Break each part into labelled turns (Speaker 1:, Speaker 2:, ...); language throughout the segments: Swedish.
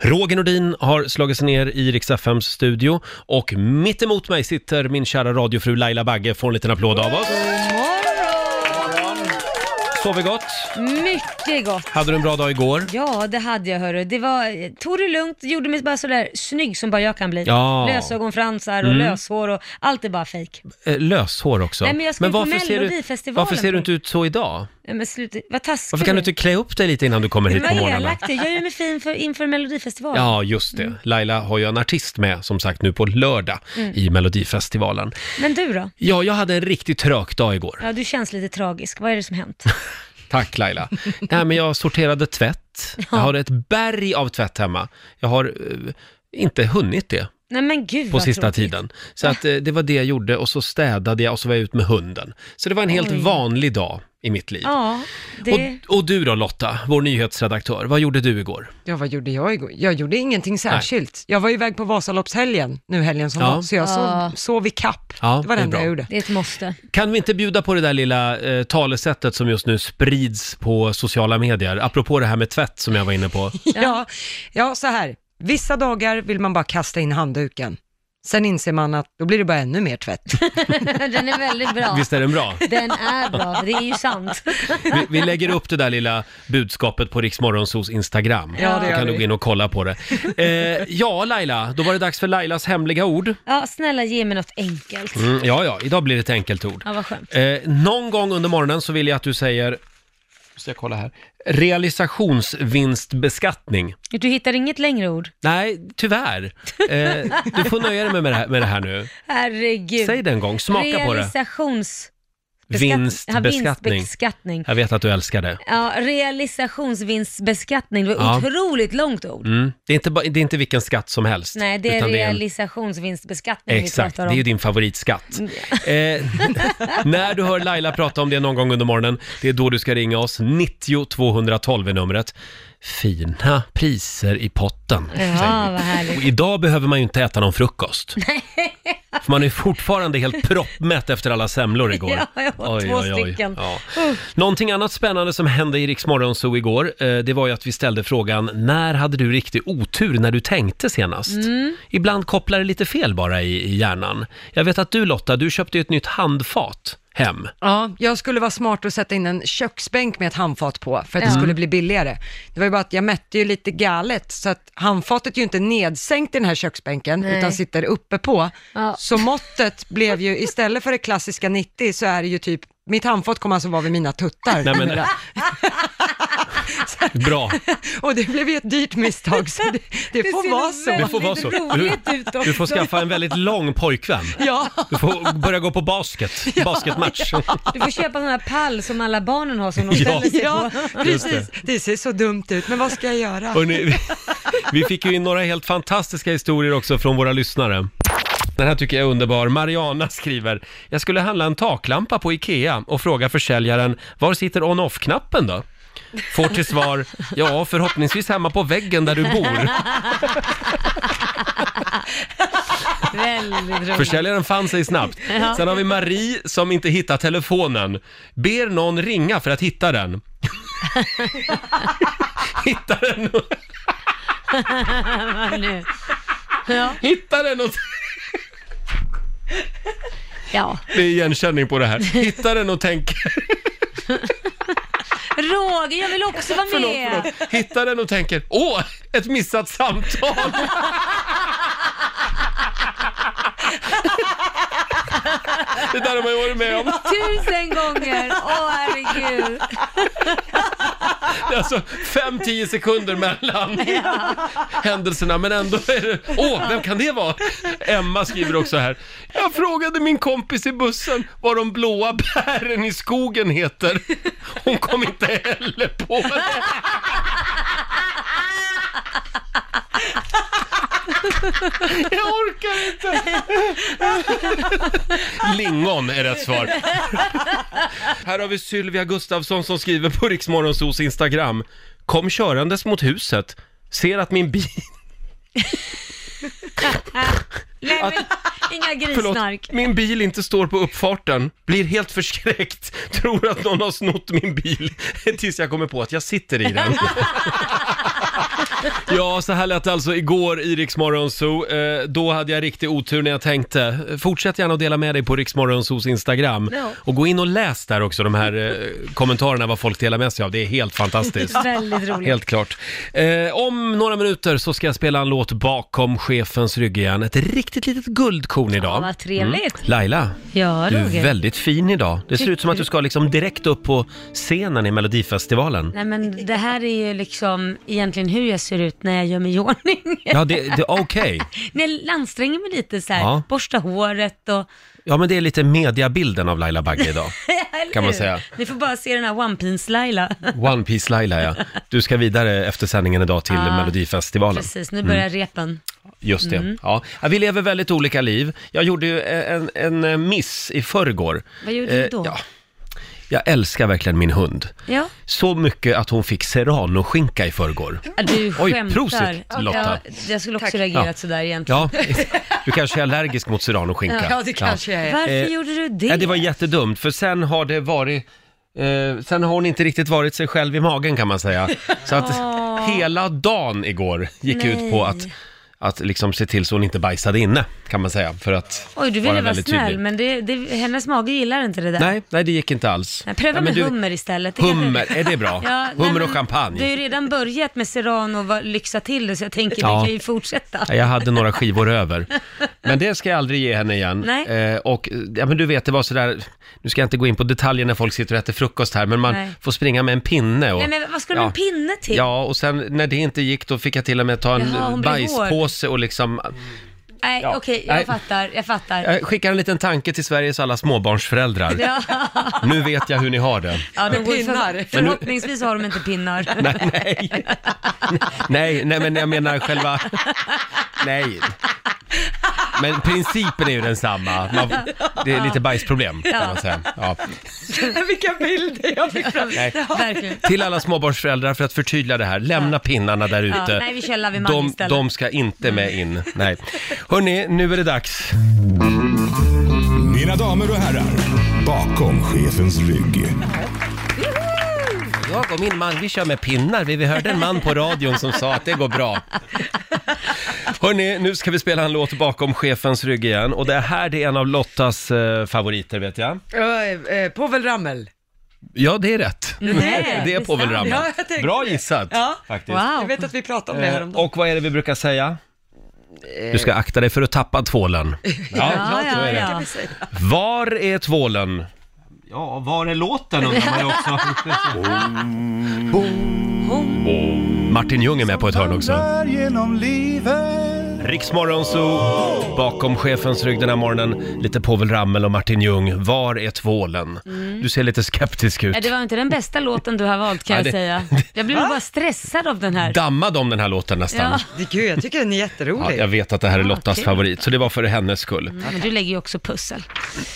Speaker 1: Roger Nordin har slagit sig ner i Rix FMs studio och mitt emot mig sitter min kära radiofru Laila Bagge. Får en liten applåd av oss. Sover gott?
Speaker 2: Mycket gott.
Speaker 1: Hade du en bra dag igår?
Speaker 2: Ja, det hade jag hörru. Det var, tog det lugnt, gjorde mig bara sådär snygg som bara jag kan bli.
Speaker 1: Ja.
Speaker 2: Lösögonfransar och
Speaker 1: Mm.
Speaker 2: löshår och allt är bara fejk.
Speaker 1: Eh, löshår också.
Speaker 2: Nej, men jag ska ju på
Speaker 1: varför, ser du,
Speaker 2: Melodifestivalen
Speaker 1: varför ser du inte ut så idag?
Speaker 2: Nej, Men sluta, vad taskig
Speaker 1: Varför kan du inte klä upp dig lite innan du kommer hit på
Speaker 2: Vad
Speaker 1: morgonen?
Speaker 2: elakt det är. Jag gör mig fin för, inför Melodifestivalen.
Speaker 1: Ja, just det. Laila har ju en artist med, som sagt, nu på lördag
Speaker 2: Mm.
Speaker 1: i Melodifestivalen.
Speaker 2: Men du då?
Speaker 1: Ja, jag hade en riktigt trök dag igår.
Speaker 2: Ja, du känns lite tragisk. Vad är det som hänt?
Speaker 1: Tack Laila. Nej, men jag sorterade tvätt. Jag har ett berg av tvätt hemma. Jag har eh, inte hunnit det
Speaker 2: Nej men gud
Speaker 1: på
Speaker 2: vad
Speaker 1: sista
Speaker 2: tråkigt.
Speaker 1: tiden. Så att, eh, det var det jag gjorde och så städade jag och så var jag ut med hunden. Så det var en helt
Speaker 2: Oj.
Speaker 1: vanlig dag i mitt
Speaker 3: typ.
Speaker 1: liv.
Speaker 2: Ja, det...
Speaker 1: Och, och du då Lotta, vår nyhetsredaktör, vad gjorde du igår?
Speaker 3: Ja, vad gjorde jag igår? Jag gjorde ingenting särskilt. Jag var iväg på Vasaloppshelgen nu helgen som
Speaker 1: Ja.
Speaker 3: var, så jag
Speaker 2: Ja.
Speaker 3: sov, sov i kapp.
Speaker 1: Ja,
Speaker 3: det
Speaker 1: det
Speaker 3: var det
Speaker 1: är
Speaker 3: enda
Speaker 1: bra.
Speaker 3: jag gjorde.
Speaker 2: det är ett måste.
Speaker 1: Kan vi inte bjuda på det där lilla eh, talesättet som just nu sprids på sociala medier, apropå det här med tvätt som jag var inne på.
Speaker 3: Ja, ja, så här. Vissa dagar vill man bara kasta in handduken. Sen inser man att då blir det bara ännu mer tvätt.
Speaker 2: Den är väldigt bra.
Speaker 1: Visst är den bra?
Speaker 2: Den är bra, för det är ju sant.
Speaker 1: Vi, vi lägger upp det där lilla budskapet på Riksmorgonsos Instagram.
Speaker 3: Ja, det
Speaker 1: Då
Speaker 3: gör
Speaker 1: kan du
Speaker 3: vi.
Speaker 1: gå in och kolla på det. Eh, ja, Laila, då var det dags för Lailas hemliga ord.
Speaker 2: Ja, snälla ge mig något enkelt.
Speaker 1: Mm, ja, ja, idag blir det ett enkelt ord.
Speaker 2: Ja, vad skönt.
Speaker 1: Eh, någon gång under morgonen så vill jag att du säger, måste jag kolla här, realisationsvinstbeskattning.
Speaker 2: Du hittar inget längre ord?
Speaker 1: Nej, tyvärr. Eh, du får nöja dig med det här, med det här nu.
Speaker 2: Herregud.
Speaker 1: Säg det en gång, smaka på det.
Speaker 2: Realisations... Ja,
Speaker 1: Vinstbeskattning.
Speaker 2: vinstbeskattning.
Speaker 1: Jag vet att du älskar det.
Speaker 2: Ja, realisationsvinstbeskattning. Det var
Speaker 1: Ja.
Speaker 2: otroligt långt ord.
Speaker 1: Mm. Det, är inte, ba- det är inte vilken skatt som helst.
Speaker 2: Nej, det är
Speaker 1: utan en-
Speaker 2: realisationsvinstbeskattning
Speaker 1: Exakt,
Speaker 2: vi
Speaker 1: det
Speaker 2: pratar om.
Speaker 1: är ju din favoritskatt. Eh, när du hör Laila prata om det någon gång under morgonen, det är då du ska ringa oss. 90 212 är numret. Fina priser i potten.
Speaker 2: Ja, vad
Speaker 1: Och
Speaker 2: härligt.
Speaker 1: idag behöver man ju inte äta någon frukost. För man är ju fortfarande helt proppmätt efter alla semlor igår.
Speaker 2: Ja, jag åt två stycken.
Speaker 1: Ja. Någonting annat spännande som hände i Rix Morgon Zoo igår, eh, det var ju att vi ställde frågan, när hade du riktig otur när du tänkte senast?
Speaker 2: Mm.
Speaker 1: Ibland kopplar det lite fel bara i, i hjärnan. Jag vet att du Lotta, du köpte ju ett nytt handfat hem.
Speaker 3: Ja, jag skulle vara smart och sätta in en köksbänk med ett handfat på för att
Speaker 2: Ja.
Speaker 3: det skulle bli billigare. Det var ju bara att jag mätte ju lite galet så att handfatet är ju inte nedsänkt i den här köksbänken
Speaker 2: Nej.
Speaker 3: utan sitter uppe på.
Speaker 2: Ja.
Speaker 3: Så måttet blev ju, istället för det klassiska 90 så är det ju typ, mitt handfat kommer alltså vara vid mina tuttar.
Speaker 1: Nej, men- Bra,
Speaker 3: Och det blev ju ett dyrt misstag så det, det, får vara så.
Speaker 1: Du får vara så.
Speaker 2: Det ser väldigt roligt ut också.
Speaker 1: du får skaffa en väldigt lång pojkvän.
Speaker 3: Ja,
Speaker 1: Du får börja gå på basket, basketmatch.
Speaker 2: Du får köpa sån här pall som alla barnen har som de
Speaker 1: Ja.
Speaker 2: ställer sig
Speaker 3: ja,
Speaker 2: på.
Speaker 3: precis. Det ser så dumt ut, men vad ska jag göra?
Speaker 1: Hörrni, vi, vi fick ju in några helt fantastiska historier också från våra lyssnare. Den här tycker jag är underbar. Mariana skriver, jag skulle handla en taklampa på Ikea och fråga försäljaren, var sitter on-off-knappen då? Får till svar, ja förhoppningsvis hemma på väggen där du bor.
Speaker 2: Väldigt roligt.
Speaker 1: Försäljaren fann sig snabbt. Sen har vi Marie som inte hittar telefonen. Ber någon ringa för att hitta den. hittar den,
Speaker 2: Vad nu? Ja,
Speaker 1: hittar den och...
Speaker 2: ja.
Speaker 1: Det är igenkänning på det här. Hittar den och tänker...
Speaker 2: Roger, jag vill också vara med.
Speaker 1: Förlåt, förlåt. Hittar den och tänker, åh, ett missat samtal! Det där har man ju varit med om.
Speaker 2: Tusen gånger! Åh herregud.
Speaker 1: Det är alltså 5-10 sekunder mellan händelserna, men ändå är det... Åh, vem kan det vara? Emma skriver också här. Jag frågade min kompis i bussen vad de blåa bären i skogen heter. Hon kom inte heller på det. Jag orkar inte! Lingon är rätt svar. Här har vi Sylvia Gustafsson som skriver på Riksmorgonsos Instagram. Kom körandes mot huset, ser att min bil...
Speaker 2: Nej, men, inga grissnark.
Speaker 1: Förlåt, min bil inte står på uppfarten. Blir helt förskräckt, tror att någon har snott min bil. Tills jag kommer på att jag sitter i den. Ja, så här lät det alltså igår i Rix Morgon Zoo. Eh, då hade jag riktig otur när jag tänkte. Fortsätt gärna att dela med dig på Rix Morgon Zoos Instagram.
Speaker 2: Ja.
Speaker 1: Och gå in och läs där också de här eh, kommentarerna vad folk delar med sig av. Det är helt fantastiskt.
Speaker 2: Väldigt roligt.
Speaker 1: Helt klart. Eh, om några minuter så ska jag spela en låt bakom chefens rygg igen. Ett riktigt litet guldkorn idag. Mm.
Speaker 2: Ja, vad trevligt.
Speaker 1: Laila,
Speaker 2: Ja,
Speaker 1: du
Speaker 2: Roger.
Speaker 1: är väldigt fin idag. Det ser
Speaker 2: Tycker
Speaker 1: ut som att
Speaker 2: du?
Speaker 1: du ska liksom direkt upp på scenen i Melodifestivalen.
Speaker 2: Nej men det här är ju liksom egentligen hur jag ser ut när jag gör mig i ordning.
Speaker 1: Ja, det, det, okej.
Speaker 2: när jag anstränger mig lite så här,
Speaker 1: Ja.
Speaker 2: borsta håret och...
Speaker 1: Ja, men det är lite mediabilden av Laila Bagge idag.
Speaker 2: Eller
Speaker 1: Kan man
Speaker 2: hur?
Speaker 1: säga.
Speaker 2: Ni får bara se den här One Piece Laila.
Speaker 1: One Piece Laila, ja. Du ska vidare efter sändningen idag till
Speaker 2: Ja,
Speaker 1: Melodifestivalen.
Speaker 2: Precis, nu börjar
Speaker 1: Mm.
Speaker 2: repen.
Speaker 1: Just det.
Speaker 2: Mm.
Speaker 1: Ja. Ja, vi lever väldigt olika liv. Jag gjorde ju eh, en, en miss i förrgår.
Speaker 2: Vad gjorde du
Speaker 1: Eh,
Speaker 2: då?
Speaker 1: ja. Jag älskar verkligen min hund.
Speaker 2: Ja.
Speaker 1: Så mycket att hon fick serranoskinka i förrgår.
Speaker 2: Ja, Du
Speaker 1: Oj,
Speaker 2: skämtar.
Speaker 1: prosit, Lotta.
Speaker 2: Ja, jag skulle också reagerat
Speaker 1: Ja.
Speaker 2: sådär egentligen.
Speaker 1: Ja, du kanske är allergisk mot serranoskinka.
Speaker 3: Ja, det kanske jag är.
Speaker 2: Varför
Speaker 1: Eh,
Speaker 2: gjorde du det?
Speaker 1: Ja, det var jättedumt, för sen har det varit... Eh, sen har hon inte riktigt varit sig själv i magen kan man säga. Så att
Speaker 2: Åh.
Speaker 1: hela dagen igår gick ut på
Speaker 2: Nej.
Speaker 1: att, att liksom se till så hon inte bajsade inne, kan man säga. För att
Speaker 2: Oj, du ville
Speaker 1: vara
Speaker 2: vara,
Speaker 1: väldigt
Speaker 2: snäll,
Speaker 1: tydlig.
Speaker 2: men det, det, hennes mage gillar inte det där.
Speaker 1: Nej, nej det gick inte alls.
Speaker 2: Nej, pröva
Speaker 1: Ja, men
Speaker 2: med
Speaker 1: du-
Speaker 2: hummer istället. Det kanske-
Speaker 1: Hummer, är det bra?
Speaker 2: Ja, nej,
Speaker 1: hummer och
Speaker 2: men
Speaker 1: champagne.
Speaker 2: Du har ju redan börjat med Serrano och vad- lyxa till det, så jag tänker
Speaker 1: Ja.
Speaker 2: du kan ju fortsätta.
Speaker 1: Ja, Jag hade några skivor över. Men det ska jag aldrig ge henne igen.
Speaker 2: Nej.
Speaker 1: Eh, och eh, ja, men du vet, det var sådär, nu ska jag inte gå in på detaljer när folk sitter och äter frukost här, men man
Speaker 2: Nej.
Speaker 1: får springa med en pinne. Och,
Speaker 2: Nej, men vad ska du med en pinne till?
Speaker 1: Ja, och sen när det inte gick då fick jag till och med ta en
Speaker 2: Jaha, hon blev
Speaker 1: bajspåse och liksom...
Speaker 2: Nej,
Speaker 1: Ja.
Speaker 2: okej,
Speaker 1: Nej. Eh,
Speaker 2: jag fattar, jag fattar.
Speaker 1: Jag skickar en liten tanke till Sveriges alla småbarnsföräldrar.
Speaker 2: Ja,
Speaker 1: Nu vet jag hur ni har det.
Speaker 2: ja, de går ju
Speaker 3: pinnar.
Speaker 2: För, förhoppningsvis har de inte pinnar.
Speaker 1: Nej, nej. Nej, nej, men jag menar själva... Nej. Men principen är ju densamma. Man, det är lite bajsproblem, kan man säga. Ja.
Speaker 3: Vilka bilder jag fick fram.
Speaker 1: Nej.
Speaker 2: Verkligen.
Speaker 1: Till alla småbarnsföräldrar, för att förtydliga det här, lämna pinnarna där ute.
Speaker 2: Ja, nej, vi kör Lavi Mann
Speaker 1: de,
Speaker 2: istället.
Speaker 1: de ska inte med in. Nej. Hörni, nu är det dags.
Speaker 4: Mina damer och herrar, bakom chefens rygg.
Speaker 1: Jag och min man, vi kör med pinnar. Vi vi hörde en man på radion som sa att det går bra. Hörni, nu ska vi spela en låt bakom chefens rygg igen. Och det här det är en av Lottas eh, favoriter, vet jag.
Speaker 3: Eh, eh, Povel Ramel.
Speaker 1: Ja, det är rätt.
Speaker 2: Mm. Nej,
Speaker 1: Mm. det är Povel
Speaker 2: sant.
Speaker 1: Ramel.
Speaker 3: Ja, jag tänkte
Speaker 1: Bra
Speaker 3: det.
Speaker 1: gissat,
Speaker 3: Ja.
Speaker 1: faktiskt.
Speaker 3: Jag
Speaker 2: Wow.
Speaker 3: vet att vi pratade om det
Speaker 1: Eh,
Speaker 3: häromdagen.
Speaker 1: och vad är det vi brukar säga? Du ska akta dig för att tappa tvålen. Ja,
Speaker 2: Ja,
Speaker 1: så
Speaker 2: ja,
Speaker 1: är det.
Speaker 2: ja.
Speaker 1: Var är tvålen? Ja, var är låten undrar man ju också. Martin Ljung är med på ett hörn också. Riksmorgon så bakom chefens rygg den här morgonen. Lite Povel Ramel och Martin Ljung. Var är tvålen? Du ser lite skeptisk ut.
Speaker 2: Nej, Mm. det var inte den bästa låten du har valt kan
Speaker 1: Ja,
Speaker 2: jag
Speaker 1: det-
Speaker 2: säga. Jag blev bara stressad av den här.
Speaker 1: Dammad om den här låten nästan.
Speaker 2: Ja. Ah,
Speaker 1: Ja.
Speaker 3: Det- Gud, jag tycker den är jätterolig.
Speaker 1: jag vet att det här är
Speaker 2: Ja,
Speaker 1: Lottas
Speaker 2: kul.
Speaker 1: favorit, så det var för hennes skull.
Speaker 2: Men du lägger ju också pussel.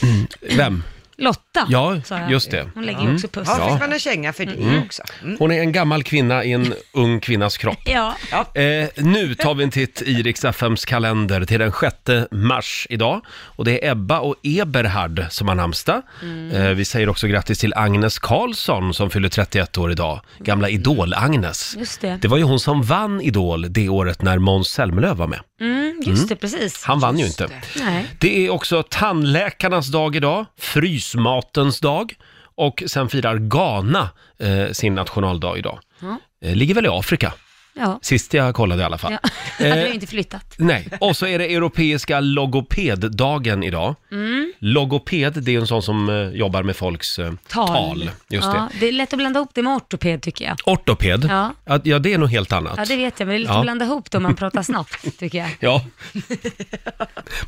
Speaker 2: Mm.
Speaker 1: Vem?
Speaker 2: Lotta,
Speaker 1: Ja,
Speaker 2: sa jag.
Speaker 1: just det. Mm.
Speaker 2: Hon lägger ju också pussel.
Speaker 3: Ja,
Speaker 1: Ja.
Speaker 3: fick man en känga för det också. Mm.
Speaker 1: Hon är en gammal kvinna i en ung kvinnas kropp.
Speaker 2: Ja.
Speaker 1: Eh, nu tar vi en titt i Rix FMs kalender till den 6 mars idag. Och det är Ebba och Eberhard som har namnsdag.
Speaker 2: Mm.
Speaker 1: Eh, vi säger också grattis till Agnes Karlsson som fyller 31 år idag. Gamla Idol-Agnes.
Speaker 2: Just det.
Speaker 1: Det var ju hon som vann Idol det året när Måns Zelmerlöw var med.
Speaker 2: Mm, just det, precis.
Speaker 1: Han vann ju inte.
Speaker 2: Nej.
Speaker 1: Det är också tandläkarnas dag idag, frysmatens dag och sen firar Ghana eh, sin nationaldag idag.
Speaker 2: Ja.
Speaker 1: Eh, ligger väl i Afrika,
Speaker 2: Ja.
Speaker 1: sist jag kollade i alla fall. Eh,
Speaker 2: ja. Du har ju inte flyttat.
Speaker 1: Nej, och så är det europeiska logopeddagen idag.
Speaker 2: Mm.
Speaker 1: Logoped, det är en sån som eh, jobbar med folks eh, tal. Just
Speaker 2: ja,
Speaker 1: det.
Speaker 2: det. är lätt att blanda ihop det med ortoped tycker jag.
Speaker 1: Ortoped,
Speaker 2: Ja.
Speaker 1: ja. ja det är nog helt annat.
Speaker 2: Ja, det vet jag, men det är lätt
Speaker 1: Ja.
Speaker 2: att blanda ihop det om man pratar snabbt tycker jag.
Speaker 1: Ja.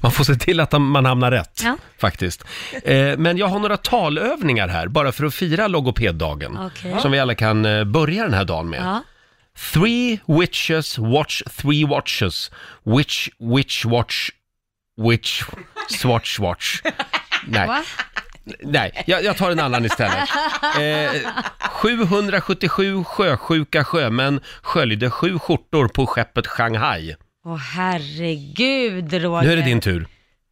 Speaker 1: Man får se till att man hamnar rätt,
Speaker 2: Ja.
Speaker 1: faktiskt. Eh, Men jag har några talövningar här, bara för att fira logopeddagen,
Speaker 2: Okej.
Speaker 1: som vi alla kan eh, börja den här dagen med.
Speaker 2: Ja.
Speaker 1: Three witches watch three watches. Witch, witch watch, witch, swatch watch. Nej,
Speaker 2: Va?
Speaker 1: nej jag, jag tar en annan istället. Eh, 777 sjösjuka sjömän sköljde sju skjortor på skeppet Shanghai.
Speaker 2: Åh herregud Roger.
Speaker 1: Nu är det din tur.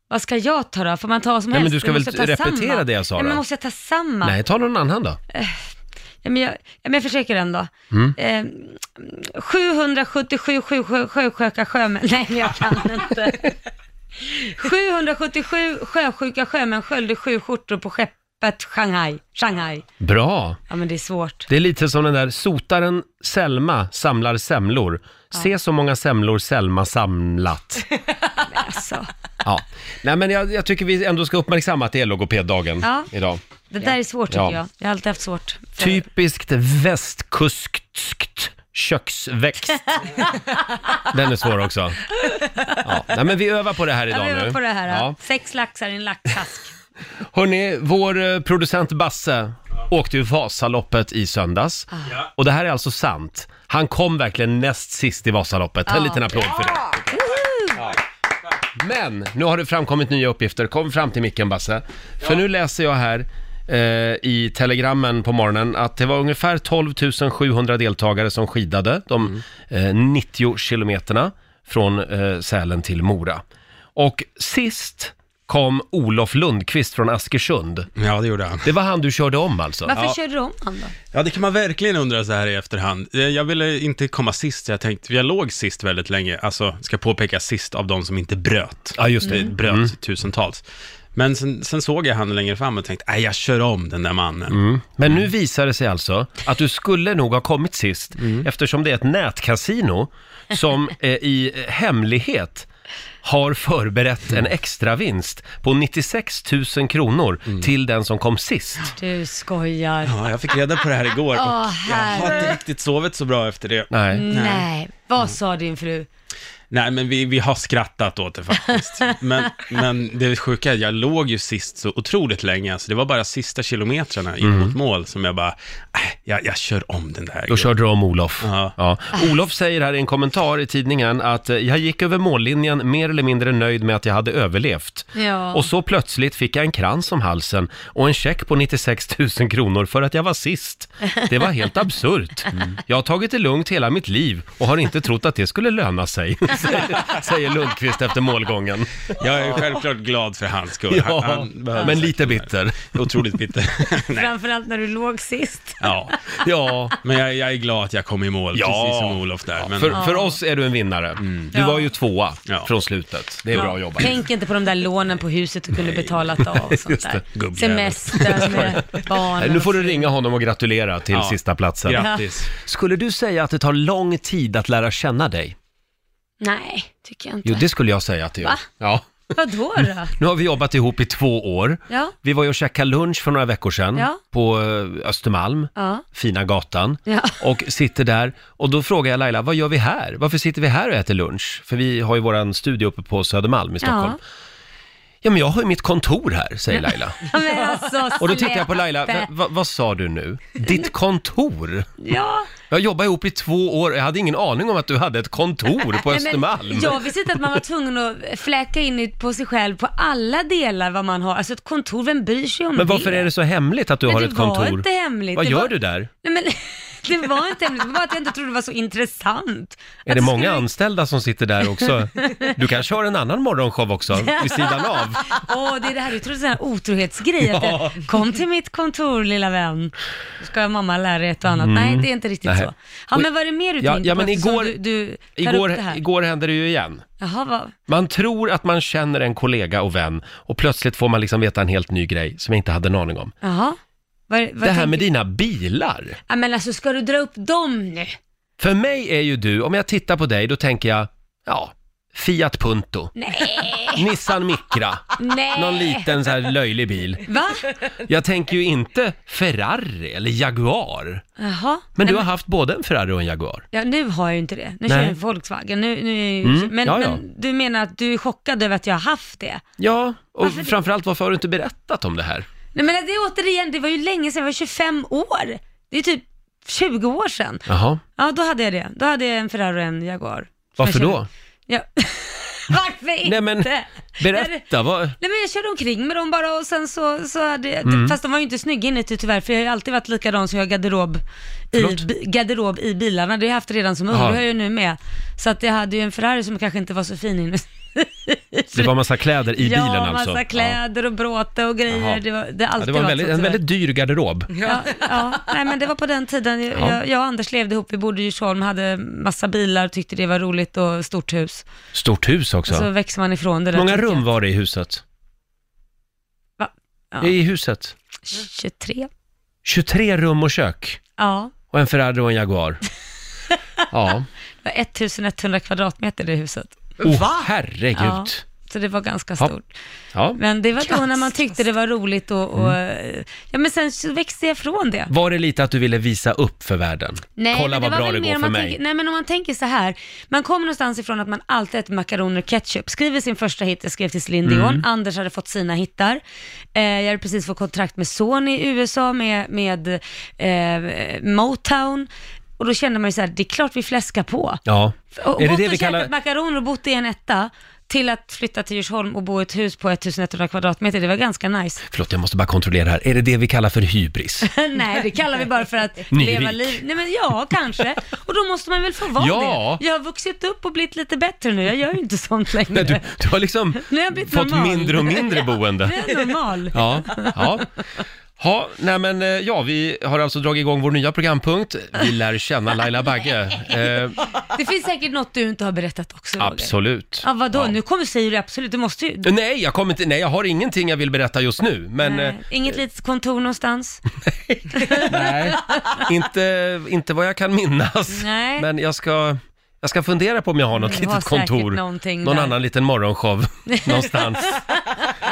Speaker 2: Vad ska jag ta då? Får man ta vad som
Speaker 1: Nej, men
Speaker 2: helst?
Speaker 1: du ska
Speaker 2: Jag
Speaker 1: väl
Speaker 2: måste ta
Speaker 1: repetera
Speaker 2: samma.
Speaker 1: det jag sa
Speaker 2: Nej,
Speaker 1: då?
Speaker 2: men måste jag ta samma?
Speaker 1: Nej, ta någon annan då.
Speaker 2: Ja, men jag, ja, men jag försöker ändå.
Speaker 1: Mm.
Speaker 2: Eh, 777 sjö- sjösjuka sjömän. Nej, men jag kan inte. 777 sjösjuka sjömän sköljde sju skjortor på skeppet Shanghai. Shanghai.
Speaker 1: Bra!
Speaker 2: Ja, men det är svårt.
Speaker 1: Det är lite som den där sotaren Selma samlar semlor. Se så många semlor Selma samlat.
Speaker 2: Alltså,
Speaker 1: Ja. Nej, men jag, jag tycker vi ändå ska uppmärksamma att det är logopeddagen
Speaker 2: Ja.
Speaker 1: idag.
Speaker 2: det där är svårt tycker
Speaker 1: Ja.
Speaker 2: jag. Jag har alltid haft svårt. för-
Speaker 1: Typiskt västkuskt köksväxt. Den är svår också. Ja. Nej, men vi övar på det här
Speaker 2: Ja,
Speaker 1: idag
Speaker 2: vi
Speaker 1: nu.
Speaker 2: var på det här.
Speaker 1: Ja.
Speaker 2: Ja. Sex laxar i en laxask.
Speaker 1: Hörni, vår eh, producent Basse åkte ju Vasaloppet i söndags.
Speaker 2: Ah.
Speaker 1: Och det här är alltså sant. Han kom verkligen näst sist i Vasaloppet. En liten applåd för det. Men nu har det framkommit nya uppgifter. Kom fram till micken Basse. För nu läser jag här eh, i telegrammen på morgonen att det var ungefär 12 700 deltagare som skidade de
Speaker 5: Mm.
Speaker 1: eh, 90 kilometerna från eh, Sälen till Mora. Och sist kom Olof Lundqvist från Askersund.
Speaker 5: Ja, det gjorde han.
Speaker 1: Det var han du körde om alltså?
Speaker 2: Varför
Speaker 5: Ja.
Speaker 2: körde du om han då?
Speaker 5: Ja, det kan man verkligen undra så här i efterhand. Eh, Jag ville inte komma sist, jag tänkte, jag låg sist väldigt länge, alltså, ska påpeka sist av de som inte bröt.
Speaker 1: Ja, just det. Mm.
Speaker 5: Det bröt tusentals. Men sen, sen såg jag han längre fram och tänkte, nej, jag kör om den där mannen.
Speaker 1: Mm. Men nu visar det sig alltså att du skulle nog ha kommit sist
Speaker 5: Mm.
Speaker 1: eftersom det är ett nätkasino som eh, i hemlighet har förberett
Speaker 5: Mm.
Speaker 1: en extra vinst på 96 000 kronor till den som kom sist.
Speaker 2: Du skojar.
Speaker 5: Mm. Ja, jag fick reda på det här igår och
Speaker 2: Åh,
Speaker 5: jag har
Speaker 2: herre.
Speaker 5: inte riktigt sovit så bra efter det.
Speaker 1: Nej. Mm.
Speaker 2: Nej. Vad sa din fru?
Speaker 5: Nej, men vi, vi har skrattat åt det faktiskt. Men, men det sjuka är att jag låg ju sist så otroligt länge, alltså det var bara sista kilometrarna
Speaker 1: Mm.
Speaker 5: in mot mål som jag bara, "Äh, jag, jag kör om den där.
Speaker 1: Då körde du om Olof.
Speaker 5: Ja.
Speaker 1: Ja. Olof säger här i en kommentar i tidningen att eh, jag gick över mållinjen mer eller mindre nöjd med att jag hade överlevt.
Speaker 2: Ja.
Speaker 1: Och så plötsligt fick jag en krans om halsen och en check på 96 000 kronor för att jag var sist. Det var helt absurt.
Speaker 2: Mm.
Speaker 1: Jag har tagit det lugnt hela mitt liv och har inte trott att det skulle löna sig, säger- säger Lundqvist efter målgången.
Speaker 5: Jag är självklart glad för hans skull. Han-
Speaker 1: Ja,
Speaker 5: han behöver
Speaker 1: men
Speaker 5: säkert
Speaker 1: lite
Speaker 5: den här.
Speaker 1: bitter.
Speaker 5: Otroligt bitter. Nej,
Speaker 2: Framförallt när du låg sist.
Speaker 5: ja.
Speaker 1: Ja,
Speaker 5: Men jag, jag är glad att jag kom i mål,
Speaker 1: Ja.
Speaker 5: precis som Olof där. Men, Mm.
Speaker 1: för, för oss är du en vinnare. Du var ju tvåa
Speaker 5: Ja.
Speaker 1: från slutet. Det är bra jobbat.
Speaker 2: Tänk inte på de där lånen på huset du kunde betalat av och sånt
Speaker 1: Just det.
Speaker 2: där.
Speaker 5: Gubbjävel.
Speaker 2: Semester med
Speaker 1: Nej,
Speaker 2: barnen.
Speaker 1: Nu får du ringa honom och gratulera till
Speaker 5: Ja.
Speaker 1: sista platsen.
Speaker 5: grattis.
Speaker 1: Skulle du säga att det tar lång tid att lära känna dig?
Speaker 2: Nej, tycker jag inte.
Speaker 1: Jo, det skulle jag säga att det gör.
Speaker 2: Va?
Speaker 1: Ja.
Speaker 2: Vadå då?
Speaker 1: Nu har vi jobbat ihop i två år.
Speaker 2: Ja,
Speaker 1: Vi var ju och käkade lunch för några veckor sedan
Speaker 2: Ja.
Speaker 1: på eh, Östermalm,
Speaker 2: ja,
Speaker 1: fina gatan.
Speaker 2: ja.
Speaker 1: Och sitter där och då frågar jag Laila, vad gör vi här? Varför sitter vi här och äter lunch? För vi har ju våran studio uppe på Södermalm i Stockholm. Ja, men jag har ju mitt kontor här, säger Laila.
Speaker 2: Ja, Men alltså,
Speaker 1: Och då tittar jag på Laila,
Speaker 2: släpe.
Speaker 1: "Va- va, vad sa du nu? Ditt kontor?
Speaker 2: Ja,
Speaker 1: Jag jobbade ihop i två år, jag hade ingen aning om att du hade ett kontor på
Speaker 2: nej, men
Speaker 1: Östermalm.
Speaker 2: jag visste inte att man var tvungen att fläka in i- på sig själv på alla delar vad man har. Alltså ett kontor, vem bryr sig om
Speaker 1: Men varför
Speaker 2: det?
Speaker 1: är det så hemligt att du
Speaker 2: Men
Speaker 1: har
Speaker 2: det
Speaker 1: ett kontor?
Speaker 2: var inte hemligt.
Speaker 1: Vad
Speaker 2: Det
Speaker 1: gör
Speaker 2: var-
Speaker 1: du där?
Speaker 2: Nej, men det var inte hemligt, det var bara att jag inte trodde det var så intressant.
Speaker 1: Är
Speaker 2: Att
Speaker 1: det många
Speaker 2: skulle-
Speaker 1: anställda som sitter där också? Du kanske har en annan morgonshow också, vid sidan av?
Speaker 2: Åh, det är det här, du trodde sån här otrohetsgrej, att
Speaker 1: Ja.
Speaker 2: jag, kom till mitt kontor lilla vän, då ska mamma lära dig ett och annat. Nej, det är inte riktigt
Speaker 1: Mm. Nej.
Speaker 2: så. Ja, men vad är det mer du
Speaker 1: Ja,
Speaker 2: tänkte
Speaker 1: ja, men
Speaker 2: på eftersom
Speaker 1: igår-
Speaker 2: du, du tar upp
Speaker 1: Igår,
Speaker 2: det här?
Speaker 1: igår hände det ju igen.
Speaker 2: Jaha, vad...
Speaker 1: Man tror att man känner en kollega och vän och plötsligt får man liksom veta en helt ny grej som jag inte hade en aning om.
Speaker 2: Jaha. Vad, vad
Speaker 1: Det här
Speaker 2: tänker-
Speaker 1: med dina bilar.
Speaker 2: Ja, men alltså ska du dra upp dem nu?
Speaker 1: För mig är ju du, om jag tittar på dig, då tänker jag, ja, Fiat Punto,
Speaker 2: Nej,
Speaker 1: Nissan Micra,
Speaker 2: nej.
Speaker 1: någon liten så här löjlig bil.
Speaker 2: Va?
Speaker 1: Jag tänker ju inte Ferrari eller Jaguar.
Speaker 2: Jaha.
Speaker 1: Men
Speaker 2: Nej,
Speaker 1: du har haft både en Ferrari och en Jaguar.
Speaker 2: Ja, nu har jag ju inte det. Nu
Speaker 1: Nej.
Speaker 2: kör jag en Volkswagen. Nu, nu,
Speaker 1: Mm,
Speaker 2: men,
Speaker 1: ja, ja.
Speaker 2: men du menar att du är chockad över att jag har haft det?
Speaker 1: Ja, och
Speaker 2: Varför det?
Speaker 1: framförallt varför har du inte berättat om det här?
Speaker 2: Nej men det är återigen, det var ju länge sedan, jag var 25 år. Det är typ 20 år sedan.
Speaker 1: Jaha,
Speaker 2: Ja, då hade jag det. Då hade jag en Ferrari och en Jaguar.
Speaker 1: varför
Speaker 2: Jag känner-
Speaker 1: då?
Speaker 2: Ja. Varför inte?
Speaker 1: Nej men, Berätta, vad...
Speaker 2: Nej men jag körde omkring med dem bara och sen så, så hade jag,
Speaker 1: Mm.
Speaker 2: fast de var ju inte snygga inuti tyvärr för jag har ju alltid varit likadan som jag har garderob i,
Speaker 1: Förlåt?
Speaker 2: bi- garderob i bilarna. Det har jag haft redan som ung,
Speaker 1: Jaha.
Speaker 2: det har jag ju nu med. Så att jag hade ju en Ferrari som kanske inte var så fin inuti.
Speaker 1: Det var massa kläder i bilen
Speaker 2: ja,
Speaker 1: alltså?
Speaker 2: massa
Speaker 1: Ja.
Speaker 2: kläder och bråte och
Speaker 1: Jaha.
Speaker 2: grejer. Det, var, det, har
Speaker 1: Ja,
Speaker 2: alltid
Speaker 1: det var en
Speaker 2: varit
Speaker 1: väldigt,
Speaker 2: så,
Speaker 1: en
Speaker 2: tyvärr.
Speaker 1: väldigt dyr garderob.
Speaker 2: Ja, ja. Nej, men det var på den tiden jag,
Speaker 1: Ja.
Speaker 2: jag, jag och Anders levde ihop, vi bodde i Djursholm, hade massa bilar, tyckte det var roligt och stort hus.
Speaker 1: Stort hus också.
Speaker 2: Och så växer man ifrån det där.
Speaker 1: Många
Speaker 2: tycker jag.
Speaker 1: rum var det i huset?
Speaker 2: Va? Ja. Mm.
Speaker 1: I huset?
Speaker 2: 23.
Speaker 1: 23 rum och kök.
Speaker 2: Ja,
Speaker 1: Och en Ferrari och en Jaguar. Ja.
Speaker 2: det var 1100 kvadratmeter det huset.
Speaker 1: Oh, herregud. Ja.
Speaker 2: Ja. Så det var ganska
Speaker 1: Ja.
Speaker 2: stort. Men det var då när man tyckte det var roligt och, och
Speaker 1: Mm.
Speaker 2: eh, ja men sen så växte jag från det.
Speaker 1: Var det lite att du ville visa upp för världen? Kolla vad
Speaker 2: men
Speaker 1: bra
Speaker 2: väl
Speaker 1: det
Speaker 2: mer
Speaker 1: går
Speaker 2: om
Speaker 1: för
Speaker 2: man
Speaker 1: mig.
Speaker 2: Tänker, nej, men om man tänker så här. Man kommer någonstans ifrån att man alltid äter makaroner och ketchup. Skriver sin första hit, jag skrev till Céline
Speaker 1: Mm.
Speaker 2: Dion. Anders hade fått sina hittar. Eh, jag hade precis fått kontrakt med Sony i USA, med, med eh, Motown. Och då kände man ju så här, det är klart vi fläskar på.
Speaker 1: Ja.
Speaker 2: Och
Speaker 1: Är det
Speaker 2: bott
Speaker 1: det
Speaker 2: och
Speaker 1: vi kallar...
Speaker 2: käkat makaroner och bott i en etta till att flytta till Djursholm och bo i ett hus på 1100 kvadratmeter. Det var ganska nice.
Speaker 1: Förlåt, jag måste bara kontrollera här. Är det det vi kallar för hybris?
Speaker 2: Nej, det kallar vi bara för att
Speaker 1: Nyrik.
Speaker 2: leva liv. Nej, men ja, kanske. Och då måste man väl få vara
Speaker 1: Ja.
Speaker 2: det. Jag har vuxit upp och blivit lite bättre nu. Jag gör ju inte sånt längre.
Speaker 1: Nej, du, du har liksom
Speaker 2: Nu har jag blivit
Speaker 1: fått
Speaker 2: normal.
Speaker 1: mindre och mindre boende.
Speaker 2: Nu är jag normal.
Speaker 1: Ja, ja. Ha, nej men, eh, ja, vi har alltså dragit igång vår nya programpunkt. Vi lär känna Laila Bagge. Eh,
Speaker 2: Det finns säkert något du inte har berättat också, Roger.
Speaker 1: absolut.
Speaker 2: Ja, vadå? Nu kommer säger du absolut. Du måste ju...
Speaker 1: Nej, jag kommer inte, nej, jag har ingenting jag vill berätta just nu, men eh,
Speaker 2: Nej, Inget litet kontor någonstans?
Speaker 1: nej. eh, Inte, inte vad jag kan minnas.
Speaker 2: Nej.
Speaker 1: Men jag ska, jag ska fundera på om jag har något
Speaker 2: Du har
Speaker 1: litet
Speaker 2: säkert
Speaker 1: kontor.
Speaker 2: någonting
Speaker 1: Någon
Speaker 2: där.
Speaker 1: annan liten morgonshow någonstans.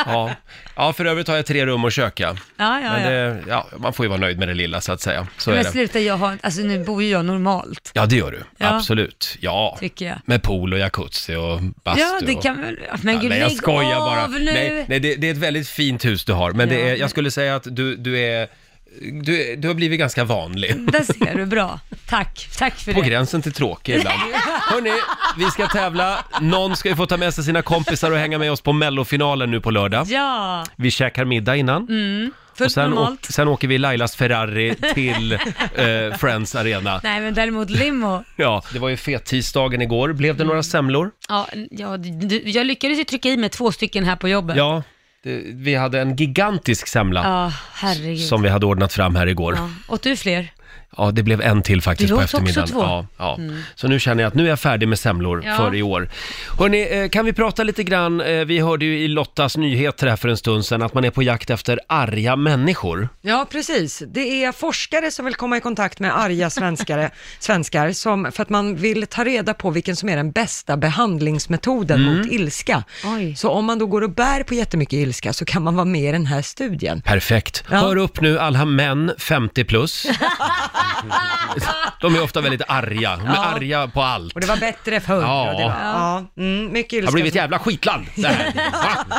Speaker 1: Ja. ja, för övrigt har jag tre rum och kök ja.
Speaker 2: Ja, ja,
Speaker 1: Men
Speaker 2: ja.
Speaker 1: det, ja, man får ju vara nöjd med det lilla så att säga. Så är
Speaker 2: Men
Speaker 1: det.
Speaker 2: sluta, jag har... Alltså nu bor ju jag normalt,
Speaker 1: Ja, det gör du.
Speaker 2: Ja.
Speaker 1: Absolut. Ja.
Speaker 2: tycker jag.
Speaker 1: Med pool och jacuzzi och bastu.
Speaker 2: Ja, det
Speaker 1: och-
Speaker 2: kan väl... Men
Speaker 1: Ja,
Speaker 2: gud,
Speaker 1: nej, jag
Speaker 2: lägg
Speaker 1: skojar
Speaker 2: av
Speaker 1: bara.
Speaker 2: nu!
Speaker 1: Nej, nej det, det är ett väldigt fint hus du har, men det
Speaker 2: Ja,
Speaker 1: är,
Speaker 2: men-
Speaker 1: jag skulle säga att du, du är... Du, du har blivit ganska vanlig.
Speaker 2: Där ser du, bra. Tack, tack för
Speaker 1: På
Speaker 2: det.
Speaker 1: gränsen till tråkig ibland. Hörni, vi ska tävla. Någon ska ju få ta med sig sina kompisar och hänga med oss på mellofinalen nu på lördag.
Speaker 2: Ja, Mm.
Speaker 1: Vi käkar middag innan. och
Speaker 2: fullt
Speaker 1: sen, å-
Speaker 2: normalt.
Speaker 1: sen åker vi i Lailas Ferrari till eh, Friends Arena.
Speaker 2: Nej, men däremot limo.
Speaker 1: Ja, det var ju fettisdagen igår. Blev det några semlor?
Speaker 2: Ja, ja, du, jag lyckades ju trycka i mig två stycken här på jobbet.
Speaker 1: Ja, det, vi hade en gigantisk semla.
Speaker 2: Ja, herregud.
Speaker 1: Som vi hade ordnat fram här igår. Ja,
Speaker 2: Ja. Åt du fler?
Speaker 1: det blev en till faktiskt
Speaker 2: Det
Speaker 1: på
Speaker 2: låter också
Speaker 1: eftermiddagen.
Speaker 2: två.
Speaker 1: Ja, ja. Så nu känner jag att nu är jag färdig med semlor
Speaker 2: Ja.
Speaker 1: för i år. Hörrni, eh, kan vi prata lite grann, eh, vi hörde ju i Lottas nyheter här för en stund sedan att man är på jakt efter arga människor.
Speaker 3: Ja, precis. Det är forskare som vill komma i kontakt med arga svenskare, svenskar som, för att man vill ta reda på vilken som är den bästa behandlingsmetoden
Speaker 1: Mm.
Speaker 3: mot ilska.
Speaker 2: Oj.
Speaker 3: Så om man då går och bär på jättemycket ilska så kan man vara med i den här studien.
Speaker 1: Perfekt. Hör upp nu alla män 50 plus. De är ofta väldigt arga, de är arga på allt.
Speaker 3: Och det var bättre förr.
Speaker 1: Ja.
Speaker 3: och det var, ja. Mm, mycket
Speaker 1: Det har
Speaker 3: ilska.
Speaker 1: blivit ett jävla skitland det här. Va?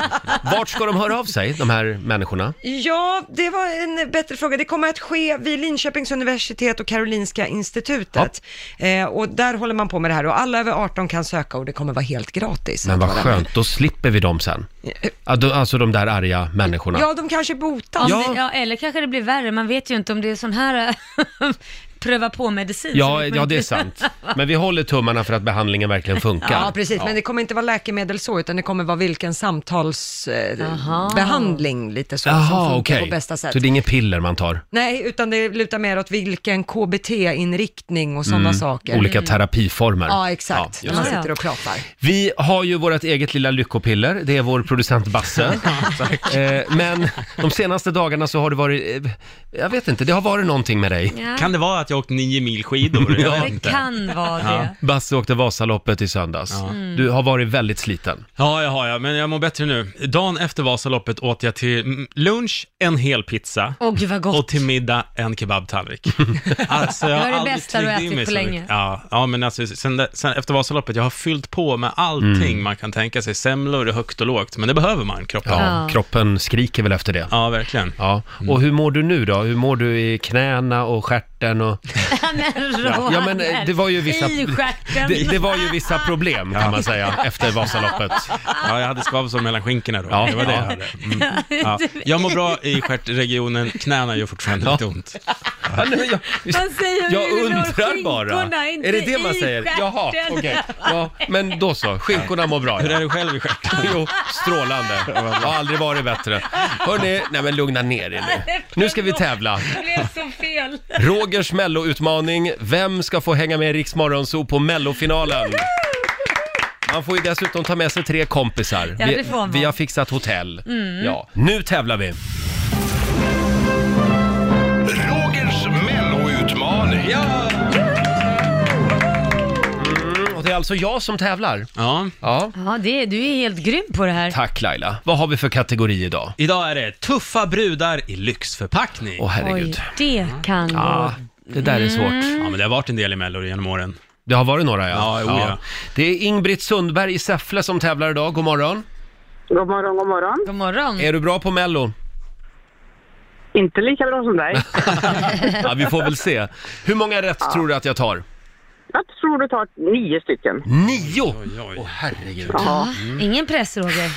Speaker 1: Vart ska de höra av sig, de här människorna?
Speaker 3: Ja, det var en bättre fråga. Det kommer att ske vid Linköpings universitet och Karolinska institutet. Eh, och där håller man på med det här och alla över 18 kan söka och det kommer vara helt gratis.
Speaker 1: Men
Speaker 3: att
Speaker 1: vad
Speaker 3: vara
Speaker 1: skönt, då slipper vi dem sen. Ja, då- Alltså de där arga människorna.
Speaker 3: med. Ja, de kanske botas.
Speaker 2: Om
Speaker 1: Ja.
Speaker 2: Det, ja, eller kanske det blir värre. Man vet ju inte om det är sån här äh, pröva på-medicin. så
Speaker 1: Ja,
Speaker 2: vet man
Speaker 1: ja,
Speaker 2: inte.
Speaker 1: det är sant. Men vi håller tummarna för att behandlingen verkligen funkar.
Speaker 3: Ja, precis. Men det kommer inte vara läkemedel så, utan det kommer vara vilken
Speaker 2: Aha.
Speaker 3: samtalsbehandling eh, behandling lite så, som
Speaker 1: Jaha,
Speaker 3: funkar
Speaker 1: okej.
Speaker 3: på bästa sätt.
Speaker 1: Så det är inget piller man tar?
Speaker 3: Nej, utan det lutar mer åt vilken KBT-inriktning och sådana saker.
Speaker 1: Mm.
Speaker 3: Mm.
Speaker 1: Olika terapiformer?
Speaker 3: Ja, exakt.
Speaker 1: Ja,
Speaker 3: när
Speaker 1: just
Speaker 3: man
Speaker 1: det.
Speaker 2: det.
Speaker 3: sitter och pratar.
Speaker 1: vi har ju vårt eget lilla lyckopiller, det är vår producent Basse. Eh, Men de senaste dagarna så har det varit, eh, jag vet inte, det har varit någonting med dig.
Speaker 2: Ja,
Speaker 5: Kan det vara att jag åkt nio mil skidor? Jag vet
Speaker 2: det
Speaker 5: inte.
Speaker 2: kan vara det. Mm.
Speaker 1: Basse åkte Vasaloppet i söndags. Du har varit väldigt sliten.
Speaker 5: Ja, jag har jag, men jag mår bättre nu. Dagen efter Vasaloppet åt jag till mm, lunch en hel pizza.
Speaker 2: Åh gud vad
Speaker 5: Och
Speaker 2: gott.
Speaker 5: till middag en kebabtallrik. Alltså, jag
Speaker 2: Det var
Speaker 5: har
Speaker 2: det
Speaker 5: aldrig
Speaker 2: bästa du
Speaker 5: tryckt
Speaker 2: har
Speaker 5: i
Speaker 2: ätit
Speaker 5: mig
Speaker 2: på
Speaker 5: så
Speaker 2: länge.
Speaker 5: mycket. Ja, ja men alltså, sen, där- sen efter Vasaloppet, jag har fyllt på med allting
Speaker 2: Mm.
Speaker 5: man kan tänka sig. Semlor, högt och lågt, men det behöver man, kroppen.
Speaker 1: Ja,
Speaker 5: Ja,
Speaker 2: Ja.
Speaker 1: Kroppen skriker väl efter det.
Speaker 5: verkligen. Mm.
Speaker 1: Ja. Och hur mår du nu då? Hur mår du i knäna och stjärt stjärten och...
Speaker 2: men Roger,
Speaker 1: Ja, men eh, det var ju vissa...
Speaker 2: I stjärten.
Speaker 1: Det, det var ju vissa problem kan man säga efter Vasaloppet.
Speaker 5: Ja, jag hade skavsår mellan skinkorna då. Ja, det var det jag hade. Mm. Ja. Jag mår bra i stjärtregionen, knäna gör fortfarande lite ont.
Speaker 1: Ja, nej, men jag,
Speaker 2: Man säger ju
Speaker 1: jag
Speaker 2: det låg
Speaker 1: undrar bara.
Speaker 2: skinkorna, inte
Speaker 1: Är det det man
Speaker 2: i
Speaker 1: säger? Jaha, okej.
Speaker 2: stjärten.
Speaker 1: Ja, men då så. Skinkorna mår bra.
Speaker 5: Hur
Speaker 1: Ja.
Speaker 5: är du själv i stjärten?
Speaker 1: Jo, strålande. Jag har aldrig varit bättre. Hörni, nej men lugna ner er nu. Nu ska vi tävla.
Speaker 2: Det blev så fel.
Speaker 1: Rogers melloutmaning. Vem ska få hänga med i Riks Morgonzoo på mellofinalen? Man får ju dessutom ta med sig tre kompisar.
Speaker 2: Ja, det
Speaker 1: Vi,
Speaker 2: får man.
Speaker 1: vi har fixat hotell.
Speaker 2: Mm.
Speaker 1: Ja, nu tävlar vi!
Speaker 4: Rogers melloutmaning.
Speaker 1: Mm, och det är alltså jag som tävlar.
Speaker 5: Ja.
Speaker 1: Ja.
Speaker 2: Ja, det, du är helt grym på det här.
Speaker 1: Tack Laila. Vad har vi för kategori idag?
Speaker 5: Idag är det tuffa brudar i lyxförpackning.
Speaker 1: Åh herregud.
Speaker 2: Oj, det kan gå.
Speaker 1: Ja, det där är svårt.
Speaker 2: Mm.
Speaker 5: Ja, men det har varit en del i Mello genom åren.
Speaker 1: Det har varit några ja.
Speaker 5: Ja, jo, ja.
Speaker 1: Det är Ingbritt Sundberg i Säffle som tävlar idag. God morgon.
Speaker 6: God morgon, god morgon.
Speaker 2: God morgon.
Speaker 1: Är du bra på Mello?
Speaker 6: Inte lika bra som dig.
Speaker 1: Ja, vi får väl se. Hur många rätt tror du att jag tar?
Speaker 6: Jag tror du tar nio stycken.
Speaker 1: Nio!
Speaker 5: Oj, oj.
Speaker 1: Åh herregud.
Speaker 6: Ja,
Speaker 2: Ingen press Roger.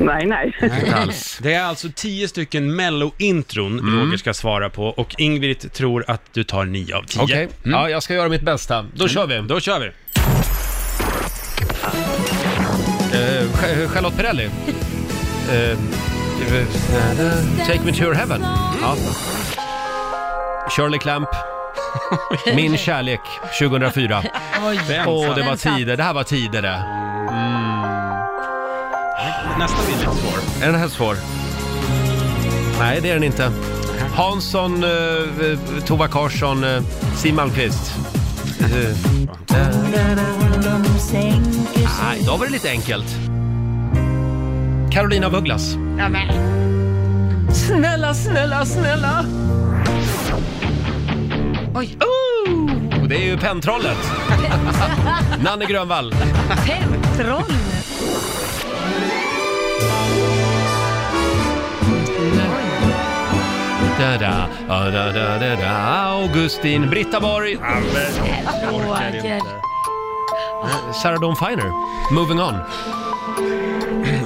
Speaker 6: Mm. nej, nej.
Speaker 1: Inte alls. Mm.
Speaker 5: Det är alltså tio stycken Mello-intron Roger ska svara på och Ingrid tror att du tar nio av tio.
Speaker 1: Okej,
Speaker 5: Mm.
Speaker 1: ja, jag ska göra mitt bästa. Då kör vi.
Speaker 5: Då kör vi.
Speaker 1: Eh, Ch- Charlotte Perrelli. Eh, take me to your heaven.
Speaker 5: Mm.
Speaker 1: Ja. Shirley Clamp. Min kärlek 2004.
Speaker 5: Vem
Speaker 1: Åh,
Speaker 5: sa-
Speaker 1: det var
Speaker 2: Den satt.
Speaker 1: tider. Det här var tider det.
Speaker 5: Nästa blir lite svår.
Speaker 1: Är den här svår? Nej, det är den inte. Hansson, eh, Tova Karsson, eh, Siw Malmkvist. Eh, Nej, då var det lite enkelt. Carolina af Ugglas. Snälla, snälla, snälla!
Speaker 2: Oj.
Speaker 1: Oh, det är ju Penntrollet. Nanne Grönvall.
Speaker 2: Pentroll.
Speaker 1: Da, da, da, da, da, da, Augustin, Eh, Britta Borg,
Speaker 2: Roger.
Speaker 1: Sarah Dawn Finer. Moving on.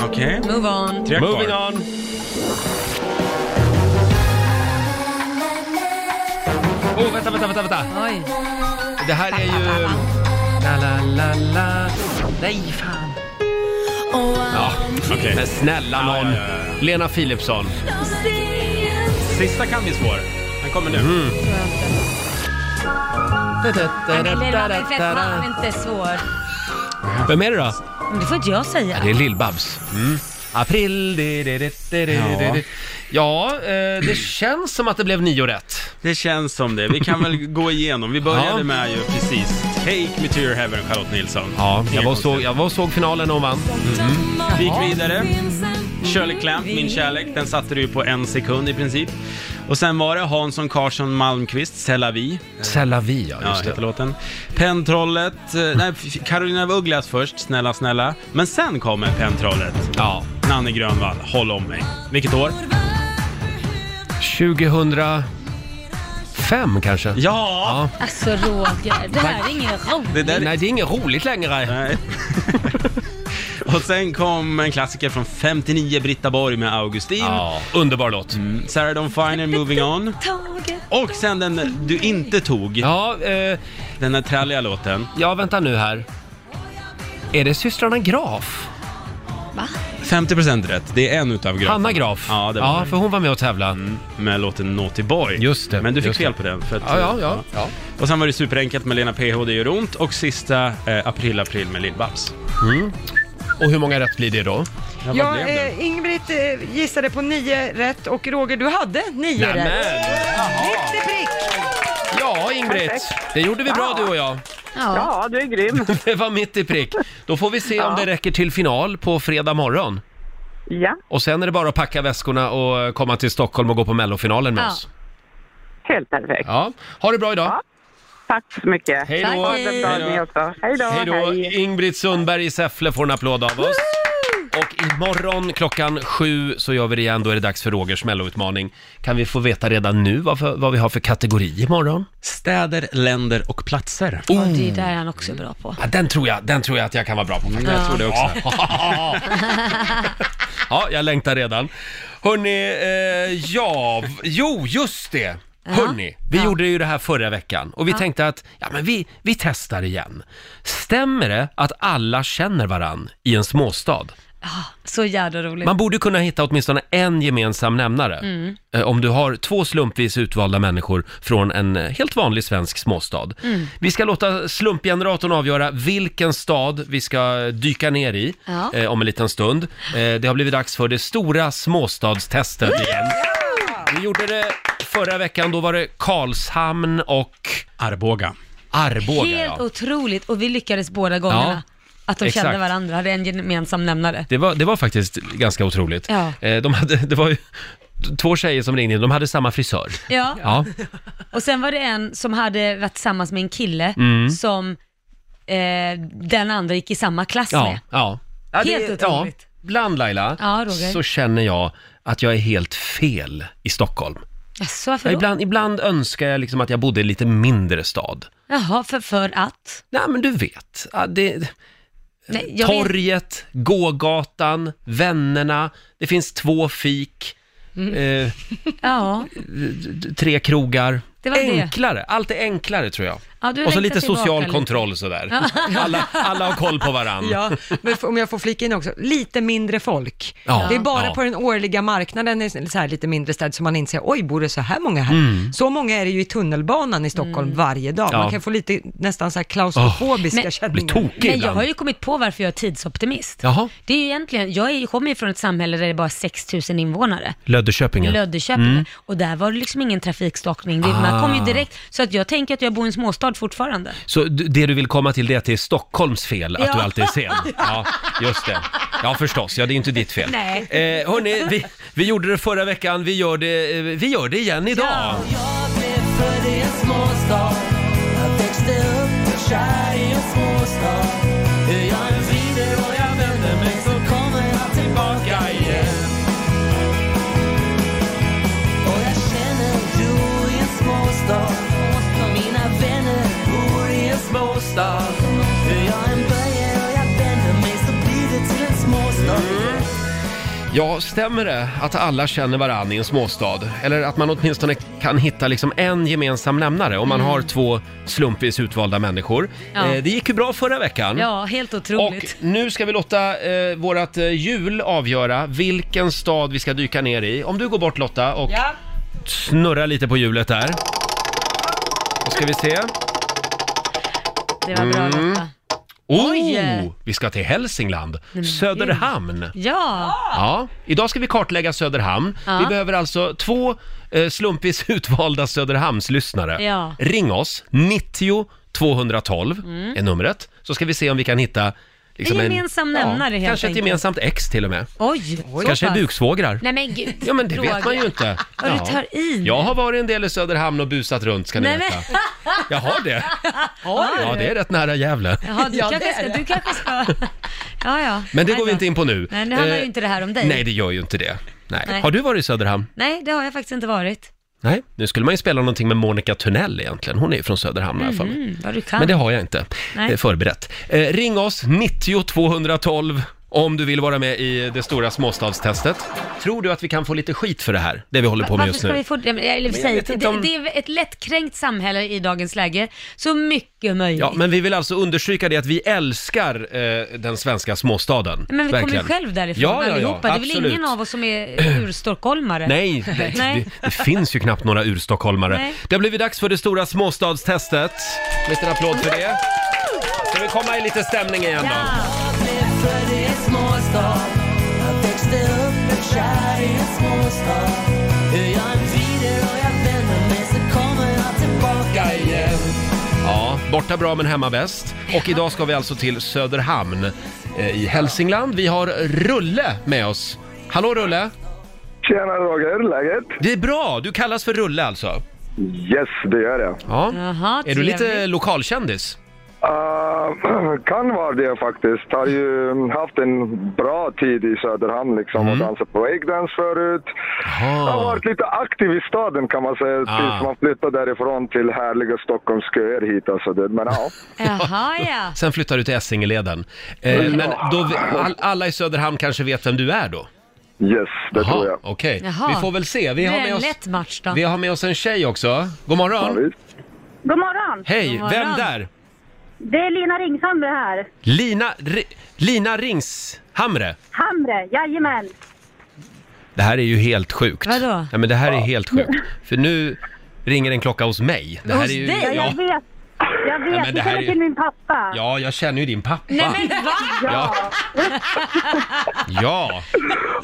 Speaker 5: Okej.
Speaker 2: Move on.
Speaker 5: Tre
Speaker 1: Moving
Speaker 5: kvar.
Speaker 1: on. Oh, vänta, vänta, vänta, vänta.
Speaker 2: Oj.
Speaker 1: Det här är ju... La, la, la, la. Nej, fan. Ja,
Speaker 5: Okej.
Speaker 1: men snälla någon.
Speaker 5: Ja, ja, ja, ja.
Speaker 1: Lena Philipsson.
Speaker 5: Sista kan bli svår. Den kommer
Speaker 1: Mm.
Speaker 5: nu.
Speaker 2: Lilla Fett var inte svår.
Speaker 1: Vem är det då?
Speaker 2: Men det får inte jag säga.
Speaker 1: Det är Lill-Babs. Mm. April... di- di- di- di- di- di- di. Ja, eh, det känns som att det blev nio rätt.
Speaker 5: Det känns som det. Vi kan väl gå igenom. Vi började
Speaker 1: Ja.
Speaker 5: med ju precis Take Me To Your Heaven, Charlotte Nilsson.
Speaker 1: Ja, jag
Speaker 5: Inga
Speaker 1: var och såg,
Speaker 5: konstigheter.
Speaker 1: jag var och såg finalen och vann.
Speaker 5: Vi Mm-hmm. gick vidare. Shirley Clamp, Min kärlek, den satte du ju på en sekund i princip. Och sen var det Hansson Karlsson Malmqvist, C'est la vie.
Speaker 1: Selavi, ja,
Speaker 5: Ja,
Speaker 1: just
Speaker 5: heter
Speaker 1: det.
Speaker 5: låten. Pentrollet, eh, nej, f- Carolina af Ugglas först, Snälla snälla. Men sen kommer Pentrollet.
Speaker 1: Ja.
Speaker 5: Nanne Grönvall, Håll om mig. Vilket år?
Speaker 1: 2005 kanske?
Speaker 5: Ja!
Speaker 2: Alltså Roger, det här är ingen roligt.
Speaker 5: Det där
Speaker 1: Nej, det är inget roligt längre.
Speaker 5: Nej. Och sen kom en klassiker från 59, Britta Borg med Augustin. Mm,
Speaker 1: Ja, underbar låt.
Speaker 5: Sarah Dawn Finer, Moving On.
Speaker 2: Taget.
Speaker 5: Och sen den du inte tog,
Speaker 1: Ja, eh,
Speaker 5: den där tralliga låten.
Speaker 1: ja, vänta nu här. Är det systrarna Graf?
Speaker 5: 50% rätt, det är en utav graferna.
Speaker 1: Hanna Graf?
Speaker 5: Ja, det var
Speaker 1: ja, för hon var med och tävlade.
Speaker 5: det. Med låten Naughty Boy.
Speaker 1: Just det,
Speaker 5: Men du fick
Speaker 1: just
Speaker 5: fel
Speaker 1: det.
Speaker 5: på den. För att,
Speaker 1: Ja, ja, ja. ja.
Speaker 5: Och sen var det superenkelt med Lena PH, Det gör ont. Och sista, eh, April April med Lill-Babs.
Speaker 1: Och hur många rätt blir det då?
Speaker 5: Ja, vad
Speaker 3: Ja,
Speaker 5: blev det?
Speaker 3: eh, Ingrid eh, gissade på nio rätt och Roger, du hade nio rätt. Prick till prick!
Speaker 1: Ja, Ingrid. Det gjorde vi bra du och jag.
Speaker 2: Ja.
Speaker 6: Ja, du är grym.
Speaker 1: Det var mitt i prick. Då får vi se om det räcker till final på fredag morgon.
Speaker 6: Ja,
Speaker 1: Och sen är det bara att packa väskorna och komma till Stockholm och gå på mellofinalen med
Speaker 2: Ja.
Speaker 1: oss.
Speaker 6: helt perfekt.
Speaker 1: Ja, ha det bra idag.
Speaker 6: Tack så mycket.
Speaker 1: Hej
Speaker 2: Tack.
Speaker 1: då!
Speaker 6: Ha det bra ni också. Hej då.
Speaker 1: Hej då! Ingrid Sundberg i Säffle får en applåd av oss. Och imorgon klockan sju så gör vi det igen. Då är det dags för Rogers melloutmaning. Kan vi få veta redan nu vad, för, vad vi har för kategori imorgon? Oh.
Speaker 5: Städer, länder och platser.
Speaker 2: Och det är där han också är bra på.
Speaker 1: Ja, den, tror jag, den tror jag att Mm. jag kan vara bra på. faktiskt.
Speaker 5: Mm, Jag tror det också.
Speaker 1: Ja. ja, jag längtar redan. Hörni, eh, ja, v- jo, just det. Hörni, vi
Speaker 2: Ja.
Speaker 1: gjorde ju det här förra veckan och vi tänkte att ja, men vi, vi testar igen. Stämmer det att alla känner varann i en småstad?
Speaker 2: Så jävla roligt.
Speaker 1: Man borde kunna hitta åtminstone en gemensam nämnare
Speaker 2: Mm.
Speaker 1: eh, om du har två slumpvis utvalda människor från en eh, helt vanlig svensk småstad.
Speaker 2: Mm.
Speaker 1: Vi ska låta slumpgeneratorn avgöra vilken stad vi ska dyka ner i
Speaker 2: Ja.
Speaker 1: eh, om en liten stund. Eh, det har blivit dags för det stora småstadstestet igen. Vi gjorde det förra veckan, då var det Karlshamn och
Speaker 5: Arboga.
Speaker 1: Arboga.
Speaker 2: Helt
Speaker 1: ja.
Speaker 2: otroligt och vi lyckades båda gångerna. Att de
Speaker 1: exakt.
Speaker 2: kände varandra, hade en gemensam nämnare.
Speaker 1: Det var, det var faktiskt ganska otroligt.
Speaker 2: Ja.
Speaker 1: Eh, de hade, det var ju två tjejer som ringde in, de hade samma frisör.
Speaker 2: Ja.
Speaker 1: Ja.
Speaker 2: Och sen var det en som hade varit tillsammans med en kille
Speaker 1: Mm.
Speaker 2: som eh, den andra gick i samma klass
Speaker 1: Ja,
Speaker 2: med.
Speaker 1: ja. ja
Speaker 2: Helt otroligt.
Speaker 1: Ja, bland Laila
Speaker 2: Ja, Roger.
Speaker 1: så känner jag att jag är helt fel i Stockholm.
Speaker 2: Jaså, varför
Speaker 1: Ja,
Speaker 2: då?
Speaker 1: ibland, ibland önskar jag liksom att jag bodde i en lite mindre stad.
Speaker 2: Jaha, för, för att?
Speaker 1: Nej, men du vet. ja, Det,
Speaker 2: Nej, jag vet-
Speaker 1: torget, gågatan, vännerna, det finns två fik,
Speaker 2: Mm.
Speaker 1: eh,
Speaker 2: Ja,
Speaker 1: d- tre krogar.
Speaker 2: Det var det.
Speaker 1: enklare, allt är enklare tror jag.
Speaker 2: Ja, du
Speaker 1: Och så
Speaker 2: längtar
Speaker 1: lite
Speaker 2: tillbaka
Speaker 1: social
Speaker 2: lite.
Speaker 1: kontroll sådär. Alla, alla har koll på varandra.
Speaker 3: Ja, men f- om jag får flika in också, lite mindre folk.
Speaker 1: Ja.
Speaker 3: Det är bara
Speaker 1: Ja.
Speaker 3: på den årliga marknaden i så här lite mindre städer som man inser, oj, bor det så här många här? Så många är det ju i tunnelbanan i Stockholm
Speaker 2: Mm.
Speaker 3: varje dag.
Speaker 1: Mm. Ja.
Speaker 3: Man kan få lite nästan så här klaustrofobiska
Speaker 2: Oh, men-
Speaker 1: Blir
Speaker 3: känningar.
Speaker 1: tokig
Speaker 2: men jag
Speaker 1: ibland.
Speaker 2: har ju kommit på varför jag är tidsoptimist.
Speaker 1: Jaha,
Speaker 2: Det är ju egentligen, jag är, kommer ju från ett samhälle där det är bara 6000 invånare.
Speaker 1: Löddeköpingen.
Speaker 2: Löddeköping. Och där var det liksom ingen trafikstakning. Det,
Speaker 1: Mm. Ah.
Speaker 2: Man kom ju direkt. Så att jag tänker att jag bor i en småstad fortfarande.
Speaker 1: Så d- det du vill komma till det är att det är Stockholms fel att
Speaker 2: Ja.
Speaker 1: du alltid är sen? Ja, just det. Ja, förstås. Ja, det är inte ditt fel.
Speaker 2: Nej.
Speaker 1: Eh, hörni, vi, vi gjorde det förra veckan. Vi gör det, eh, vi gör det igen idag.
Speaker 7: Jag blev född i en småstad Jag växte upp och kär i en småstad Jag är vrider och jag vänder mig så kommer jag tillbaka igen Och jag känner ro i en småstad Mina vänner bor i en småstad Jag är en böjer och jag vänder mig så blir det till en småstad
Speaker 1: Ja, stämmer det att alla känner varann i en småstad? Eller att man åtminstone kan hitta liksom en gemensam nämnare om man har två slumpvis utvalda människor.
Speaker 2: Mm. Ja.
Speaker 1: Eh, det gick ju bra förra veckan.
Speaker 2: Ja, helt
Speaker 1: Och
Speaker 2: otroligt.
Speaker 1: nu ska vi låta eh, vårat eh, hjul avgöra vilken stad vi ska dyka ner i. Om du går bort Lotta och
Speaker 3: Ja.
Speaker 1: snurrar lite på hjulet där. Då ska vi se.
Speaker 2: Det var bra Lotta.
Speaker 1: Mm. Oh,
Speaker 2: Oj!
Speaker 1: Vi ska till Hälsingland, Söderhamn.
Speaker 2: Ja,
Speaker 1: Ja, idag ska vi kartlägga Söderhamn.
Speaker 2: Ja.
Speaker 1: Vi behöver alltså två eh, slumpvis utvalda Söderhamnslyssnare.
Speaker 2: Ja.
Speaker 1: Ring oss, 90 212 är numret, så ska vi se om vi kan hitta liksom
Speaker 2: Mm. En gemensam nämnare, helt
Speaker 1: Kanske ett
Speaker 2: enkelt.
Speaker 1: gemensamt ex till och med.
Speaker 2: oj. så
Speaker 1: Kanske är
Speaker 2: pass.
Speaker 1: buksvågrar.
Speaker 2: Nej men gud.
Speaker 1: Ja men det
Speaker 2: Roger.
Speaker 1: vet man ju inte.
Speaker 2: Ja, du tar i.
Speaker 1: Jag har varit en del i Söderhamn och busat runt ska ni
Speaker 2: Nej,
Speaker 1: veta.
Speaker 2: men,
Speaker 1: Jag har det. Ja det är rätt nära Gävle.
Speaker 2: jaha, du, kanske ska, du kanske ska... Ja, ja.
Speaker 1: Men det
Speaker 2: Nej
Speaker 1: går vi
Speaker 2: då.
Speaker 1: inte in på nu.
Speaker 2: Nej, nu handlar
Speaker 1: Eh,
Speaker 2: ju inte det här om dig.
Speaker 1: Nej det gör ju inte det. Nej.
Speaker 2: Nej.
Speaker 1: Har du varit i Söderhamn?
Speaker 2: Nej, det har jag faktiskt inte varit.
Speaker 1: Nej. Nu skulle man ju spela någonting med Monica Tunnell egentligen. Hon är ju från Söderhamn i alla fall.
Speaker 2: Mm, vad du kan.
Speaker 1: Men det har jag inte
Speaker 2: Nej.
Speaker 1: eh, förberett. Eh, ring oss, 90 212 om du vill vara med i det stora småstadstestet. Tror du att vi kan få lite skit för det här? Det vi håller på med
Speaker 2: Varför
Speaker 1: just
Speaker 2: ska
Speaker 1: nu.
Speaker 2: vi få det? Eller,
Speaker 1: jag
Speaker 2: säg,
Speaker 1: vet inte
Speaker 2: det,
Speaker 1: om-
Speaker 2: det är ett lättkränkt samhälle i dagens läge, så mycket möjligt.
Speaker 1: Ja,
Speaker 2: men...
Speaker 1: men vi vill alltså understryka det att vi älskar eh, den svenska småstaden.
Speaker 2: vi kommer ju själv därifrån
Speaker 1: ja, ja, ja,
Speaker 2: allihopa. Det är väl
Speaker 1: absolut.
Speaker 2: ingen av oss som är urstockholmare?
Speaker 1: Nej, det,
Speaker 2: Nej.
Speaker 1: Det, det finns ju knappt några urstockholmare.
Speaker 2: Nej.
Speaker 1: Det har blivit dags för det stora småstadstestet. En liten applåd för det. Ska vi komma i lite stämning igen då?
Speaker 7: Jag blev född i en småstad Jag växte upp och kär i en småstad Jag är vrider och jag vänder mig så kommer jag tillbaka igen
Speaker 1: Ja, borta bra men hemma bäst. Och idag ska vi alltså till Söderhamn eh, i Hälsingland. Vi har Rulle med oss. Hallå Rulle!
Speaker 8: Tjena Roger, läget?
Speaker 1: Det är bra, du kallas för Rulle alltså?
Speaker 8: Yes, det gör jag.
Speaker 1: Ja.
Speaker 2: Jaha,
Speaker 1: Är du lite
Speaker 2: trevligt.
Speaker 1: lokalkändis?
Speaker 8: Eh, kan vara det faktiskt. Har ju haft en bra tid i Söderhamn liksom och
Speaker 1: Mm.
Speaker 8: dansat breakdance förut. Jag har varit lite aktiv i staden kan man säga
Speaker 1: Ah.
Speaker 8: tills man flyttade därifrån till härliga Stockholmsköer hit alltså. Det, men ja.
Speaker 2: Jaha ja.
Speaker 1: Sen flyttar du till Essingeleden. Eh,
Speaker 8: Mm.
Speaker 1: men då, all, alla i Söderhamn kanske vet vem du är då?
Speaker 8: Yes, det tror jag.
Speaker 1: okej.
Speaker 2: Jaha.
Speaker 1: Vi får väl se. Vi
Speaker 2: Det
Speaker 1: har,
Speaker 2: är
Speaker 1: med
Speaker 2: en
Speaker 1: oss,
Speaker 2: lätt match då.
Speaker 1: vi har med oss en tjej också. God
Speaker 8: Ja,
Speaker 1: morgon!
Speaker 8: visst.
Speaker 6: God morgon!
Speaker 1: Hej,
Speaker 2: God morgon.
Speaker 1: vem där?
Speaker 6: Det är Lina Ringshamre här.
Speaker 1: Lina, Ri- Lina Ringshamre.
Speaker 6: Hamre, jajamän.
Speaker 1: Det här är ju helt sjukt.
Speaker 2: Vadå?
Speaker 1: Ja, men det här är helt sjukt. För nu ringer en klocka hos mig. Det här
Speaker 2: Hos
Speaker 1: är ju,
Speaker 2: dig?
Speaker 1: Ja,
Speaker 6: Jag vet. Jag vet,
Speaker 1: men det
Speaker 6: jag
Speaker 1: här
Speaker 6: känner
Speaker 1: är-
Speaker 6: till min pappa.
Speaker 1: ja, jag känner ju din pappa.
Speaker 2: Nej men va?
Speaker 1: Ja. Ja.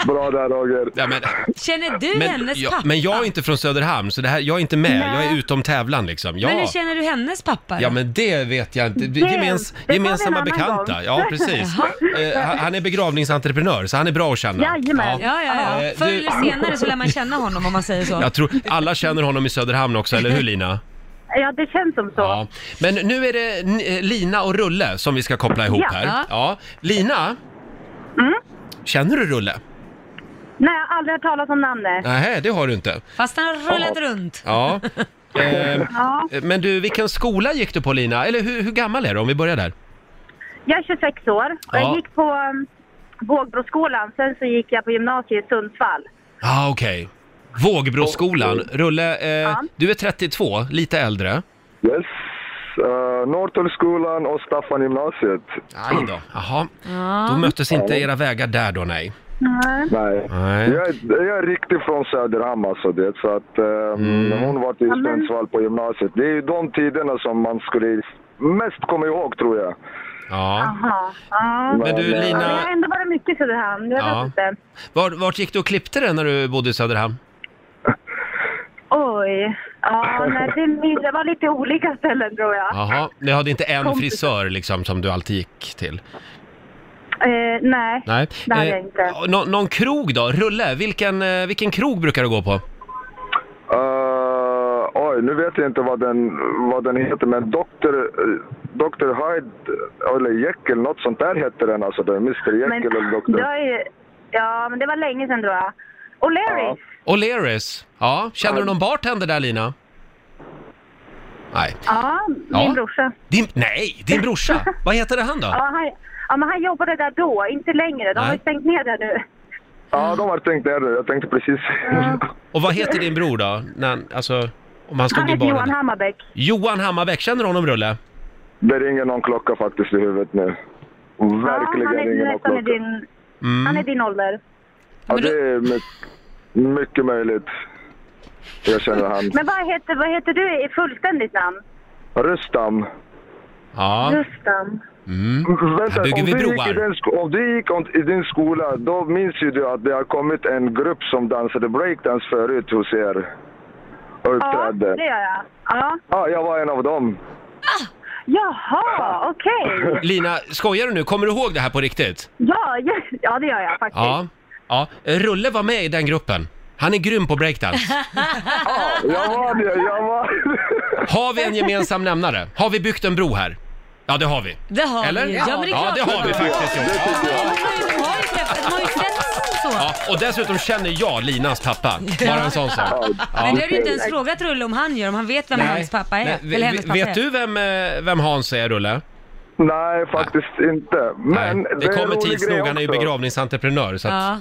Speaker 8: Bra där Roger.
Speaker 1: ja men,
Speaker 2: Känner du
Speaker 1: men,
Speaker 2: hennes
Speaker 1: ja,
Speaker 2: pappa?
Speaker 1: men jag är inte från Söderhamn, så det här, jag är inte med. Jag är utom tävlan liksom.
Speaker 2: Men
Speaker 1: Ja.
Speaker 2: hur känner du hennes pappa?
Speaker 1: Ja, men det vet jag inte. Det,
Speaker 6: Det-
Speaker 1: Gemens,
Speaker 6: det tar vi en
Speaker 1: gemensamma
Speaker 6: annan
Speaker 1: bekanta.
Speaker 6: gång.
Speaker 1: Ja, precis. Eh, han- han är begravningsentreprenör, så han är bra att känna.
Speaker 6: Jajamän.
Speaker 2: Ja, ja, ja.
Speaker 1: Eh,
Speaker 2: Förr
Speaker 1: du-
Speaker 2: eller senare så lär man känna honom om man säger så.
Speaker 1: Jag tror alla känner honom i Söderhamn också, eller hur Lina?
Speaker 6: Ja, det känns som så.
Speaker 1: Ja. Men nu är det eh, Lina och Rulle som vi ska koppla ihop
Speaker 6: Ja.
Speaker 1: här. Ja. Lina? Känner du Rulle?
Speaker 6: Nej, jag har aldrig hört talas om namnet.
Speaker 1: Nej, det har du inte.
Speaker 2: Fast han har rullat runt.
Speaker 1: Ja. Eh,
Speaker 6: Ja.
Speaker 1: men du, vilken skola gick du på Lina? Eller hur, hur gammal är du om vi börjar där?
Speaker 6: Jag är 26 år och
Speaker 1: Ja.
Speaker 6: jag gick på um, Vågbroskolan. Sen så gick jag på gymnasiet i Sundsvall.
Speaker 1: Ja, ah, okej. Vågbroskolan. Rulle, eh, du är 32, lite äldre.
Speaker 8: Yes. Uh, Norrtullsskolan och Staffangymnasiet.
Speaker 1: Aj då. Jaha. Då möttes inte era vägar där då, nej.
Speaker 8: Nej.
Speaker 1: Nej.
Speaker 8: Jag, är, jag är riktigt från Söderhamn alltså det. Så att eh,
Speaker 1: Mm.
Speaker 8: hon var i
Speaker 6: men-
Speaker 8: Sundsvall på gymnasiet. Det är ju de tiderna som man skulle mest komma ihåg tror jag.
Speaker 1: Ja.
Speaker 6: Jaha. Ja.
Speaker 1: Men
Speaker 8: Men,
Speaker 1: du
Speaker 8: eh,
Speaker 6: Men jag
Speaker 1: Lina,
Speaker 6: har ändå varit mycket i Söderhamn. Jag
Speaker 1: Ja.
Speaker 6: vet inte.
Speaker 1: var, vart gick du och klippte dig när du bodde i Söderhamn?
Speaker 6: Oj. Ja, nej, det, min- det var lite olika ställen tror jag.
Speaker 1: Jaha, ni hade inte en
Speaker 6: Kompisar.
Speaker 1: frisör liksom som du alltid gick till?
Speaker 6: Eh, nej.
Speaker 1: Nej. Eh,
Speaker 6: Det hade jag inte.
Speaker 1: nå- någon krog då? Rulle, vilken, eh, vilken krog brukar du gå på?
Speaker 8: Eh, oj, nu vet jag inte vad den, vad den heter men Dr. eh, Dr. Hyde eller Jekyll, något sånt där hette den alltså. Det är Mr.
Speaker 6: Men,
Speaker 8: Jekyll eller Dr.
Speaker 6: det var ju, ja, men det var länge sedan tror jag. Och Larry.
Speaker 1: O'Learys. Ja, känner du någon bartender där Lina? Nej.
Speaker 6: Ja, min
Speaker 1: Ja.
Speaker 6: brorsa.
Speaker 1: Din, nej, din brorsa. Vad heter han då?
Speaker 6: Ja, han, ja, men han jobbade där då, inte längre. De har
Speaker 1: Nej.
Speaker 6: ju stängt ner där nu.
Speaker 8: Ja, de har tänkt ner det. Jag tänkte precis.
Speaker 1: Och vad heter din bror då? När, han- alltså, om han
Speaker 6: Han
Speaker 1: stod i
Speaker 6: heter
Speaker 1: baren.
Speaker 6: Johan
Speaker 1: där.
Speaker 6: Hammarbäck.
Speaker 1: Johan Hammarbäck, känner du honom Rulle?
Speaker 8: det ringer någon klocka faktiskt i huvudet nu.
Speaker 6: ja,
Speaker 8: Verkligen
Speaker 6: han är
Speaker 8: ringer någon
Speaker 6: nästan i
Speaker 8: klocka.
Speaker 6: din,
Speaker 1: Mm.
Speaker 6: han är din ålder.
Speaker 8: Ja,
Speaker 2: Men då-
Speaker 8: det är mycket, mycket möjligt. Jag känner han.
Speaker 6: Men vad heter, vad heter du i fullständigt namn?
Speaker 8: Rustam.
Speaker 1: Ja.
Speaker 6: Rustam.
Speaker 8: Vänta,
Speaker 1: Mm. Här bygger
Speaker 8: om
Speaker 1: vi
Speaker 8: du gick
Speaker 1: broar.
Speaker 8: i din sk- Om du gick om, i din skola, då minns ju du att det har kommit en grupp som dansade breakdance förut hos er. Och
Speaker 6: Ja,
Speaker 8: uppträdde.
Speaker 6: det gör jag. Ja.
Speaker 8: Ja, jag var en av dem.
Speaker 6: Jaha, okej.
Speaker 1: Lina, skojar du nu? Kommer du ihåg det här på riktigt?
Speaker 6: Ja, ja, ja, det gör jag faktiskt.
Speaker 1: Ja. ja. Rulle var med i den gruppen. Han är grym på breakdance.
Speaker 8: Jag var det, jag var
Speaker 1: Har vi en gemensam nämnare? Har vi byggt en bro här? Ja, det har vi.
Speaker 2: Det har
Speaker 1: Eller?
Speaker 2: vi ju. Ja, men det är
Speaker 1: Ja,
Speaker 2: klart.
Speaker 1: det har vi faktiskt gjort.
Speaker 2: De har ju träffats, de har ju setts så.
Speaker 1: Ja, och dessutom känner jag Linas pappa. Bara en sån sak.
Speaker 2: Men det har du inte ens frågat Rulle om han gör, om han vet vem hans pappa är.
Speaker 1: Nej,
Speaker 2: Nej, eller hennes pappa
Speaker 1: vet
Speaker 2: är.
Speaker 1: du vem, eh, vem Hans är, Rulle?
Speaker 8: Nej, faktiskt inte. Men
Speaker 1: Nej, det
Speaker 8: är en
Speaker 1: kommer
Speaker 8: rolig
Speaker 1: tids
Speaker 8: grej
Speaker 1: nog. Han är ju
Speaker 8: också.
Speaker 1: begravningsentreprenör. Så att,
Speaker 2: Ja.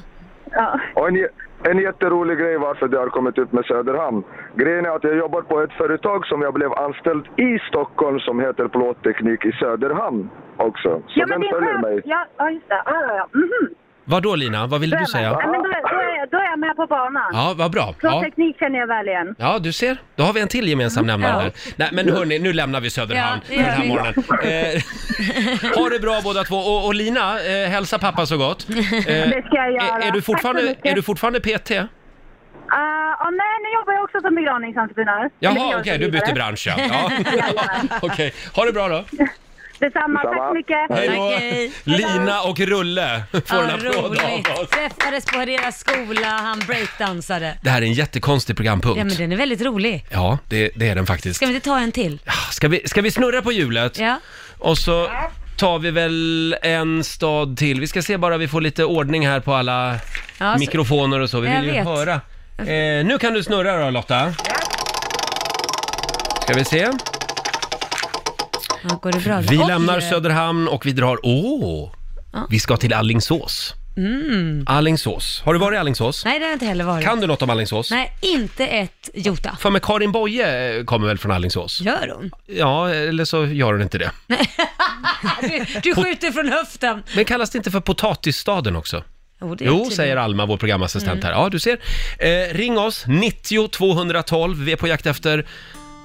Speaker 6: Ja.
Speaker 8: Och en, jä- en jätterolig grej varför det har kommit ut med Söderhamn. Grejen är att jag jobbar på ett företag som jag blev anställd i Stockholm som heter Plåtteknik i Söderhamn också. Så
Speaker 6: ja, men
Speaker 8: den
Speaker 6: det är
Speaker 8: följer
Speaker 6: skönt.
Speaker 8: mig.
Speaker 6: Ja, ja, just det. Ja, ja, ja. Mhm.
Speaker 1: vad då Lina? Vad ville du säga?
Speaker 6: Ja, men då, är- då, är, jag- då är jag med på banan.
Speaker 1: Ja, vad bra.
Speaker 6: Från
Speaker 1: Ja.
Speaker 6: teknik känner jag väl igen.
Speaker 1: ja, du ser. Då har vi en till gemensam nämnare
Speaker 2: Mm, Ja.
Speaker 1: där. Nej, men hörni, nu lämnar vi Söderhamn
Speaker 2: Ja,
Speaker 1: för den
Speaker 2: det gör
Speaker 1: här
Speaker 2: vi.
Speaker 1: morgonen. Eh, ha det bra båda två. Och, och Lina, eh, hälsa pappa så gott. Eh,
Speaker 6: Det ska jag göra.
Speaker 1: är, är, du
Speaker 6: Tack så
Speaker 1: fortfarande,
Speaker 6: mycket.
Speaker 1: är du fortfarande PT?
Speaker 6: Ah, ja, nej, nu jobbar jag också som begravningsentreprenör. Eller
Speaker 1: Jaha, okej,
Speaker 6: jag och så
Speaker 1: du byter
Speaker 6: vidare.
Speaker 1: bransch ja. ja. okej, ha det bra då.
Speaker 6: Detsamma, tack
Speaker 8: Detsamma.
Speaker 6: så mycket.
Speaker 1: Hej då.
Speaker 2: Tack, hej.
Speaker 1: Lina och Rulle får en
Speaker 2: Ja,
Speaker 1: applåd av oss.
Speaker 2: roligt. Träffades på deras skola, han breakdansade.
Speaker 1: Det här är en jättekonstig
Speaker 2: Ja, men
Speaker 1: programpunkt.
Speaker 2: den är väldigt rolig.
Speaker 1: Ja, det, det är den faktiskt.
Speaker 2: Ska vi inte ta en till?
Speaker 1: Ska vi, ska vi snurra på hjulet?
Speaker 2: Ja.
Speaker 1: Och så tar vi väl en stad till. Vi ska se bara vi får lite ordning här på alla
Speaker 2: Ja, så-
Speaker 1: mikrofoner och så. Vi
Speaker 2: Jag
Speaker 1: vill ju
Speaker 2: vet.
Speaker 1: höra. Eh, nu kan du snurra då Lotta. Ska vi se.
Speaker 2: Ja, går det bra? eh,
Speaker 1: Vi
Speaker 2: Oj.
Speaker 1: lämnar Söderhamn och vi drar... Åh! Vi ska till Allingsås.
Speaker 2: Mm.
Speaker 1: Allingsås. Har du varit i Allingsås?
Speaker 2: Nej, det har jag inte heller varit.
Speaker 1: Kan du något om Allingsås?
Speaker 2: Nej, inte ett jota.
Speaker 1: För med Karin Boye eh, kommer väl från Allingsås?
Speaker 2: Gör hon?
Speaker 1: Ja, eller så gör hon inte det.
Speaker 2: Du, du skjuter från höften.
Speaker 1: Men kallas det inte för potatisstaden också?
Speaker 2: Jo, det är
Speaker 1: Jo,
Speaker 2: Mm. tydligt.
Speaker 1: säger Alma, vår programassistent här. Ja, du ser. Eh, ring oss, 90 212. Vi är på jakt efter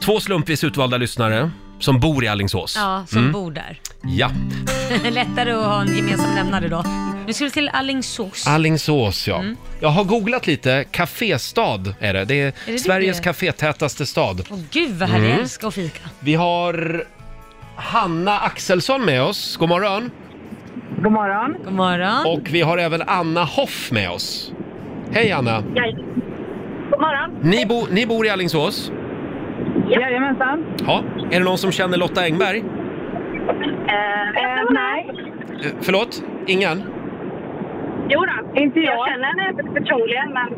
Speaker 1: två slumpvis utvalda lyssnare som bor i Allingsås.
Speaker 2: Ja, som
Speaker 1: Mm.
Speaker 2: bor där.
Speaker 1: Ja.
Speaker 2: Lättare att ha en gemensam nämnare då. Nu ska vi till Alingsås.
Speaker 1: Allingsås, ja.
Speaker 2: Mm.
Speaker 1: Jag har googlat lite. Caféstad är det. Det är,
Speaker 2: det det?
Speaker 1: Sveriges kafétätaste stad.
Speaker 2: Åh gud vad härligt,
Speaker 1: Mm.
Speaker 2: jag älskar att fika.
Speaker 1: Vi har Hanna Axelsson med oss. God morgon.
Speaker 6: God morgon.
Speaker 2: God morgon.
Speaker 1: Och vi har även Anna Hoff med oss. Hej Anna.
Speaker 6: God morgon.
Speaker 1: Ni, bo, ni bor i Allingsås?
Speaker 6: Jajamensan.
Speaker 1: Ja. Är det någon som känner Lotta Engberg?
Speaker 6: Eh, nej.
Speaker 1: Eh, förlåt? Ingen?
Speaker 6: Jo då. Inte jag. Jag känner henne personligen, men...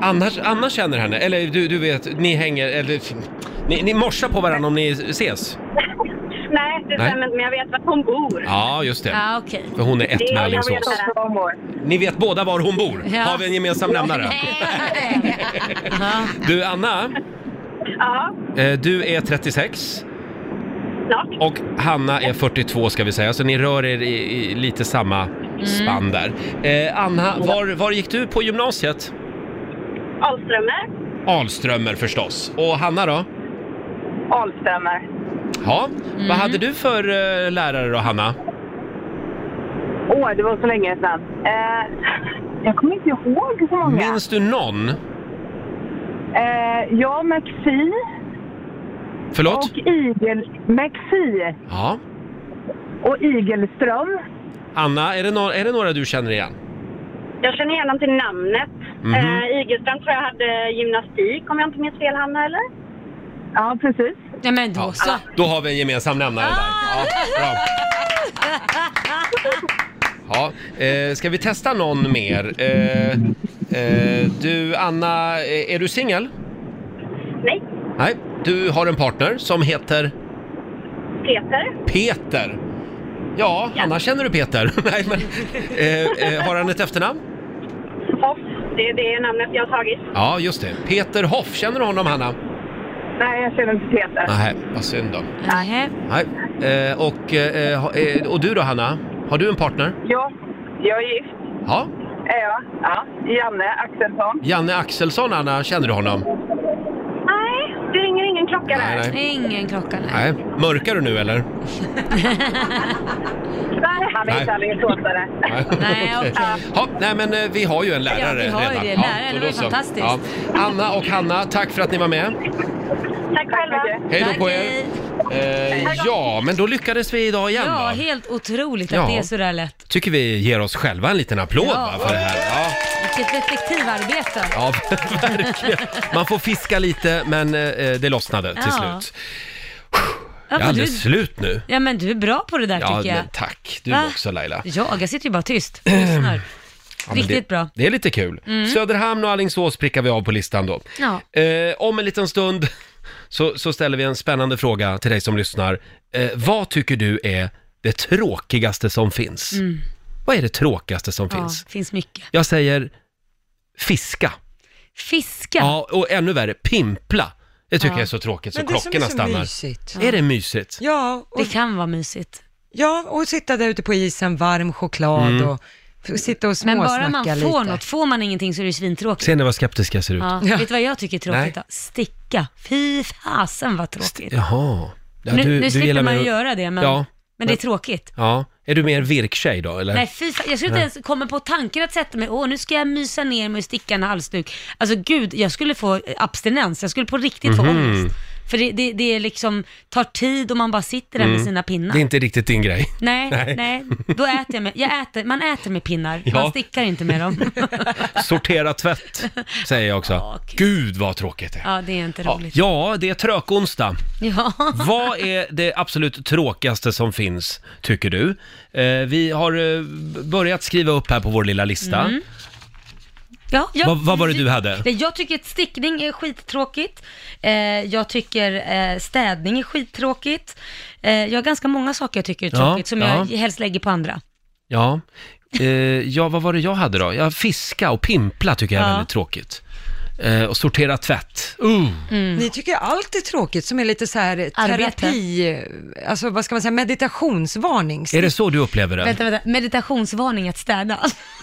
Speaker 1: Annars, annars känner henne? Eller du, du vet, ni hänger... Eller, ni, ni morsar på varandra om ni ses?
Speaker 6: nej, det
Speaker 1: Nej.
Speaker 6: stämmer inte, men jag vet var hon bor. Ah,
Speaker 1: Ja, just det.
Speaker 2: Ja, okej.
Speaker 1: För hon är ett
Speaker 6: Det
Speaker 1: med
Speaker 6: jag vet
Speaker 1: Alingsås.
Speaker 6: var hon bor.
Speaker 1: Ni vet båda var hon bor?
Speaker 6: Ja.
Speaker 1: Har vi en gemensam nämnare? Du, Anna,
Speaker 6: Ja,
Speaker 1: eh, du är 36.
Speaker 6: snart.
Speaker 1: Och Hanna är 42 ska vi säga, så ni rör er i, i lite samma
Speaker 6: Mm.
Speaker 1: spann där. Eh, Anna, var, var gick du på gymnasiet?
Speaker 6: Alströmer.
Speaker 1: Alströmer förstås. Och Hanna då?
Speaker 6: Alströmer.
Speaker 1: Ja, vad
Speaker 6: Mm.
Speaker 1: hade du för eh, lärare då Hanna?
Speaker 6: Åh, det var så länge sedan. Eh, jag kommer inte ihåg så många.
Speaker 1: Minns du någon?
Speaker 6: Eh, ja, McFi
Speaker 1: Förlåt?
Speaker 6: och Igel... McFi
Speaker 1: Ja.
Speaker 6: och Igelström.
Speaker 1: Anna, är det, no- är det några du känner igen?
Speaker 6: Jag känner igen honom till namnet.
Speaker 1: Mhm.
Speaker 6: Eh, Igelström tror jag hade gymnastik, om jag inte minns fel, Hanna, eller? Ja, precis.
Speaker 2: Nej men då så.
Speaker 1: Då har vi en gemensam nämnare
Speaker 6: Ah.
Speaker 1: där. Ja, bra. Ja, eh, ska vi testa någon mer? Eh, eh, du, Anna, eh, är du singel?
Speaker 6: Nej,
Speaker 1: Nej, du har en partner som heter
Speaker 6: Peter.
Speaker 1: Peter. Ja, Anna känner du Peter. Nej, men, eh, eh, har han ett efternamn?
Speaker 6: Hoff, det är det namnet jag har tagit.
Speaker 1: Ja, just det. Peter Hoff. Känner du honom, Hanna?
Speaker 6: Nej, jag känner inte Peter.
Speaker 1: Nej, vad synd då.
Speaker 2: Nej.
Speaker 1: Nej. Eh, och, eh, ha- eh, och du då, Hanna? Har du en partner?
Speaker 6: Ja, jag är gift.
Speaker 1: Ja.
Speaker 6: Är jag? Ja. Janne Axelsson.
Speaker 1: Janne Axelsson, Anna, känner du honom?
Speaker 6: Nej, det ringer ingen klocka där.
Speaker 1: Nej, nej.
Speaker 2: Ingen klocka nej.
Speaker 1: Nej. Mörkar du nu eller?
Speaker 6: Nej, han är
Speaker 1: Nej.
Speaker 6: inte allingsåsare.
Speaker 2: Nej, okej.
Speaker 1: Ja, nej men eh, vi har ju en lärare
Speaker 2: Ja, vi har ju
Speaker 1: redan.
Speaker 2: det.
Speaker 1: Ja,
Speaker 2: Läraren
Speaker 1: så
Speaker 2: var ju
Speaker 1: då så.
Speaker 2: fantastisk.
Speaker 1: Anna och Hanna, tack för att ni var med.
Speaker 6: Tack själva.
Speaker 1: Hej då
Speaker 2: Tack,
Speaker 1: på
Speaker 2: hej.
Speaker 1: er. Eh, ja, men då lyckades vi idag igen
Speaker 2: Ja,
Speaker 1: då.
Speaker 2: helt otroligt att
Speaker 1: Ja.
Speaker 2: det är sådär lätt.
Speaker 1: Tycker vi ger oss själva en liten applåd
Speaker 2: Ja.
Speaker 1: va, för det här. Ja.
Speaker 2: Vilket detektivarbete.
Speaker 1: Ja, verkligen. Man får fiska lite, men eh, det lossnade till
Speaker 2: Ja.
Speaker 1: slut.
Speaker 2: Ja,
Speaker 1: Jag är
Speaker 2: men du,
Speaker 1: alldeles slut nu.
Speaker 2: ja men du är bra på det där
Speaker 1: Ja,
Speaker 2: tycker jag.
Speaker 1: men tack. Du
Speaker 2: Va?
Speaker 1: också Laila.
Speaker 2: Jag, jag sitter ju bara tyst och lyssnar.
Speaker 1: Ja, men
Speaker 2: Riktigt
Speaker 1: det,
Speaker 2: bra.
Speaker 1: Det är lite kul.
Speaker 2: Mm.
Speaker 1: Söderhamn och Alingsås prickar vi av på listan då.
Speaker 2: Ja.
Speaker 1: Eh, om en liten stund så, så ställer vi en spännande fråga till dig som lyssnar. Eh, vad tycker du är det tråkigaste som finns?
Speaker 2: Mm.
Speaker 1: Vad är det tråkigaste som
Speaker 2: Ja,
Speaker 1: finns?
Speaker 2: finns mycket.
Speaker 1: Jag säger fiska.
Speaker 2: Fiska.
Speaker 1: Ja, och ännu värre, pimpla. Det tycker
Speaker 2: Ja.
Speaker 1: jag är så tråkigt så
Speaker 3: Men det som
Speaker 1: klockorna
Speaker 3: är så
Speaker 1: stannar.
Speaker 3: mysigt.
Speaker 1: Är det mysigt?
Speaker 3: Ja, och,
Speaker 2: Det kan vara mysigt.
Speaker 3: ja, och sitta där ute på isen, varm choklad
Speaker 1: Mm.
Speaker 3: och f- sitta och
Speaker 2: Men
Speaker 3: småsnacka
Speaker 2: bara man får
Speaker 3: lite.
Speaker 2: något, får man ingenting så är det ju svintråkigt.
Speaker 1: Ser ni vad skeptisk jag ser ut?
Speaker 2: Ja. Vet du vad jag tycker är tråkigt
Speaker 1: Nej.
Speaker 2: då? Sticka. Fy fasen vad tråkigt.
Speaker 1: Jaha. Ja,
Speaker 2: nu nu slipper
Speaker 1: gillar
Speaker 2: man ju
Speaker 1: mer-
Speaker 2: göra det, men,
Speaker 1: Ja,
Speaker 2: men det är tråkigt.
Speaker 1: ja. Är du mer virktjej då, eller?
Speaker 2: Nej, fy fan. Jag skulle inte
Speaker 1: Nej.
Speaker 2: ens komma på tanken att sätta mig, åh nu ska jag mysa ner mig och sticka en halsduk. Alltså gud, jag skulle få eh, abstinens, jag skulle på riktigt få
Speaker 1: Mhm.
Speaker 2: ångest. För det, det, det är liksom, tar tid och man bara sitter där med
Speaker 1: Mm.
Speaker 2: sina pinnar.
Speaker 1: Det är inte riktigt din grej.
Speaker 2: Nej, nej,
Speaker 1: Nej.
Speaker 2: då äter jag med, jag äter, man äter med pinnar, man
Speaker 1: Ja.
Speaker 2: stickar inte med dem.
Speaker 1: Sortera tvätt, säger jag också. Gud vad tråkigt det är.
Speaker 2: Ja, det är inte
Speaker 1: Ja,
Speaker 2: roligt.
Speaker 1: ja, det är trökonsdag.
Speaker 2: Ja.
Speaker 1: Vad är det absolut tråkigaste som finns, tycker du? Eh, vi har eh, börjat skriva upp här på vår lilla lista.
Speaker 2: Mm. Ja, jag-
Speaker 1: Vad- vad var det du hade?
Speaker 2: Nej, Jag tycker att stickning är skittråkigt. Eh, jag tycker eh, städning är skittråkigt. Eh, jag har ganska många saker jag tycker är
Speaker 1: Ja,
Speaker 2: tråkigt som
Speaker 1: ja.
Speaker 2: jag helst lägger på andra.
Speaker 1: Ja. Eh, ja, vad var det jag hade då? Ja, fiska och pimpla tycker jag är
Speaker 2: Ja.
Speaker 1: väldigt tråkigt. Eh, och sortera tvätt. Uh.
Speaker 3: Ni tycker allt är tråkigt som är lite så här
Speaker 2: Mm. Arbete.
Speaker 3: terapi, alltså vad ska man säga, meditationsvarning.
Speaker 1: Är det så du upplever det?
Speaker 2: Vänta, vänta. Meditationsvarning att städa.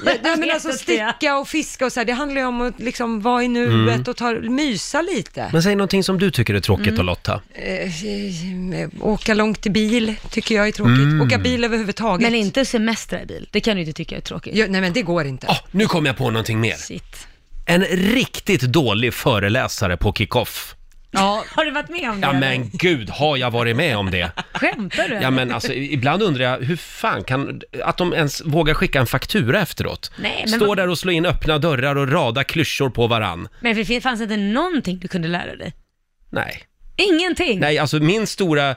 Speaker 3: Nej men
Speaker 2: Vet
Speaker 3: alltså
Speaker 2: att det-
Speaker 3: sticka och fiska och så här, det handlar ju om att liksom vara i nuet
Speaker 1: Mm.
Speaker 3: och ta, mysa lite.
Speaker 1: Men säg någonting som du tycker är tråkigt
Speaker 3: Mm.
Speaker 1: då Lotta.
Speaker 3: Eh, eh, åka långt i bil tycker jag är tråkigt.
Speaker 1: Mm.
Speaker 3: Åka bil överhuvudtaget.
Speaker 2: Men inte semestra i bil, det kan du inte tycka är tråkigt.
Speaker 3: Ja, nej men det går inte.
Speaker 1: Ah, nu kom jag på någonting mer.
Speaker 2: Shit.
Speaker 1: En riktigt dålig föreläsare på kickoff.
Speaker 2: Ja. Har du varit med om det?
Speaker 1: Ja
Speaker 2: eller?
Speaker 1: men gud, har jag varit med om det?
Speaker 2: Skämtar du?
Speaker 1: Ja men alltså i- ibland undrar jag hur fan kan, att de ens vågar skicka en faktura efteråt.
Speaker 2: Nej, men
Speaker 1: Står
Speaker 2: vad-
Speaker 1: där och slår in öppna dörrar och rada klyschor på varann.
Speaker 2: Men för det fanns inte någonting du kunde lära dig?
Speaker 1: Nej.
Speaker 2: Ingenting?
Speaker 1: Nej, alltså min stora, eh,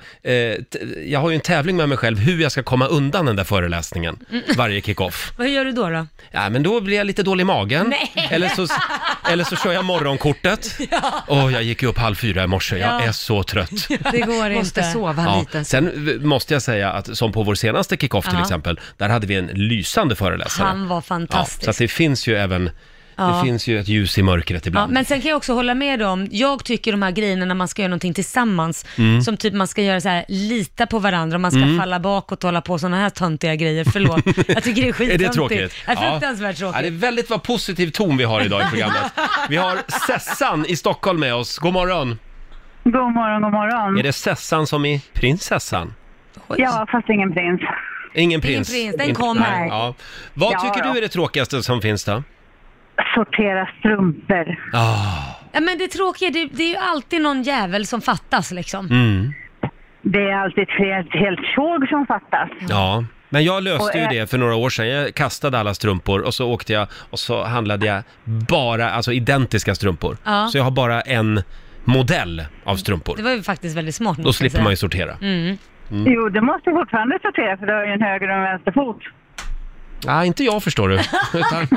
Speaker 1: t- jag har ju en tävling med mig själv hur jag ska komma undan den där föreläsningen
Speaker 2: Mm.
Speaker 1: varje kickoff.
Speaker 2: Vad gör du då? då?
Speaker 1: Ja, men då blir jag lite dålig i magen.
Speaker 2: Nej.
Speaker 1: Eller så, eller så kör jag morgonkortet.
Speaker 2: Ja.
Speaker 1: Åh, jag gick ju upp halv fyra i morse, jag
Speaker 2: Ja.
Speaker 1: är så trött.
Speaker 2: Det går inte.
Speaker 3: Måste sova
Speaker 1: Ja,
Speaker 3: lite.
Speaker 1: sen v- måste jag säga att som på vår senaste kickoff till
Speaker 2: Ja.
Speaker 1: exempel, där hade vi en lysande föreläsare.
Speaker 2: Han var fantastisk.
Speaker 1: Alltså, Ja, så att det finns ju även,
Speaker 2: Ja.
Speaker 1: det finns ju ett ljus i mörkret
Speaker 2: Ja,
Speaker 1: ibland.
Speaker 2: men sen kan jag också hålla med dig om, jag tycker de här grejerna när man ska göra någonting tillsammans,
Speaker 1: Mm.
Speaker 2: som typ man ska göra så här, lita på varandra, och man ska
Speaker 1: Mm.
Speaker 2: falla bakåt och hålla på sådana här töntiga grejer, förlåt. Jag tycker det är
Speaker 1: Är
Speaker 2: skittöntigt.
Speaker 1: det tråkigt?
Speaker 2: Det är fruktansvärt
Speaker 1: Ja, det är
Speaker 2: tråkigt.
Speaker 1: väldigt vad positiv ton vi har idag i programmet. Vi har Sessan i Stockholm med oss. God morgon!
Speaker 6: God morgon, god morgon.
Speaker 1: Är det Sessan som i prinsessan?
Speaker 6: Ja, fast ingen prins.
Speaker 1: Ingen prins.
Speaker 6: prins, den
Speaker 1: In-
Speaker 6: kommer.
Speaker 1: Nej, ja. Vad
Speaker 6: Ja,
Speaker 1: tycker
Speaker 6: ja.
Speaker 1: du är det tråkigaste som finns då?
Speaker 6: Sortera strumpor.
Speaker 1: Ah,
Speaker 2: Ja, men det tråkiga, det, det är ju alltid någon jävel som fattas liksom.
Speaker 1: mm,
Speaker 6: Det är alltid ett helt, helt tjog som fattas.
Speaker 2: Mm.
Speaker 1: ja. Men jag
Speaker 6: Och
Speaker 1: löste ju
Speaker 6: är-
Speaker 1: det för några år sedan. Jag kastade alla strumpor och så åkte jag och så handlade jag bara, alltså identiska strumpor.
Speaker 2: Ja.
Speaker 1: Så jag har bara en modell av strumpor.
Speaker 2: Det var ju faktiskt väldigt smart. måste
Speaker 1: Då
Speaker 2: jag
Speaker 1: slipper
Speaker 2: säga.
Speaker 1: man ju sortera.
Speaker 2: Mm.
Speaker 1: Mm.
Speaker 6: Jo, det måste jag fortfarande sortera för du har ju en höger och en vänster fot.
Speaker 1: Ja, inte jag förstår du. Utan...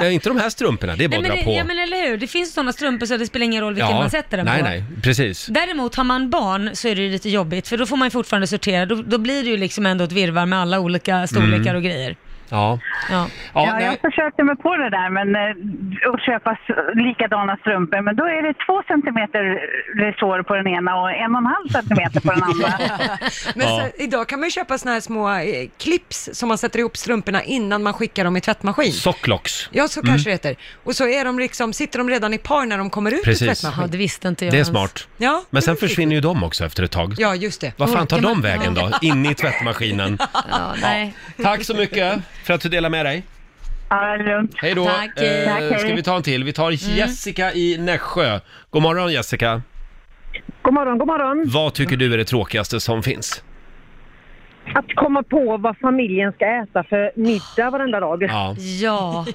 Speaker 1: Nej, inte de här strumporna, det är bara
Speaker 2: Nej,
Speaker 1: att
Speaker 2: men,
Speaker 1: dra
Speaker 2: det,
Speaker 1: på.
Speaker 2: ja, men eller hur, det finns sådana strumpor så det spelar ingen roll vilken
Speaker 1: Ja,
Speaker 2: man sätter den
Speaker 1: nej,
Speaker 2: på.
Speaker 1: Nej, precis.
Speaker 2: Däremot har man barn så är det ju lite jobbigt för då får man ju fortfarande sortera. Då, då blir det ju liksom ändå ett virrvarr med alla olika storlekar
Speaker 1: Mm.
Speaker 2: och grejer.
Speaker 1: Ja.
Speaker 2: Ja.
Speaker 1: Ja,
Speaker 6: Ja, jag
Speaker 1: nej.
Speaker 6: försökte mig på det där men eh, att köpa s- likadana strumpor men då är det två centimeter resår på den ena och en och en halv centimeter på den andra.
Speaker 3: Men
Speaker 1: Ja.
Speaker 3: så, idag kan man ju köpa såna här små eh, clips som man sätter ihop strumporna innan man skickar dem i tvättmaskin.
Speaker 1: Socklocks. Mm.
Speaker 3: Ja, så kanske det heter. Och så är de liksom, sitter de redan i par när de kommer ut
Speaker 1: Precis.
Speaker 3: ur tvättmaskinen.
Speaker 1: Ja, det
Speaker 2: visste inte
Speaker 1: Det är smart.
Speaker 3: Ja,
Speaker 1: Men sen försvinner ju de också efter ett tag.
Speaker 3: ja just det.
Speaker 1: Vad fan tar
Speaker 3: Orkar
Speaker 1: de
Speaker 3: man-
Speaker 1: vägen då? In i tvättmaskinen.
Speaker 2: Ja, nej.
Speaker 1: Tack så mycket för att du delade med dig.
Speaker 6: Ja, det är lugnt.
Speaker 1: Hej då.
Speaker 2: Tack. Tack,
Speaker 1: Eh,
Speaker 2: hej. Mm.
Speaker 1: ska vi ta en till? Vi tar Jessica i Nässjö. God morgon Jessica.
Speaker 9: God morgon, god morgon.
Speaker 1: Vad tycker du är det tråkigaste som finns?
Speaker 9: Att komma på vad familjen ska äta för middag varenda dag.
Speaker 1: Ja.
Speaker 2: Ja.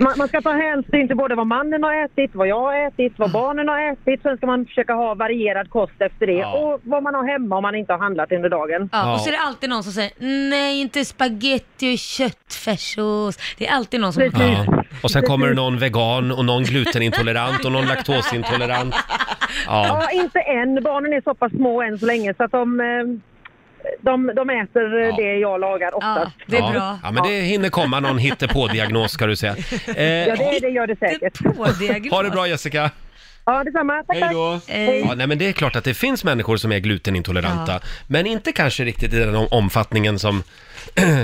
Speaker 9: Man, man ska ta hänsyn till både vad mannen har ätit, vad jag har ätit,
Speaker 1: Mm.
Speaker 9: vad barnen har ätit. Sen ska man försöka ha varierad kost efter det
Speaker 1: Ja.
Speaker 9: och vad man har hemma om man inte har handlat under dagen.
Speaker 2: Ja,
Speaker 1: Ja.
Speaker 2: och så är det alltid någon som säger nej, inte spaghetti och köttfärssås. Det är alltid någon som...
Speaker 1: ja. Och sen kommer det någon vegan och någon glutenintolerant och någon laktosintolerant. Ja.
Speaker 9: Ja, inte än. Barnen är så pass små än så länge så att de, eh, de, de äter eh,
Speaker 1: Ja.
Speaker 9: det jag lagar
Speaker 2: Ja,
Speaker 9: oftast.
Speaker 2: det är
Speaker 1: ja.
Speaker 2: bra.
Speaker 1: Ja, men det hinner komma någon hittepådiagnos ska du säga.
Speaker 9: Ja,
Speaker 1: Eh,
Speaker 9: det, det gör det säkert.
Speaker 2: Pådiagnos.
Speaker 1: ha det bra Jessica.
Speaker 9: Ja, detsamma. Tack,
Speaker 1: Hej
Speaker 9: tack.
Speaker 1: då.
Speaker 2: Eh,
Speaker 1: Ja, nej, men det är klart att det finns människor som är glutenintoleranta, men inte kanske riktigt i den om- omfattningen som
Speaker 2: Nej,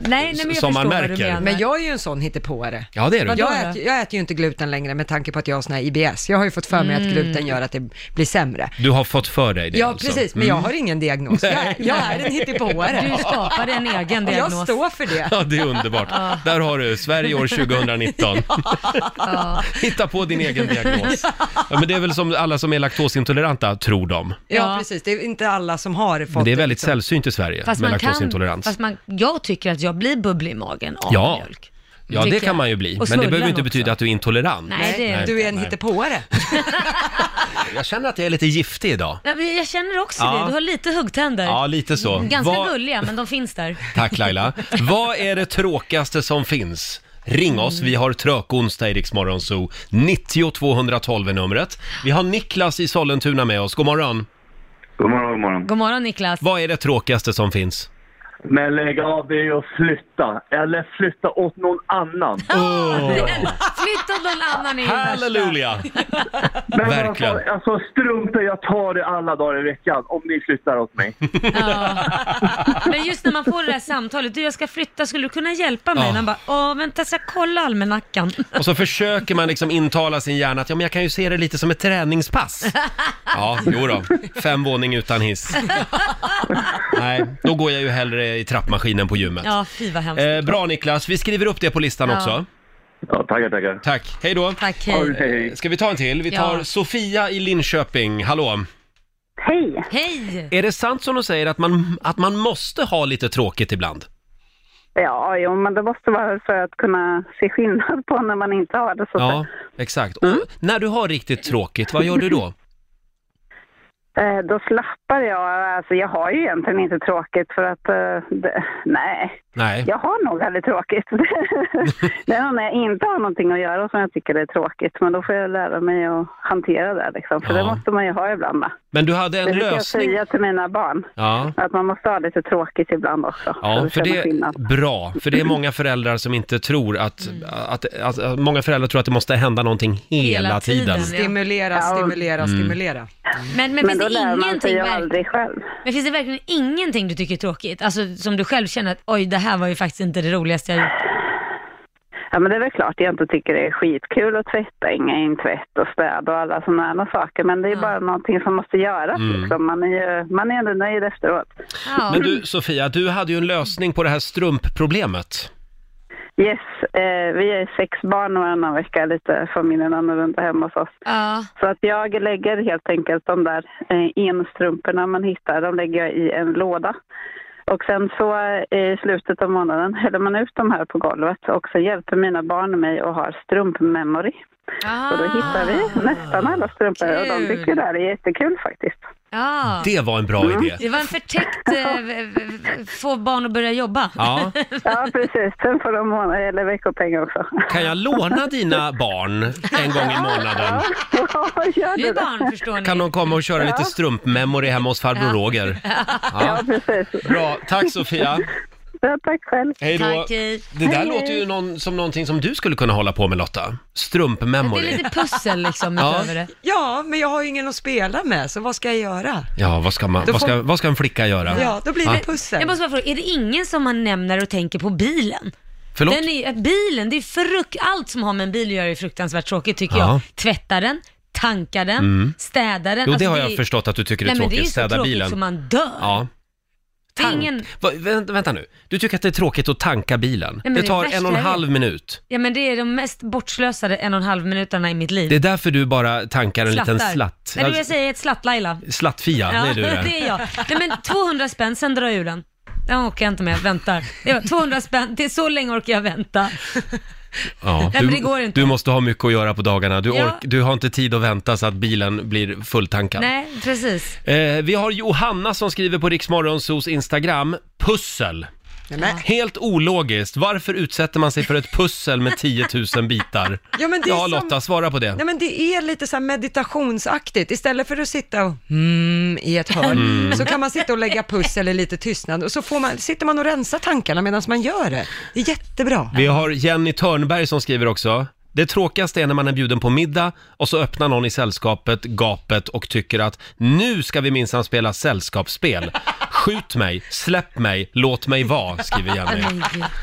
Speaker 2: nej men jag
Speaker 1: Som man
Speaker 2: förstår vad du
Speaker 1: märker.
Speaker 2: menar.
Speaker 3: Men jag är ju en sån hittepåare.
Speaker 1: Ja, det är du.
Speaker 2: Vadå
Speaker 3: Jag
Speaker 2: då?
Speaker 3: äter, jag äter ju inte gluten längre med tanke på att jag har sån här IBS. Jag har ju fått för mig
Speaker 2: Mm.
Speaker 3: att gluten gör att det blir sämre.
Speaker 1: Du har fått för dig det
Speaker 3: Ja,
Speaker 1: alltså.
Speaker 3: precis, men jag har ingen diagnos. Jag är, jag är en hittepåare.
Speaker 2: Du skapade en egen
Speaker 3: Och jag
Speaker 2: diagnos.
Speaker 3: står för det.
Speaker 1: Ja, det är underbart. Där har du Sverige år 2019. Hitta på din egen diagnos. Ja, men det är väl som alla som är laktosintoleranta, tror de.
Speaker 3: Ja, precis. Det är inte alla som har fått
Speaker 1: Men det är väldigt
Speaker 3: liksom.
Speaker 1: sällsynt i Sverige
Speaker 2: Fast
Speaker 1: med
Speaker 2: man kan,
Speaker 1: laktosintolerans.
Speaker 2: fast man, jag tycker att jag blir bubblig i magen av
Speaker 1: Ja.
Speaker 2: mjölk.
Speaker 1: ja, det
Speaker 2: tycker
Speaker 1: kan
Speaker 2: jag.
Speaker 1: man ju bli.
Speaker 2: Och
Speaker 1: Men det
Speaker 2: smullan
Speaker 1: behöver inte
Speaker 2: också.
Speaker 1: betyda att du är intolerant.
Speaker 2: Nej, det är
Speaker 3: Du är en hittepåare.
Speaker 1: Jag känner att jag är lite giftig idag.
Speaker 2: Ja, men Jag känner också
Speaker 1: Ja.
Speaker 2: det, du har lite huggtänder.
Speaker 1: Ja, lite så.
Speaker 2: Ganska
Speaker 1: Vad-
Speaker 2: gulliga, men de finns där.
Speaker 1: Tack Laila. Vad är det tråkigaste som finns? Ring oss, vi har Trökonsdag i Rix Morgon Zoo. 90 212 är numret. Vi har Niklas i Sollentuna med oss. God morgon.
Speaker 10: God morgon, god morgon.
Speaker 2: God morgon Niklas.
Speaker 1: Vad är det tråkigaste som finns?
Speaker 10: Men lägg av, det är ju att flytta. Eller flytta åt någon annan.
Speaker 2: Flytta någon annan i
Speaker 1: Halleluja!
Speaker 10: Men
Speaker 1: Verkligen.
Speaker 10: Alltså, alltså strunta jag tar det alla dagar i veckan om ni flyttar åt mig.
Speaker 2: Men just när man får det där samtalet, du jag ska flytta, skulle du kunna hjälpa mig?
Speaker 1: Ja.
Speaker 2: Man bara, åh vänta, jag ska kolla almanackan.
Speaker 1: Och så försöker man liksom intala sin hjärna att ja, men jag kan ju se det lite som ett träningspass. Ja, jo då. Fem våning utan hiss. Nej, då går jag ju hellre i trappmaskinen på gymmet.
Speaker 2: Ja, fy vad hemskt.
Speaker 1: Eh, bra Niklas, vi skriver upp det på listan
Speaker 2: Ja.
Speaker 1: också.
Speaker 10: Ja, tackar, tackar.
Speaker 1: Tack, hej då.
Speaker 2: Tack,
Speaker 10: Hej,
Speaker 2: hej.
Speaker 10: hej.
Speaker 1: Ska vi ta en till? Vi tar
Speaker 2: Ja.
Speaker 1: Sofia i Linköping. Hallå!
Speaker 11: Hej!
Speaker 2: Hej!
Speaker 1: Är det sant som de säger att man, att man måste ha lite tråkigt ibland?
Speaker 11: Ja, jo, men det måste vara för att kunna se skillnad på när man inte har det. Så
Speaker 1: Ja, exakt.
Speaker 11: Mm.
Speaker 1: Och när du har riktigt tråkigt, vad gör du då?
Speaker 11: Eh, Då slappar jag. Alltså, jag har ju egentligen inte tråkigt för att... eh, Det, nej,
Speaker 1: Nej.
Speaker 11: jag har nog aldrig tråkigt. det är nog när jag inte har någonting att göra som jag tycker det är tråkigt. Men då får jag lära mig att hantera det. Liksom. För
Speaker 1: Ja.
Speaker 11: det måste man ju ha ibland. va?
Speaker 1: Men du hade
Speaker 11: Det
Speaker 1: en
Speaker 11: brukar jag
Speaker 1: lösning.
Speaker 11: säga till mina barn.
Speaker 1: Ja.
Speaker 11: Att man måste ha lite tråkigt ibland också.
Speaker 1: Ja,
Speaker 11: att
Speaker 1: för det
Speaker 11: känna
Speaker 1: är
Speaker 11: skillnad.
Speaker 1: bra. För det är många föräldrar som inte tror att,
Speaker 2: Mm.
Speaker 1: att, att, att många föräldrar tror att det måste hända någonting hela,
Speaker 2: Hela tiden.
Speaker 1: tiden. Mm.
Speaker 3: Stimulera,
Speaker 11: Ja.
Speaker 3: stimulera, stimulera.
Speaker 2: Men, men,
Speaker 11: Men då
Speaker 2: finns, det
Speaker 11: lär man sig
Speaker 2: ingenting,
Speaker 11: ju
Speaker 2: verkligen-
Speaker 11: aldrig själv.
Speaker 2: men finns det verkligen ingenting du tycker är tråkigt? Alltså som du själv känner att oj, det här var ju faktiskt inte det roligaste jag gjort.
Speaker 11: Ja, men det är väl klart jag inte tycker det är skitkul att tvätta, inga in tvätt och städa och alla sådana saker. Men det är
Speaker 2: Ja.
Speaker 11: bara någonting som måste göras.
Speaker 1: Mm.
Speaker 11: Liksom. Man är ju man är ändå nöjd efteråt.
Speaker 2: Ja.
Speaker 1: Men du Sofia, du hade ju en lösning på det här strumpproblemet.
Speaker 11: Yes, eh, vi är sex barn varannan vecka, lite familjen annorlunda hemma hos oss.
Speaker 2: ja.
Speaker 11: Så att jag lägger helt enkelt de där eh, enstrumporna man hittar, de lägger jag i en låda. Och sen så eh, i slutet av månaden häller man ut de här på golvet och så hjälper mina barn mig och har strumpmemory. Och då hittar vi nästan alla strumpor och de
Speaker 2: Ah. kul.
Speaker 11: tycker det här är jättekul faktiskt.
Speaker 2: Ja. Mm.
Speaker 1: Det var en bra idé.
Speaker 2: Det var en förtäckt eh, v- v- få barn att börja jobba.
Speaker 1: Ja.
Speaker 11: Ja, precis. Sen får de månad, eller veckopeng också.
Speaker 1: Kan jag låna dina barn en gång i månaden?
Speaker 11: Ja, gör
Speaker 2: Du
Speaker 11: du
Speaker 2: är
Speaker 11: det?
Speaker 2: barn förstår ni.
Speaker 1: Kan de komma och köra lite strumpmemory hemma hos farbror Roger?
Speaker 11: Ja, precis.
Speaker 1: Bra, tack Sofia.
Speaker 11: Ja, tack själv.
Speaker 1: Hej då.
Speaker 2: Tack, hej.
Speaker 1: Det där
Speaker 11: Hej,
Speaker 1: låter ju
Speaker 11: hej.
Speaker 1: någon, som någonting som du skulle kunna hålla på med Lotta.
Speaker 2: Det är
Speaker 1: Strumpmemory.
Speaker 2: lite pussel liksom
Speaker 1: Ja.
Speaker 2: utöver det.
Speaker 3: Ja, men jag har ju ingen att spela med, så vad ska jag göra?
Speaker 1: Ja, vad ska, man,
Speaker 3: Då
Speaker 1: vad, ska,
Speaker 3: får-
Speaker 1: vad ska en flicka göra?
Speaker 3: Ja, då blir det pussel.
Speaker 2: Jag måste bara fråga, är det ingen som man nämner och tänker på bilen?
Speaker 1: Förlåt?
Speaker 2: Den är, ju- att bilen, det är frukt, allt som har med en bil att göra är fruktansvärt tråkigt tycker
Speaker 1: Ja. Mm.
Speaker 2: jag. Tvätta den, tanka den, städa den.
Speaker 1: Jo, det
Speaker 2: Alltså,
Speaker 1: har
Speaker 2: är-
Speaker 1: jag förstått att du tycker det är
Speaker 2: Nej, men det är
Speaker 1: tråkigt.
Speaker 2: ju så
Speaker 1: Städa
Speaker 2: tråkigt
Speaker 1: bilen.
Speaker 2: så man dör.
Speaker 1: Ja.
Speaker 2: Det är ingen,
Speaker 1: Va, vänta, vänta nu. Du tycker att det är tråkigt att tanka bilen.
Speaker 2: men
Speaker 1: det
Speaker 2: det
Speaker 1: tar
Speaker 2: värsta
Speaker 1: en och en
Speaker 2: jag vet.
Speaker 1: halv minut.
Speaker 2: ja men det är de mest bortslösade en och en halv minuterna i mitt liv.
Speaker 1: Det är därför du bara tankar en liten
Speaker 2: Slattar.
Speaker 1: slatt.
Speaker 2: Nej, du, jag säger ett slatt-Laila.
Speaker 1: Slattfia, det är du det.
Speaker 2: det är jag. Nej, men 200 spänn, sen drar jag ur den. Den orkar jag inte med, väntar. Ja, 200 spänn, det är så länge orkar jag vänta.
Speaker 1: Ja,
Speaker 2: Nej,
Speaker 1: du,
Speaker 2: men det går inte.
Speaker 1: du måste ha mycket att göra på dagarna. Du,
Speaker 2: Ja.
Speaker 1: ork, du har inte tid att vänta så att bilen blir fulltankad.
Speaker 2: Nej, precis.
Speaker 1: Eh, vi har Johanna som skriver på Riksmorgonsos Instagram, pussel. Helt ologiskt. Varför utsätter man sig för ett pussel med 10 000 bitar?
Speaker 3: Ja, men det är
Speaker 1: ja
Speaker 3: som-
Speaker 1: Lotta, svara på det.
Speaker 3: Nej men det är lite så här meditationsaktigt. Istället för att sitta och mm, i ett hörn så kan man sitta och lägga pussel i lite tystnad och så får man, sitter man och rensar tankarna medan man gör det. Det är jättebra.
Speaker 1: Vi har Jenny Törnberg som skriver också. Det tråkigaste är när man är bjuden på middag och så öppnar någon i sällskapet gapet och tycker att nu ska vi minsann spela sällskapsspel. Skjut mig, släpp mig, låt mig vara, skriver Janne.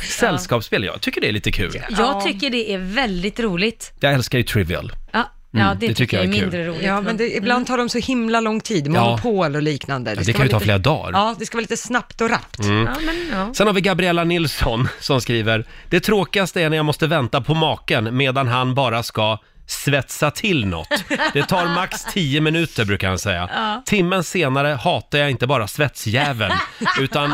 Speaker 1: Sällskapsspel, jag tycker det är lite kul.
Speaker 2: Jag tycker det är väldigt roligt.
Speaker 1: Jag älskar ju Trivial.
Speaker 2: Ja,
Speaker 1: Mm,
Speaker 2: ja det, tycker jag är mindre roligt. Mm.
Speaker 3: Ja, men det, ibland tar de så himla lång tid, monopol och liknande.
Speaker 1: det
Speaker 3: ska
Speaker 1: kan ju
Speaker 3: vara
Speaker 1: ta
Speaker 3: lite-
Speaker 1: flera dagar.
Speaker 3: Ja, det ska vara lite snabbt och rappt.
Speaker 1: Mm.
Speaker 2: men ja.
Speaker 1: Sen har vi Gabriella Nilsson som skriver Det tråkigaste är när jag måste vänta på maken medan han bara ska svetsa till något. Det tar max 10 minuter brukar han säga.
Speaker 7: Ja.
Speaker 1: Timmen senare hatar jag inte bara svetsjäveln utan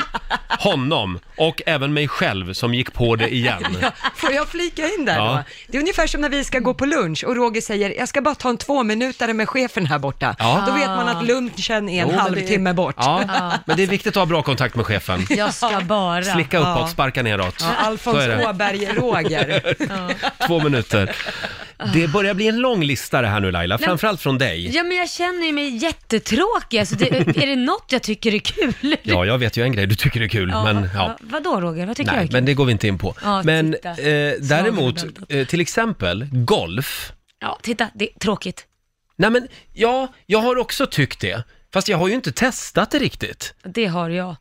Speaker 1: honom och även mig själv som gick på det igen.
Speaker 3: Ja, får jag flika in där
Speaker 1: Ja.
Speaker 3: då? Det är ungefär som när vi ska gå på lunch och Roger säger jag ska bara ta en tvåminutare med chefen här borta.
Speaker 1: Ja.
Speaker 3: Då vet man
Speaker 2: Ah.
Speaker 3: att lunchen är
Speaker 1: Jo,
Speaker 3: en
Speaker 1: men
Speaker 3: halvtimme
Speaker 1: det-
Speaker 3: bort.
Speaker 1: Ja, men det är viktigt att ha bra kontakt med chefen.
Speaker 2: Jag ska bara.
Speaker 1: Slicka uppåt, sparka neråt.
Speaker 3: Ja,
Speaker 1: Så
Speaker 3: Alfons
Speaker 1: är det.
Speaker 3: Åberg Roger.
Speaker 1: Två minuter. Det börjar bli en lång lista det här nu Laila,
Speaker 2: Nej.
Speaker 1: framförallt från dig.
Speaker 2: Ja, men jag känner ju mig jättekråkig. Alltså, det, är det något jag tycker är kul?
Speaker 1: Ja, jag vet ju en grej du tycker det är kul, men ja.
Speaker 2: va- Vadå Roger, vad tycker
Speaker 1: Nej,
Speaker 2: jag är kul?
Speaker 1: men det går vi inte in på.
Speaker 2: Ja,
Speaker 1: men
Speaker 2: titta.
Speaker 1: eh, däremot,
Speaker 2: Slagen
Speaker 1: eh, till exempel golf.
Speaker 2: Ja, titta, det är tråkigt.
Speaker 1: Nej men, ja, jag har också tyckt det. Fast jag har ju inte testat det riktigt.
Speaker 2: Det har jag.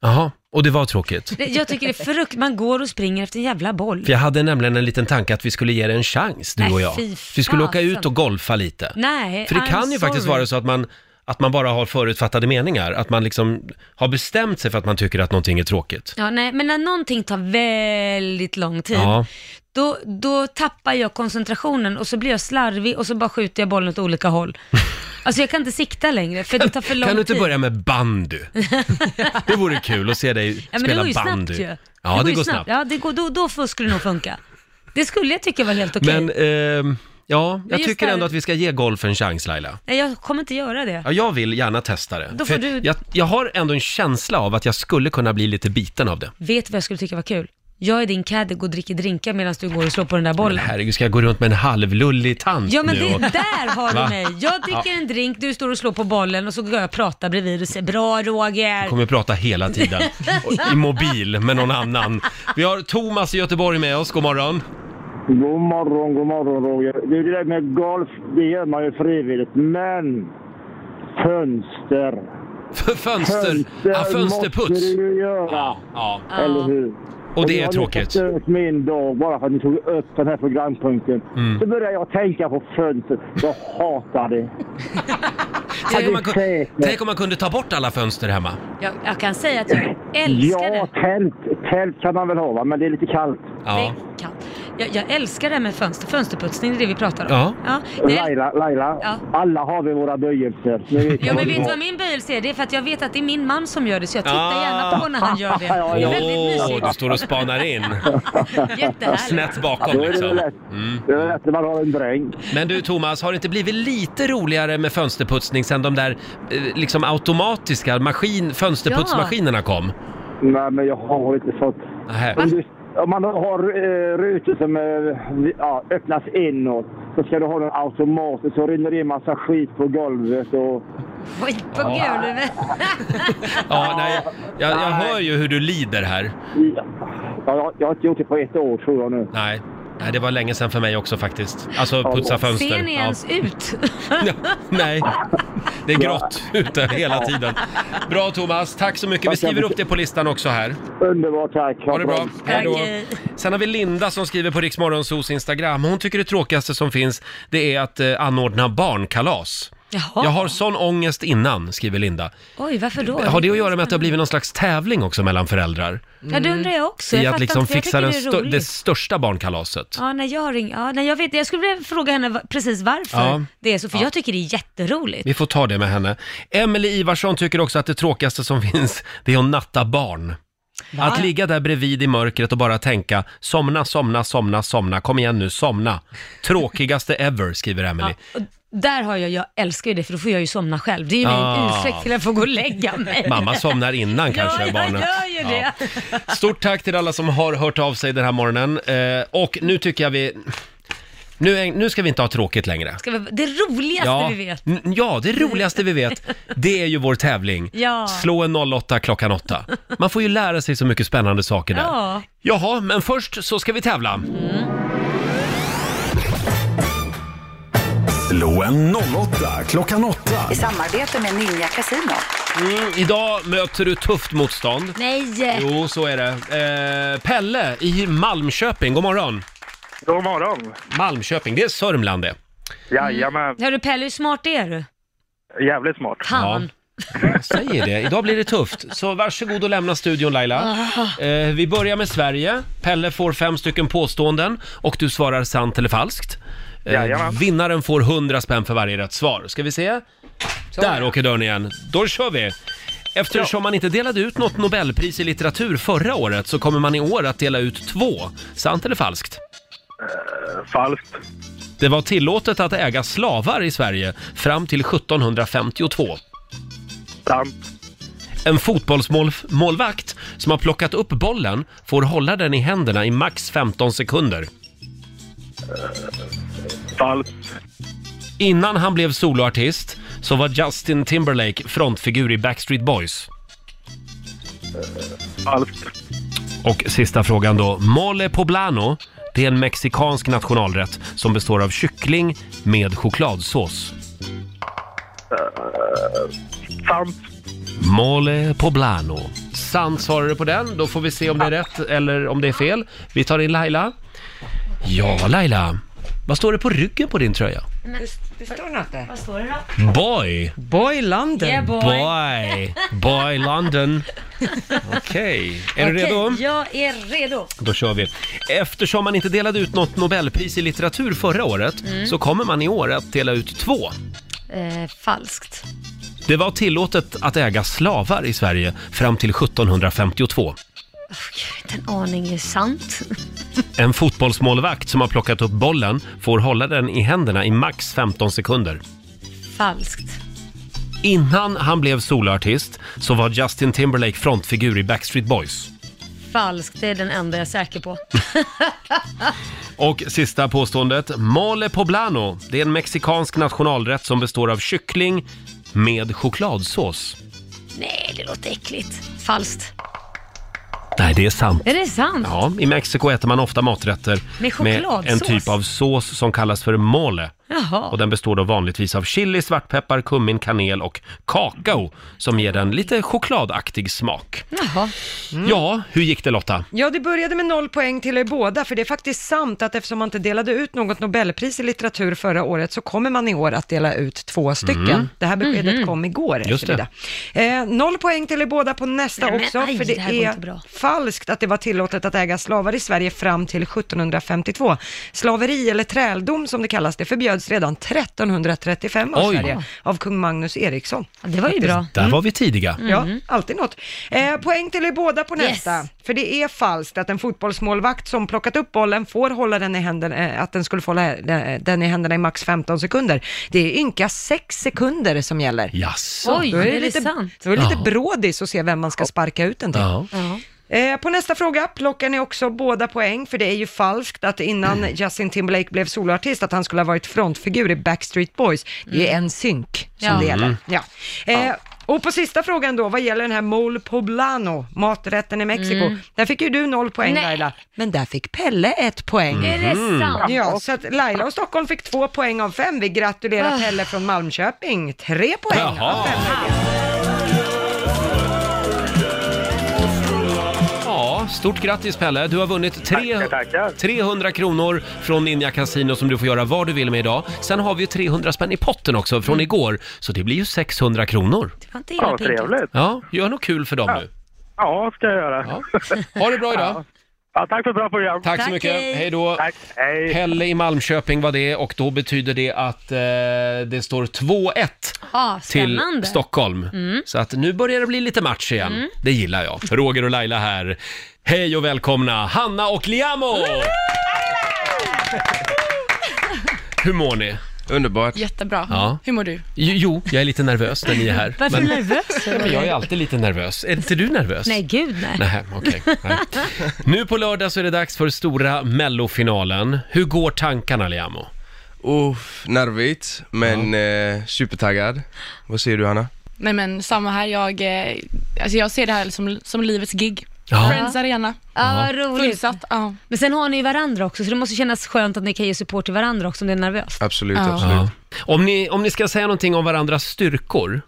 Speaker 1: Jaha, och det var tråkigt.
Speaker 2: Det- Jag tycker det är frukt. Man går och springer efter en jävla boll.
Speaker 1: För jag hade nämligen en liten tanke att vi skulle ge det en chans, du
Speaker 2: Nej,
Speaker 1: och jag.
Speaker 2: fy
Speaker 1: Vi skulle åka
Speaker 2: fasen.
Speaker 1: ut och golfa lite.
Speaker 2: Nej,
Speaker 1: För det
Speaker 2: I'm
Speaker 1: kan ju faktiskt
Speaker 2: sorry.
Speaker 1: vara så att man, att man bara har förutfattade meningar. Att man liksom har bestämt sig för att man tycker att någonting är tråkigt.
Speaker 2: Ja, nej, men när någonting tar väldigt lång tid,
Speaker 1: Ja.
Speaker 2: då, då tappar jag koncentrationen och så blir jag slarvig och så bara skjuter jag bollen åt olika håll. Alltså jag kan inte sikta längre för det tar för lång
Speaker 1: Kan du inte
Speaker 2: tid.
Speaker 1: börja med bandy? Det vore kul att se dig
Speaker 2: ja, men det
Speaker 1: spela
Speaker 2: går ju
Speaker 1: bandy.
Speaker 2: snabbt ju.
Speaker 1: Ja, det, går snabbt.
Speaker 2: Ja, det går, då, då får- skulle det nog funka. Det skulle jag tycka var helt okej.
Speaker 1: Men, ehm, ja, jag
Speaker 2: just
Speaker 1: tycker
Speaker 2: där-
Speaker 1: ändå att vi ska ge golf en chans Laila.
Speaker 2: Nej, jag kommer inte göra det.
Speaker 1: Ja, jag vill gärna testa det.
Speaker 2: Då
Speaker 1: För
Speaker 2: får du-
Speaker 1: jag, jag har ändå en känsla av att jag skulle kunna bli lite biten av det.
Speaker 2: Vet du vad jag skulle tycka var kul? Jag är din caddy, går och dricker drinkar medan du går och slår på den där
Speaker 1: Men
Speaker 2: bollen.
Speaker 1: herregud, ska jag gå runt med en halvlullig tant
Speaker 2: Ja men
Speaker 1: nu?
Speaker 2: det,
Speaker 1: och-
Speaker 2: där har
Speaker 1: Mm. Va?
Speaker 2: du mig. Jag dricker
Speaker 1: Ja.
Speaker 2: en drink, du står och slår på bollen och så går jag och pratar bredvid och säger bra Roger.
Speaker 1: Kommer prata hela tiden. Och I mobil med någon annan. Vi har Thomas i Göteborg med oss, god morgon.
Speaker 10: God morgon, god morgon Roger. Det där med golf, det gör man ju frivilligt. Men fönster.
Speaker 1: fönster? Ja, fönsterputs.
Speaker 10: måste du ju göra.
Speaker 1: Ja.
Speaker 10: Eller hur?
Speaker 1: Och det är
Speaker 10: jag har
Speaker 1: tråkigt.
Speaker 10: nu förstört min dag bara för att ni tog upp den här programpunkten.
Speaker 1: Mm.
Speaker 10: Så började jag tänka på fönster. Jag hatar det.
Speaker 1: Tänk om, man,
Speaker 10: det är
Speaker 1: kun-
Speaker 10: säkert.
Speaker 1: tänk om man kunde ta bort alla fönster hemma.
Speaker 2: Jag, jag kan säga att jag älskar
Speaker 10: ja,
Speaker 2: det.
Speaker 10: tält. Tält kan man väl ha va? Men det är lite kallt.
Speaker 1: Ja.
Speaker 2: Jag, jag älskar det här med fönster, fönsterputsning, det är det vi pratar om.
Speaker 10: Ja.
Speaker 2: det är-
Speaker 10: Laila, Laila.
Speaker 2: Ja.
Speaker 10: Alla har vi våra böjelser. Nu vet
Speaker 2: Ja
Speaker 10: jag
Speaker 2: men
Speaker 10: det
Speaker 2: vet du
Speaker 10: var.
Speaker 2: vad min böjelse är? Det är för att jag vet att det är min man som gör det, så jag tittar
Speaker 1: Ah.
Speaker 2: gärna på när han gör det.
Speaker 1: Åh,
Speaker 2: Det är väldigt mysigt.
Speaker 1: du står och spanar in. Snett bakom
Speaker 10: Då är det
Speaker 1: liksom.
Speaker 10: väl lätt. Det är väl lätt när man har en dräng.
Speaker 1: Men du Thomas, har det inte blivit lite roligare med fönsterputsning sen de där eh, liksom automatiska maskin, fönsterputsmaskinerna kom?
Speaker 10: Nej, men jag har inte fått.
Speaker 1: Nähä.
Speaker 10: Om, du, om man har eh, rutor som eh, ja, öppnas inåt så ska du ha den automatiskt så rinner det in massa skit på golvet och...
Speaker 2: Skit på
Speaker 1: Ja.
Speaker 2: golvet.
Speaker 1: Ja, nej, jag, jag hör ju hur du lider här.
Speaker 10: Ja, jag, jag har inte gjort det på ett år tror jag nu.
Speaker 1: Nej, nej det var länge sedan för mig också faktiskt. Alltså putsa fönster.
Speaker 2: Ser ni
Speaker 1: Ja.
Speaker 2: ens ut?
Speaker 1: Nej, det är grått ute hela tiden. Bra Thomas, tack så mycket. Vi skriver upp det på listan också här.
Speaker 10: Underbart, tack.
Speaker 1: Ha det bra. Hej då.
Speaker 10: Hej.
Speaker 1: Sen har vi Linda som skriver på Riksmorgonsos Instagram. Hon tycker det tråkigaste som finns, det är att eh, anordna barnkalas.
Speaker 2: Jaha.
Speaker 1: Jag har sån ångest innan, skriver Linda.
Speaker 2: Oj, varför då?
Speaker 1: Har det att göra med att det har blivit någon slags tävling också mellan föräldrar?
Speaker 2: Ja, det undrar jag också. Jag
Speaker 1: I att
Speaker 2: fattar
Speaker 1: liksom
Speaker 2: inte, för jag
Speaker 1: fixa den
Speaker 2: tycker det
Speaker 1: stö-
Speaker 2: är roligt.
Speaker 1: det största barnkalaset.
Speaker 2: Ja, när jag ring... ja, när jag vet Jag skulle vilja fråga henne va- precis varför
Speaker 1: Ja.
Speaker 2: det är så, för
Speaker 1: Ja.
Speaker 2: jag tycker det är jätteroligt.
Speaker 1: Vi får ta det med henne. Emily Ivarsson tycker också att det tråkigaste som finns, det är att natta barn. Att ligga där bredvid i mörkret och bara tänka somna, somna, somna, somna, kom igen nu, somna. Tråkigaste ever, skriver Emily.
Speaker 2: Och där har jag, jag älskar ju det, för då får jag ju somna själv. Det är ju min
Speaker 1: Ah.
Speaker 2: ursäkt till att få gå och lägga mig.
Speaker 1: Mamma somnar innan kanske
Speaker 2: ja,
Speaker 1: barnen.
Speaker 2: jag gör ju det.
Speaker 1: Ja. Stort tack till alla som har hört av sig den här morgonen. Eh, och nu tycker jag vi... Nu, är, nu ska vi inte ha tråkigt längre.
Speaker 2: Ska vi... Det roligaste vi vet.
Speaker 1: N- Ja, det roligaste vi vet, det är ju vår tävling.
Speaker 2: Ja.
Speaker 1: Slå en 08 klockan 8. Man får ju lära sig så mycket spännande saker där.
Speaker 2: Ja.
Speaker 1: Jaha, men först så ska vi tävla.
Speaker 4: Slå en 08 klockan 8.
Speaker 12: I samarbete med Ninja Casino.
Speaker 1: Mm, idag möter du tufft motstånd.
Speaker 6: Eh.
Speaker 2: Nej!
Speaker 1: Jo, så är det. Eh, Pelle i Malmköping, god morgon.
Speaker 13: God morgon.
Speaker 1: Malmköping, det är Sörmland det.
Speaker 13: Jajamän.
Speaker 2: Hörru Pelle, hur smart är du?
Speaker 13: Jävligt smart.
Speaker 2: Fan.
Speaker 1: Jag säger det, idag blir det tufft. Så varsågod och lämna studion Laila.
Speaker 2: Ah.
Speaker 1: Eh, vi börjar med Sverige. Pelle får fem stycken påståenden och du svarar sant eller falskt. Eh,
Speaker 13: Jajamän.
Speaker 1: vinnaren får 100 spänn för varje rätt svar. Ska vi se? Där åker dörren igen. Då kör vi! Eftersom man inte delade ut något Nobelpris i litteratur förra året så kommer man i år att dela ut två. Sant eller falskt?
Speaker 13: Eh, falskt.
Speaker 1: Det var tillåtet att äga slavar i Sverige fram till 1752.
Speaker 13: Sant.
Speaker 1: En fotbollsmålvakt som har plockat upp bollen får hålla den i händerna i max 15 sekunder.
Speaker 13: Falskt.
Speaker 1: Innan han blev soloartist så var Justin Timberlake frontfigur i Backstreet Boys.
Speaker 13: Falskt.
Speaker 1: Och sista frågan då. Mole poblano, det är en mexikansk nationalrätt som består av kyckling med chokladsås.
Speaker 13: Eh, Sant.
Speaker 1: Mole poblano. Sant svarar du på den. Då får vi se om det är rätt eller om det är fel. Vi tar in Laila. Ja, Laila. Vad står det på ryggen på din tröja?
Speaker 3: Det står något där.
Speaker 2: Vad står det då?
Speaker 1: Boy.
Speaker 3: Boy London.
Speaker 2: Yeah, boy.
Speaker 1: Boy. Boy London. Okej, är du
Speaker 2: Okej,
Speaker 1: redo?
Speaker 2: Jag är redo.
Speaker 1: Då kör vi. Eftersom man inte delade ut något Nobelpris i litteratur förra året
Speaker 2: Mm.
Speaker 1: så kommer man i år att dela ut två.
Speaker 2: Eh, falskt.
Speaker 1: Det var tillåtet att äga slavar i Sverige fram till 1752.
Speaker 2: Inte en aning är sant.
Speaker 1: En fotbollsmålvakt som har plockat upp bollen får hålla den i händerna i max 15 sekunder.
Speaker 2: Falskt.
Speaker 1: Innan han blev soloartist så var Justin Timberlake frontfigur i Backstreet Boys.
Speaker 2: Falskt, det är den enda jag är säker på.
Speaker 1: Och sista påståendet. Mole poblano. Det är en mexikansk nationalrätt som består av kyckling med chokladsås.
Speaker 2: Nej, det låter äckligt. Falskt.
Speaker 1: Nej, det är sant.
Speaker 2: Är det sant?
Speaker 1: Ja, i Mexiko äter man ofta maträtter
Speaker 2: Med
Speaker 1: en
Speaker 2: chokladsås?
Speaker 1: typ av sås som kallas för mole.
Speaker 2: Jaha.
Speaker 1: Och den består då vanligtvis av chili, svartpeppar, kummin, kanel och kakao som ger den lite chokladaktig smak.
Speaker 2: Jaha. Mm.
Speaker 1: Ja, hur gick det Lotta?
Speaker 3: Ja, det började med noll poäng till er båda, för det är faktiskt sant att eftersom man inte delade ut något Nobelpris i litteratur förra året så kommer man i år att dela ut två stycken.
Speaker 7: Mm.
Speaker 3: Det här beskedet kom igår.
Speaker 7: Just det.
Speaker 3: eftermiddag. Eh, noll poäng till er båda på nästa
Speaker 2: Nej, men
Speaker 3: också,
Speaker 2: aj,
Speaker 3: för
Speaker 2: det här går
Speaker 3: det
Speaker 2: inte bra.
Speaker 3: är falskt att det var tillåtet att äga slavar i Sverige fram till 1752. Slaveri, eller träldom som det kallas, det förbjöds redan 1335 av
Speaker 1: Oj.
Speaker 3: Sverige av kung Magnus Eriksson.
Speaker 2: det var ju
Speaker 1: Där
Speaker 2: bra. Mm.
Speaker 1: var vi tidiga.
Speaker 3: Ja, alltid något. Eh, poäng till er båda på
Speaker 2: Mhm. Yes.
Speaker 3: nästa. För det är falskt att en fotbollsmålvakt som plockat upp bollen får hålla den i händerna, eh, att den skulle få hålla eh, den i händerna i max 15 sekunder. Det är ynka 6 sekunder som gäller.
Speaker 1: Jaså.
Speaker 2: Oj, är det
Speaker 3: lite,
Speaker 2: sant?
Speaker 3: Då är det lite
Speaker 2: Ja.
Speaker 3: brådis att se vem man ska sparka ut den till.
Speaker 1: Ja.
Speaker 3: Eh, På nästa fråga plockar ni också båda poäng, för det är ju falskt att innan
Speaker 7: Mm.
Speaker 3: Justin Timberlake blev soloartist att han skulle ha varit frontfigur i Backstreet Boys. Det är en synk som
Speaker 7: Mm. Ja.
Speaker 3: det gäller.
Speaker 7: Mm.
Speaker 3: Ja. Eh, och på sista frågan då, vad gäller den här mole poblano, maträtten i Mexiko,
Speaker 7: Mm.
Speaker 3: där fick ju du noll poäng
Speaker 7: Nej.
Speaker 3: Laila, men där fick Pelle ett poäng. Mm.
Speaker 7: Är det Mhm. sant?
Speaker 3: Ja, så att Laila och Stockholm fick två poäng av fem. Vi gratulerar
Speaker 7: Ah.
Speaker 3: Pelle från Malmköping, tre poäng av fem.
Speaker 1: Ja, stort grattis Pelle. Du har vunnit tre, 300 kronor från Ninja Casino som du får göra vad du vill med idag. Sen har vi ju 300 spänn i potten också från igår, så det blir ju 600 kronor.
Speaker 2: Inte
Speaker 13: Mm. Ja, vad trevligt.
Speaker 1: Ja, gör något kul för dem nu.
Speaker 13: Ja, ska jag göra.
Speaker 1: Ha det bra idag.
Speaker 13: Ja, tack för ett bra program.
Speaker 1: Tack så Tack, mycket. hej. Hej då.
Speaker 13: Tack, hej.
Speaker 1: Pelle i Malmköping var det och då betyder det att eh, det står 2-1
Speaker 2: Ja,
Speaker 1: till
Speaker 2: spännande.
Speaker 1: Stockholm.
Speaker 2: Mm.
Speaker 1: Så att nu börjar det bli lite match igen.
Speaker 2: Mm.
Speaker 1: Det gillar jag. Roger och Laila här. Hej och välkomna Hanna och Liamo! Hur mår ni? Underbart.
Speaker 14: Jättebra.
Speaker 1: Ja.
Speaker 14: Hur mår du?
Speaker 1: Jo, jo, jag är lite nervös när ni är här.
Speaker 14: Varför är du nervös?
Speaker 1: Ja, men jag är alltid lite nervös. Är inte du nervös?
Speaker 2: Nej, gud nej.
Speaker 1: Nej, okej. Nej. Nu på lördag så är det dags för stora mellofinalen. Hur går tankarna Liamo?
Speaker 15: Uff, nervigt, men eh, supertaggad. Vad säger du Hanna?
Speaker 14: Nej men samma här, jag, eh, alltså jag ser det här som, som livets gig.
Speaker 1: Ja.
Speaker 14: Friends Arena.
Speaker 2: Ja, vad roligt.
Speaker 14: Fullsatt, ja.
Speaker 2: Men sen har ni ju varandra också, så det måste kännas skönt att ni kan ge support till varandra också om det är nervöst.
Speaker 15: Absolut,
Speaker 2: Ja.
Speaker 15: absolut.
Speaker 1: Om, ni, om ni ska säga någonting om varandras styrkor,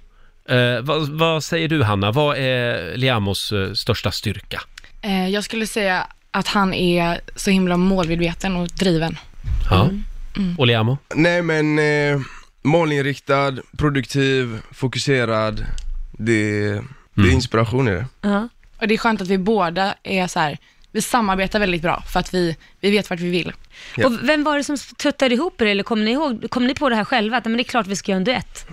Speaker 1: eh, vad, vad säger du Hanna? Vad är Liamos eh, största styrka?
Speaker 14: Eh, Jag skulle säga att han är så himla målmedveten och driven.
Speaker 1: Ja. Och Liamo?
Speaker 15: Nej men, eh, målinriktad, produktiv, fokuserad. Det, det är inspiration i det.
Speaker 14: Och det är skönt att vi båda är så här, vi samarbetar väldigt bra för att vi, vi vet vart vi vill.
Speaker 15: Ja.
Speaker 2: Och vem var det som tuttade ihop er eller kom ni, ihåg, kom ni på det här själva? Att men det är klart vi ska göra en duett.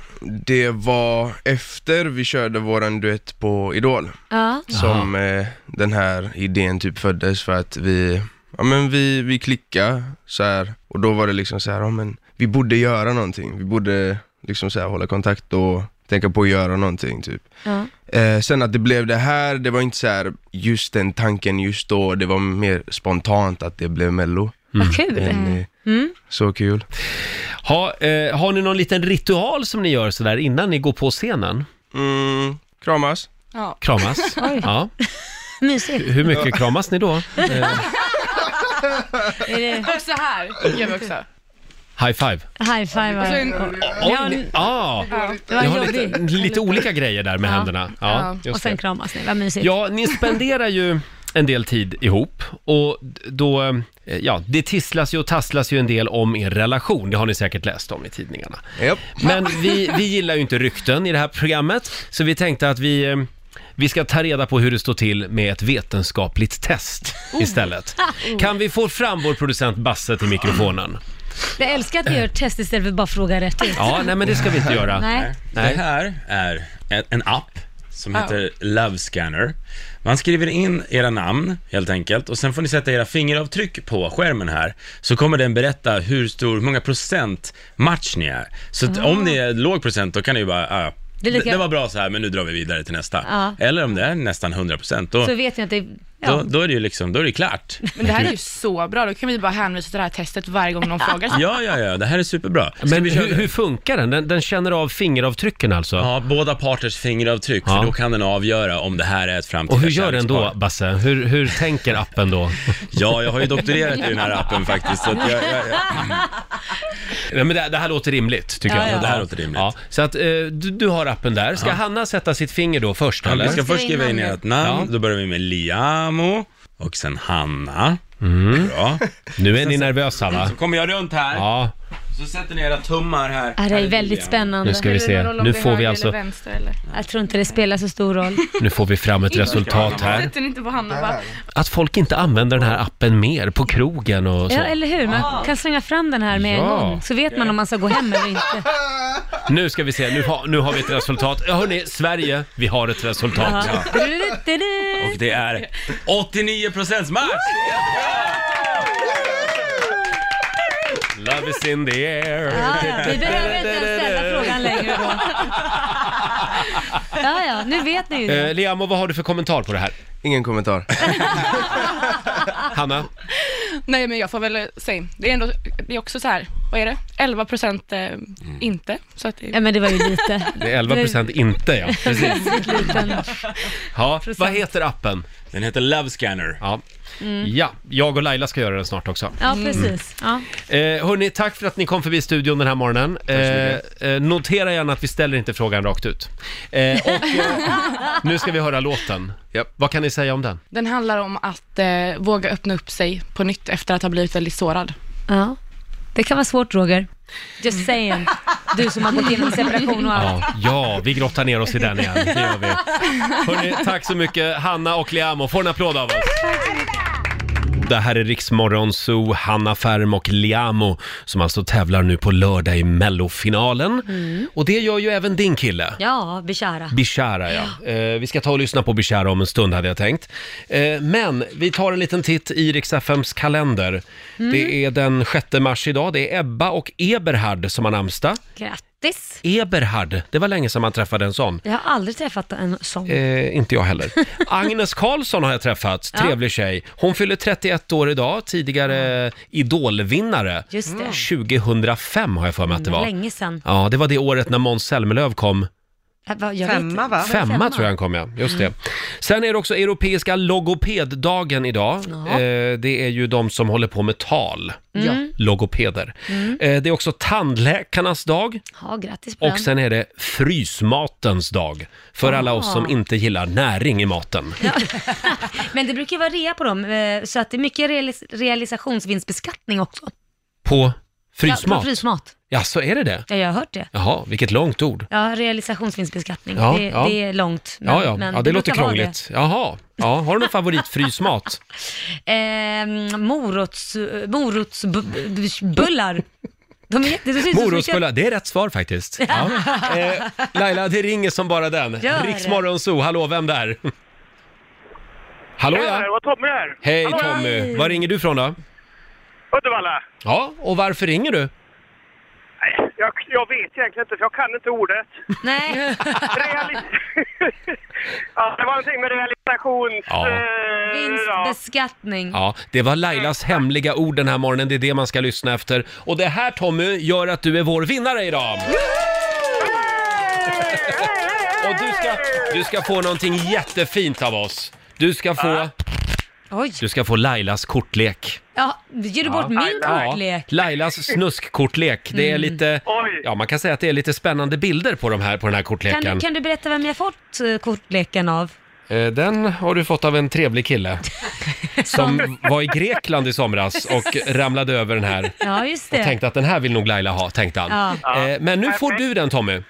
Speaker 15: Det var efter vi körde våran duett på Idol.
Speaker 2: Ja.
Speaker 15: som eh, den här idén typ föddes för att vi, ja men vi, vi klickade så här och då var det liksom så här, ja men vi borde göra någonting, vi borde liksom så här hålla kontakt och tänka på att göra någonting typ.
Speaker 7: Ja.
Speaker 15: Eh, sen att det blev det här, det var inte så här just den tanken just då, det var mer spontant att det blev mello.
Speaker 2: Vad kul.
Speaker 15: Men, eh,
Speaker 2: Mm.
Speaker 15: Så kul.
Speaker 1: Ha, eh, har ni någon liten ritual som ni gör sådär innan ni går på scenen?
Speaker 15: Mm, kramas.
Speaker 14: Ja.
Speaker 1: Kramas?
Speaker 2: Oj.
Speaker 1: Ja.
Speaker 2: Mysigt.
Speaker 1: Hur mycket kramas ni då? Eh,
Speaker 2: Är det...
Speaker 14: Också här gör vi också.
Speaker 1: high five?
Speaker 2: High five.
Speaker 14: Och så en-
Speaker 2: Ja,
Speaker 1: Oj, ni, ah,
Speaker 2: Ja, det var
Speaker 1: ni har
Speaker 2: jobbig.
Speaker 1: lite, lite olika grejer där med
Speaker 2: Ja.
Speaker 1: händerna. Ja,
Speaker 2: och
Speaker 1: just
Speaker 2: sen
Speaker 1: det.
Speaker 2: kramas ni, vad mysigt.
Speaker 1: Ja, ni spenderar ju en del tid ihop och d- då, eh, ja, det tisslas ju och tasslas ju en del om er relation. Det har ni säkert läst om i tidningarna. Men vi, vi gillar ju inte rykten i det här programmet, så vi tänkte att vi, eh, vi ska ta reda på hur det står till med ett vetenskapligt test istället.
Speaker 2: Oh.
Speaker 1: Kan vi få fram vår producent Basse till mikrofonen?
Speaker 2: Jag älskar att ni gör ett test istället för att bara fråga rätt ut.
Speaker 1: Ja, nej men det ska vi inte göra.
Speaker 2: Nej.
Speaker 5: Det här är en- en app som
Speaker 2: Ja.
Speaker 5: heter Love Scanner. Man skriver in era namn helt enkelt och sen får ni sätta era fingeravtryck på skärmen här så kommer den berätta hur stor, hur många procent match ni är. Så att
Speaker 2: Ah.
Speaker 5: om ni är låg procent då kan ni ju bara, ah,
Speaker 2: Det
Speaker 5: det,
Speaker 2: är lika-
Speaker 5: det var bra så här men nu drar vi vidare till nästa.
Speaker 2: Ja.
Speaker 5: Eller om det är nästan 100 procent då,
Speaker 2: Så vet ni att det är...
Speaker 5: då,
Speaker 2: Ja.
Speaker 5: då är det ju liksom, då är det klart.
Speaker 14: Men det här är ju så bra, då kan vi bara hänvisa till det här testet varje gång någon frågar.
Speaker 5: Ja, ja, ja, det här är superbra.
Speaker 1: Men hur, hur funkar den? den? Den känner av fingeravtrycken alltså?
Speaker 5: Ja, båda parters fingeravtryck,
Speaker 1: Ja.
Speaker 5: för då kan den avgöra om det här är ett framtida
Speaker 1: Och hur gör den då,
Speaker 5: kärlekspar.
Speaker 1: Basse? Hur, hur tänker appen då?
Speaker 5: Ja, jag har ju doktorerat i den här appen faktiskt, så att jag, jag, jag...
Speaker 1: Nej, men det, det här låter rimligt, tycker
Speaker 5: Ja,
Speaker 1: jag.
Speaker 5: ja. Det här låter
Speaker 1: rimligt. Ja, så att eh, du, du har appen där. Ska
Speaker 5: Ja.
Speaker 1: Hanna sätta sitt finger då först,
Speaker 5: Ja,
Speaker 1: eller?
Speaker 5: vi ska först skriva in ert namn, då börjar vi med Liamo och sen Hanna. Bra.
Speaker 1: Mm. Nu är ni nervösa, va?
Speaker 5: Så kommer jag runt här,
Speaker 1: Ja,
Speaker 5: så sätter ni era tummar här.
Speaker 2: Ja, det är väldigt spännande.
Speaker 1: Nu ska vi se. Spelar det någon roll om Nu det är får vi höger alltså- eller
Speaker 14: vänster eller?
Speaker 2: Jag tror inte det spelar så stor roll.
Speaker 1: nu får vi fram ett resultat här.
Speaker 14: Sätter ni inte på handen bara?
Speaker 1: Att folk inte använder den här appen mer på krogen och
Speaker 2: Ja,
Speaker 1: så.
Speaker 2: eller hur?
Speaker 3: Ah.
Speaker 2: Man kan slänga fram den här med en
Speaker 1: Ja.
Speaker 2: gång, så vet man om man ska gå hem eller inte.
Speaker 1: Nu ska vi se, nu har, nu har vi ett resultat. Ja, hörni, Sverige, vi har ett resultat.
Speaker 2: Ja. Du-du-du-du-du.
Speaker 5: Och det är 89% match!
Speaker 1: Love is in the air.
Speaker 2: Ja, ja. Vi behöver inte ens ställa frågan längre då. Ja, ja, nu vet ni ju det.
Speaker 1: Eh, Liamo, vad har du för kommentar på det här?
Speaker 15: Ingen kommentar.
Speaker 1: Hanna?
Speaker 14: Nej, men jag får väl säga, det är ändå, det är också så här, vad är det? 11 procent eh, inte. Så att det...
Speaker 2: Ja, men det var ju lite.
Speaker 1: Mm. Det är 11 procent Eh, inte, ja. Precis. Ja, vad heter appen?
Speaker 5: Den heter Love Scanner.
Speaker 1: Ja.
Speaker 2: Mm.
Speaker 1: ja, jag och Laila ska göra den snart också.
Speaker 2: Ja,
Speaker 1: Mm.
Speaker 2: precis. Ja.
Speaker 1: Eh, hörni, tack för att ni kom förbi studion den här morgonen.
Speaker 2: så
Speaker 1: Eh, eh, notera gärna att vi ställer inte frågan rakt ut. Eh, och eh, nu ska vi höra låten. Vad kan ni säga om den?
Speaker 14: Den handlar om att eh, våga öppna upp sig på nytt efter att ha blivit väldigt sårad.
Speaker 2: Ja. Det kan vara svårt, Roger. Just saying. Du som har gått igenom separation och allt.
Speaker 1: Ja, ja vi grottar ner oss i den igen. Det gör vi. Hörni, tack så mycket Hanna och Liamo. Får en applåd av oss. Det här är Riksmorgon Zoo, Hanna Färm och Liamo som alltså tävlar nu på lördag i mellofinalen.
Speaker 2: Mm.
Speaker 1: Och det gör ju även din kille.
Speaker 2: Ja, Bishara.
Speaker 1: Bishara, ja. Eh, vi ska ta och lyssna på Bishara om en stund, hade jag tänkt. Eh, men vi tar en liten titt i Rix FMs kalender.
Speaker 2: Mm.
Speaker 1: Det är den 6 mars idag. Det är Ebba och Eberhard som har namnsdag.
Speaker 2: Grattis.
Speaker 1: Eberhard, det var länge sedan man träffade en sån.
Speaker 2: Jag har aldrig träffat en sån.
Speaker 1: Eh, inte jag heller. Agnes Karlsson har jag träffat,
Speaker 2: Ja.
Speaker 1: trevlig tjej. Hon fyller 31 år idag, tidigare idolvinnare.
Speaker 2: Just det. Mm,
Speaker 1: 2005 har jag för mig att det var.
Speaker 2: Länge sedan. Äh,
Speaker 1: Ja, det var det året när Måns Zelmerlöw kom
Speaker 2: vad- jag vet
Speaker 3: Femma,
Speaker 2: inte.
Speaker 3: va?
Speaker 1: Femma tror jag han kom, ja. Just det. Sen är det också Europeiska logopeddagen idag.
Speaker 2: Ja.
Speaker 1: Eh, det är ju de som håller på med tal,
Speaker 2: Ja.
Speaker 1: logopeder.
Speaker 2: Mm.
Speaker 1: Eh, det är också tandläkarnas dag.
Speaker 2: Ja, grattis på
Speaker 1: Och
Speaker 2: den.
Speaker 1: sen är det frysmatens dag, för alla oss som
Speaker 2: Ah.
Speaker 1: inte gillar näring i maten.
Speaker 2: Men det brukar ju vara rea på dem, eh, så att det är mycket realis- realisationsvinstbeskattning också.
Speaker 1: På frysmat?
Speaker 2: Ja, på frysmat.
Speaker 1: Ja, så är det det?
Speaker 2: Ja, jag har hört det.
Speaker 1: Jaha, vilket långt ord.
Speaker 2: Ja, realisationsvinstbeskattning.
Speaker 1: Ja,
Speaker 2: det,
Speaker 1: ja.
Speaker 2: det är långt.
Speaker 1: ja, ja. ja, det låter
Speaker 2: brukar vara
Speaker 1: krångligt. Jaha, ja, har du någon favoritfrysmat?
Speaker 2: det. Eh, morots, morotsbullar. De är, jätte- det ser ut som-
Speaker 1: Morotsbullar, det är rätt svar faktiskt. Ja. Eh, Laila, det ringer som bara den.
Speaker 2: Gör det.
Speaker 1: Riksmorgon Zoo, hallå, vem där? Hallå
Speaker 13: Tjena, det
Speaker 1: ja!
Speaker 13: var Tommy här.
Speaker 1: Hej
Speaker 13: Hallå,
Speaker 1: Tommy! Var ringer du från då?
Speaker 13: Uddevalla.
Speaker 1: Ja, och varför ringer du?
Speaker 13: Jag, jag vet egentligen inte, för jag kan inte ordet.
Speaker 2: Nej.
Speaker 13: ja, det var någonting med realisations...
Speaker 1: Ja.
Speaker 13: eh,
Speaker 2: Vinstbeskattning.
Speaker 1: Ja, det var Lailas hemliga ord den här morgonen, det är det man ska lyssna efter. Och det här Tommy gör att du är vår vinnare idag! Och du ska, du ska få någonting jättefint av oss. Du ska få,
Speaker 2: Oj.
Speaker 1: du ska få Lailas kortlek.
Speaker 2: Ja, ger du bort min kortlek?
Speaker 1: Ja, Lailas snuskkortlek. Det är
Speaker 2: Mm.
Speaker 1: lite, ja man kan säga att det är lite spännande bilder på de här, på den här kortleken.
Speaker 2: Kan, kan du berätta vem jag fått eh, kortleken av?
Speaker 1: Eh, Den har du fått av en trevlig kille som var i Grekland i somras och ramlade över den här.
Speaker 2: Ja, just
Speaker 1: Och
Speaker 2: det.
Speaker 1: tänkte att den här vill nog Laila ha, tänkte han.
Speaker 2: Ja.
Speaker 1: Eh, Men nu får du den Tommy.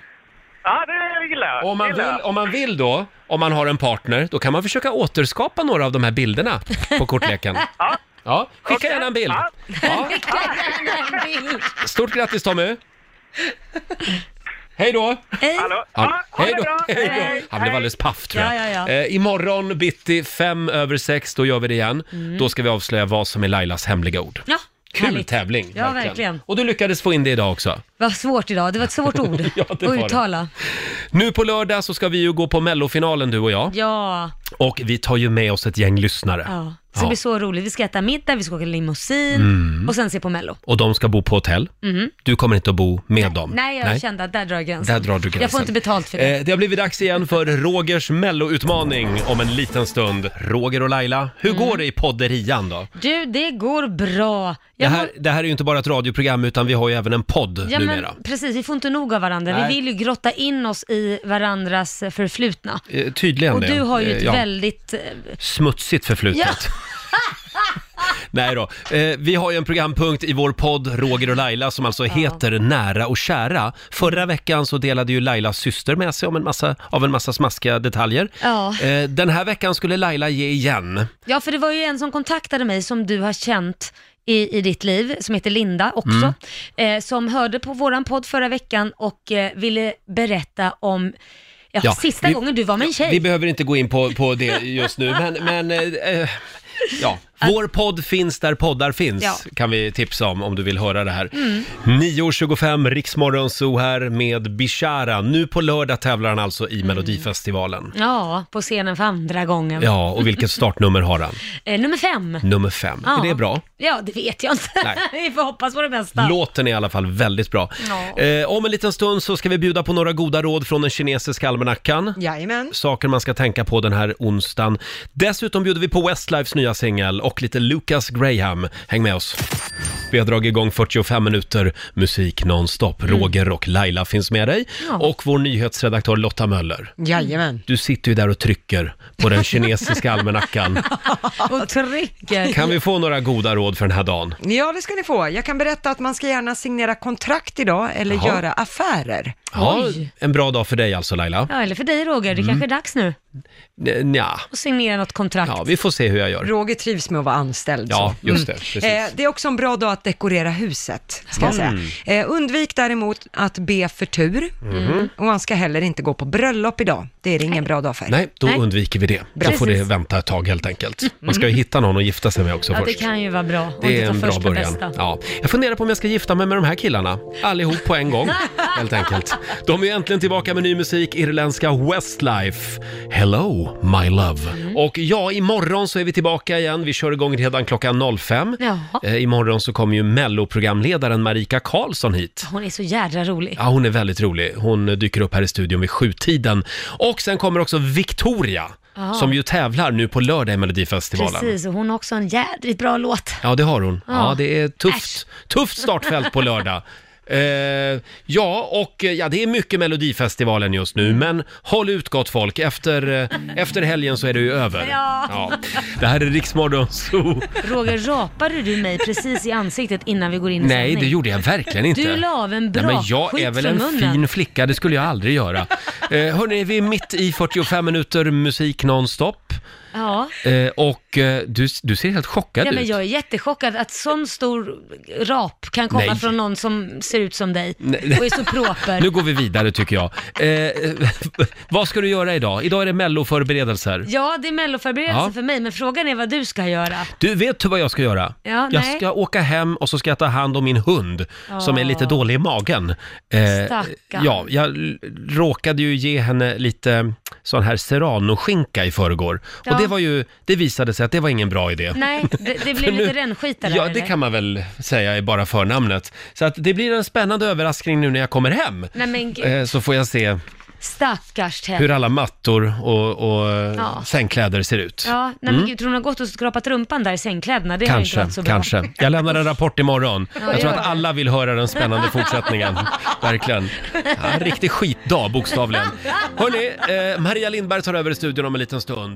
Speaker 13: Ja, det gillar jag.
Speaker 1: Om man,
Speaker 13: Gillar jag.
Speaker 1: vill, om man vill då, om man har en partner, då kan man försöka återskapa några av de här bilderna på kortleken.
Speaker 13: Ja.
Speaker 1: Ja, skicka gärna en bild. Stort grattis Tommy! Hej då!
Speaker 2: Hej!
Speaker 13: Hallå?
Speaker 1: Ja,
Speaker 13: ha
Speaker 1: hej
Speaker 13: det
Speaker 1: då!
Speaker 13: bra.
Speaker 1: Hej
Speaker 13: Hej.
Speaker 1: då! Han blev alldeles paff tror jag.
Speaker 2: Ja, ja, ja.
Speaker 1: Eh, imorgon bitti fem över sex, då gör vi det igen.
Speaker 2: Mm.
Speaker 1: Då ska vi avslöja vad som är Lailas hemliga ord.
Speaker 2: Ja,
Speaker 1: Kul
Speaker 2: härligt.
Speaker 1: tävling!
Speaker 2: Ja, verkligen.
Speaker 1: Och du lyckades få in det idag också.
Speaker 2: Vad svårt idag. Det var ett svårt ord
Speaker 1: Ja,
Speaker 2: att
Speaker 1: det var det.
Speaker 2: uttala.
Speaker 1: Nu på lördag så ska vi ju gå på mellofinalen du och jag.
Speaker 2: Ja.
Speaker 1: Och vi tar ju med oss ett gäng lyssnare.
Speaker 2: ja. Det ska
Speaker 1: Ja.
Speaker 2: bli så roligt. Vi ska äta middag, vi ska åka limousin
Speaker 1: Mm.
Speaker 2: och sen se på Mello.
Speaker 1: Och de ska bo på hotell.
Speaker 2: Mhm.
Speaker 1: Du kommer inte att bo med dem.
Speaker 2: Nej, jag kände att där drar jag gränsen.
Speaker 1: Där drar du gränsen.
Speaker 2: Jag får inte betalt för det.
Speaker 1: Eh, det har blivit dags igen för Rogers melloutmaning om en liten stund. Roger och Laila, hur
Speaker 2: Mm.
Speaker 1: går det i podderian då?
Speaker 2: Du, det går bra.
Speaker 1: Det
Speaker 2: Jag
Speaker 1: här, det här är ju inte bara ett radioprogram utan vi har ju även en podd
Speaker 2: Ja,
Speaker 1: numera.
Speaker 2: men, precis, vi får inte nog av varandra.
Speaker 1: Nej.
Speaker 2: Vi vill ju grotta in oss i varandras förflutna.
Speaker 1: Eh, Tydligen
Speaker 2: Och
Speaker 1: det.
Speaker 2: du har ju
Speaker 1: Eh,
Speaker 2: ett
Speaker 1: ja.
Speaker 2: väldigt... eh,
Speaker 1: Smutsigt förflutet. Nej då. Eh, vi har ju en programpunkt i vår podd Roger och Laila som alltså heter Nära och kära. Förra veckan så delade ju Lailas syster med sig om en massa, av en massa smaskiga detaljer.
Speaker 2: Ja.
Speaker 1: Eh, den här veckan skulle Laila ge igen.
Speaker 2: ja, för det var ju en som kontaktade mig som du har känt i, i ditt liv, som heter Linda också,
Speaker 1: Mm.
Speaker 2: eh, som hörde på våran podd förra veckan och eh, ville berätta om ja,
Speaker 1: Ja,
Speaker 2: sista
Speaker 1: vi-
Speaker 2: gången du var med en tjej.
Speaker 1: Vi behöver inte gå in på, på det just nu, men, men eh, eh, ja. Vår podd finns där poddar finns,
Speaker 2: Ja.
Speaker 1: kan vi tipsa om om du vill höra det här.
Speaker 2: Mm.
Speaker 1: 9.25, Riksmorgon Zoo här med Bishara. Nu på lördag tävlar han alltså i Melodifestivalen.
Speaker 2: Ja, på scenen för andra gången.
Speaker 1: Ja, och vilket startnummer har han?
Speaker 2: Eh, nummer fem.
Speaker 1: Nummer fem.
Speaker 2: Ja.
Speaker 1: Är det bra?
Speaker 2: Ja, det vet jag
Speaker 1: Nej.
Speaker 2: inte. vi får hoppas på det bästa.
Speaker 1: Låten är i alla fall väldigt bra. Eh, om en liten stund så ska vi bjuda på några goda råd från den kinesiska almanackan.
Speaker 3: Jajamän.
Speaker 1: Saker man ska tänka på den här onsdagen. Dessutom bjuder vi på Westlifes nya singel och lite Lucas Graham. Häng med oss. Vi har dragit igång 45 minuter musik nonstop.
Speaker 3: Mm.
Speaker 1: Roger och Laila finns med dig. Och vår nyhetsredaktör Lotta Möller.
Speaker 3: Jajamän.
Speaker 1: Du sitter ju där och trycker på den kinesiska almanackan.
Speaker 2: Och trycker.
Speaker 1: Kan vi få några goda råd för den här dagen?
Speaker 3: Ja, det ska ni få. Jag kan berätta att man ska gärna signera kontrakt idag eller
Speaker 1: Jaha.
Speaker 3: göra affärer.
Speaker 1: Ja, en bra dag för dig alltså Laila.
Speaker 2: Ja, eller för dig Roger, det
Speaker 1: Mm.
Speaker 2: kanske är dags nu
Speaker 1: N- Nja,
Speaker 2: att signera något kontrakt.
Speaker 1: ja, vi får se hur jag gör.
Speaker 3: Roger trivs med att vara anställd.
Speaker 1: Ja,
Speaker 3: så.
Speaker 1: just det, precis.
Speaker 3: Eh, det är också en bra dag att dekorera huset, ska jag säga.
Speaker 1: Mm.
Speaker 3: Eh, undvik däremot att be för tur.
Speaker 1: Mhm.
Speaker 3: Och man ska heller inte gå på bröllop idag. Det är det ingen bra dag för.
Speaker 1: Nej, då undviker vi det.
Speaker 3: Bra.
Speaker 1: Då får det
Speaker 3: Precis.
Speaker 1: vänta ett tag helt enkelt. Man ska ju hitta någon att gifta sig med också
Speaker 2: Mm. Ja, det
Speaker 1: först.
Speaker 2: kan ju vara bra. Om
Speaker 1: Det
Speaker 2: du
Speaker 1: är
Speaker 2: tar
Speaker 1: en bra
Speaker 2: första
Speaker 1: början.
Speaker 2: bästa.
Speaker 1: Ja. Jag funderar på om jag ska gifta mig med de här killarna. Allihop på en gång, helt enkelt. De är ju äntligen tillbaka med ny musik, irländska Westlife. Hello, my
Speaker 2: Mm.
Speaker 1: love. Och ja, imorgon så är vi tillbaka igen. Vi kör igång redan klockan 05.
Speaker 2: Jaha.
Speaker 1: Eh, imorgon morgon så kommer ju melloprogramledaren Marika Karlsson hit.
Speaker 2: Hon är så jädra rolig.
Speaker 1: Ja, hon är väldigt rolig. Hon dyker upp här i studion vid sjutiden. Och sen kommer också Victoria,
Speaker 2: Ja.
Speaker 1: som ju tävlar nu på lördag i Melodifestivalen.
Speaker 2: Precis, och hon har också en jädrigt bra låt.
Speaker 1: Ja, det har hon. Ja,
Speaker 2: Ja.
Speaker 1: det är tufft, tufft startfält på lördag. Eh, ja, och eh, ja, det är mycket Melodifestivalen just nu, men håll ut gott folk. Efter, eh, efter helgen så är det ju över.
Speaker 2: Ja.
Speaker 1: Det här är Riksmorgon Zoo.
Speaker 2: Roger, rapade du mig precis i ansiktet innan vi går in i
Speaker 1: Nej,
Speaker 2: sändning?
Speaker 1: det gjorde jag verkligen inte.
Speaker 2: Du la av en bra
Speaker 1: Nej, men jag
Speaker 2: skit
Speaker 1: är väl
Speaker 2: från
Speaker 1: en
Speaker 2: munnen.
Speaker 1: fin flicka, det skulle jag aldrig göra. Eh, hörni, vi är mitt i 45 minuter musik nonstop.
Speaker 2: Ja.
Speaker 1: Eh, och eh, du, du ser helt chockad
Speaker 2: Ja, men
Speaker 1: ut.
Speaker 2: jag är jättechockad att sån stor rap kan komma
Speaker 1: Nej.
Speaker 2: från någon som ser ut som dig
Speaker 1: Nej.
Speaker 2: och är så proper.
Speaker 1: Nu går vi vidare tycker jag. Eh, vad ska du göra idag? Idag är det melloförberedelser.
Speaker 2: Ja, det är melloförberedelse
Speaker 1: Ja.
Speaker 2: för mig, men frågan är vad du ska göra.
Speaker 1: Du, vet du vad jag ska göra?
Speaker 2: Ja,
Speaker 1: jag
Speaker 2: nej.
Speaker 1: ska åka hem och så ska jag ta hand om min hund som är lite
Speaker 2: Ja.
Speaker 1: dålig i magen. Eh,
Speaker 2: Stackarn.
Speaker 1: ja, jag l- råkade ju ge henne lite sån här serranoskinka i förrgår.
Speaker 2: Ja.
Speaker 1: Och det var ju, det visade sig att det var ingen bra idé.
Speaker 2: Nej, det, det
Speaker 1: För
Speaker 2: blev
Speaker 1: nu-
Speaker 2: lite rännskita där
Speaker 1: Ja, det
Speaker 2: eller?
Speaker 1: kan man väl säga är bara förnamnet. Så att det blir en spännande överraskning nu när jag kommer hem.
Speaker 2: Nej men gud,
Speaker 1: Eh, Så får jag se
Speaker 2: stackars Ted.
Speaker 1: hur alla mattor och, och eh,
Speaker 2: Ja.
Speaker 1: sängkläder ser ut.
Speaker 2: Ja, nej men
Speaker 1: Mm.
Speaker 2: gud, tror hon har gått och skrapat rumpan där i sängkläderna? Det har ju inte
Speaker 1: Kanske,
Speaker 2: varit så bra.
Speaker 1: kanske. Jag lämnar en rapport imorgon.
Speaker 2: Ja,
Speaker 1: Jag tror
Speaker 2: gör
Speaker 1: att
Speaker 2: det.
Speaker 1: alla vill höra den spännande fortsättningen. Verkligen. Ja, en riktig skitdag, bokstavligen. Hörni, eh, Maria Lindberg tar över i studion om en liten stund.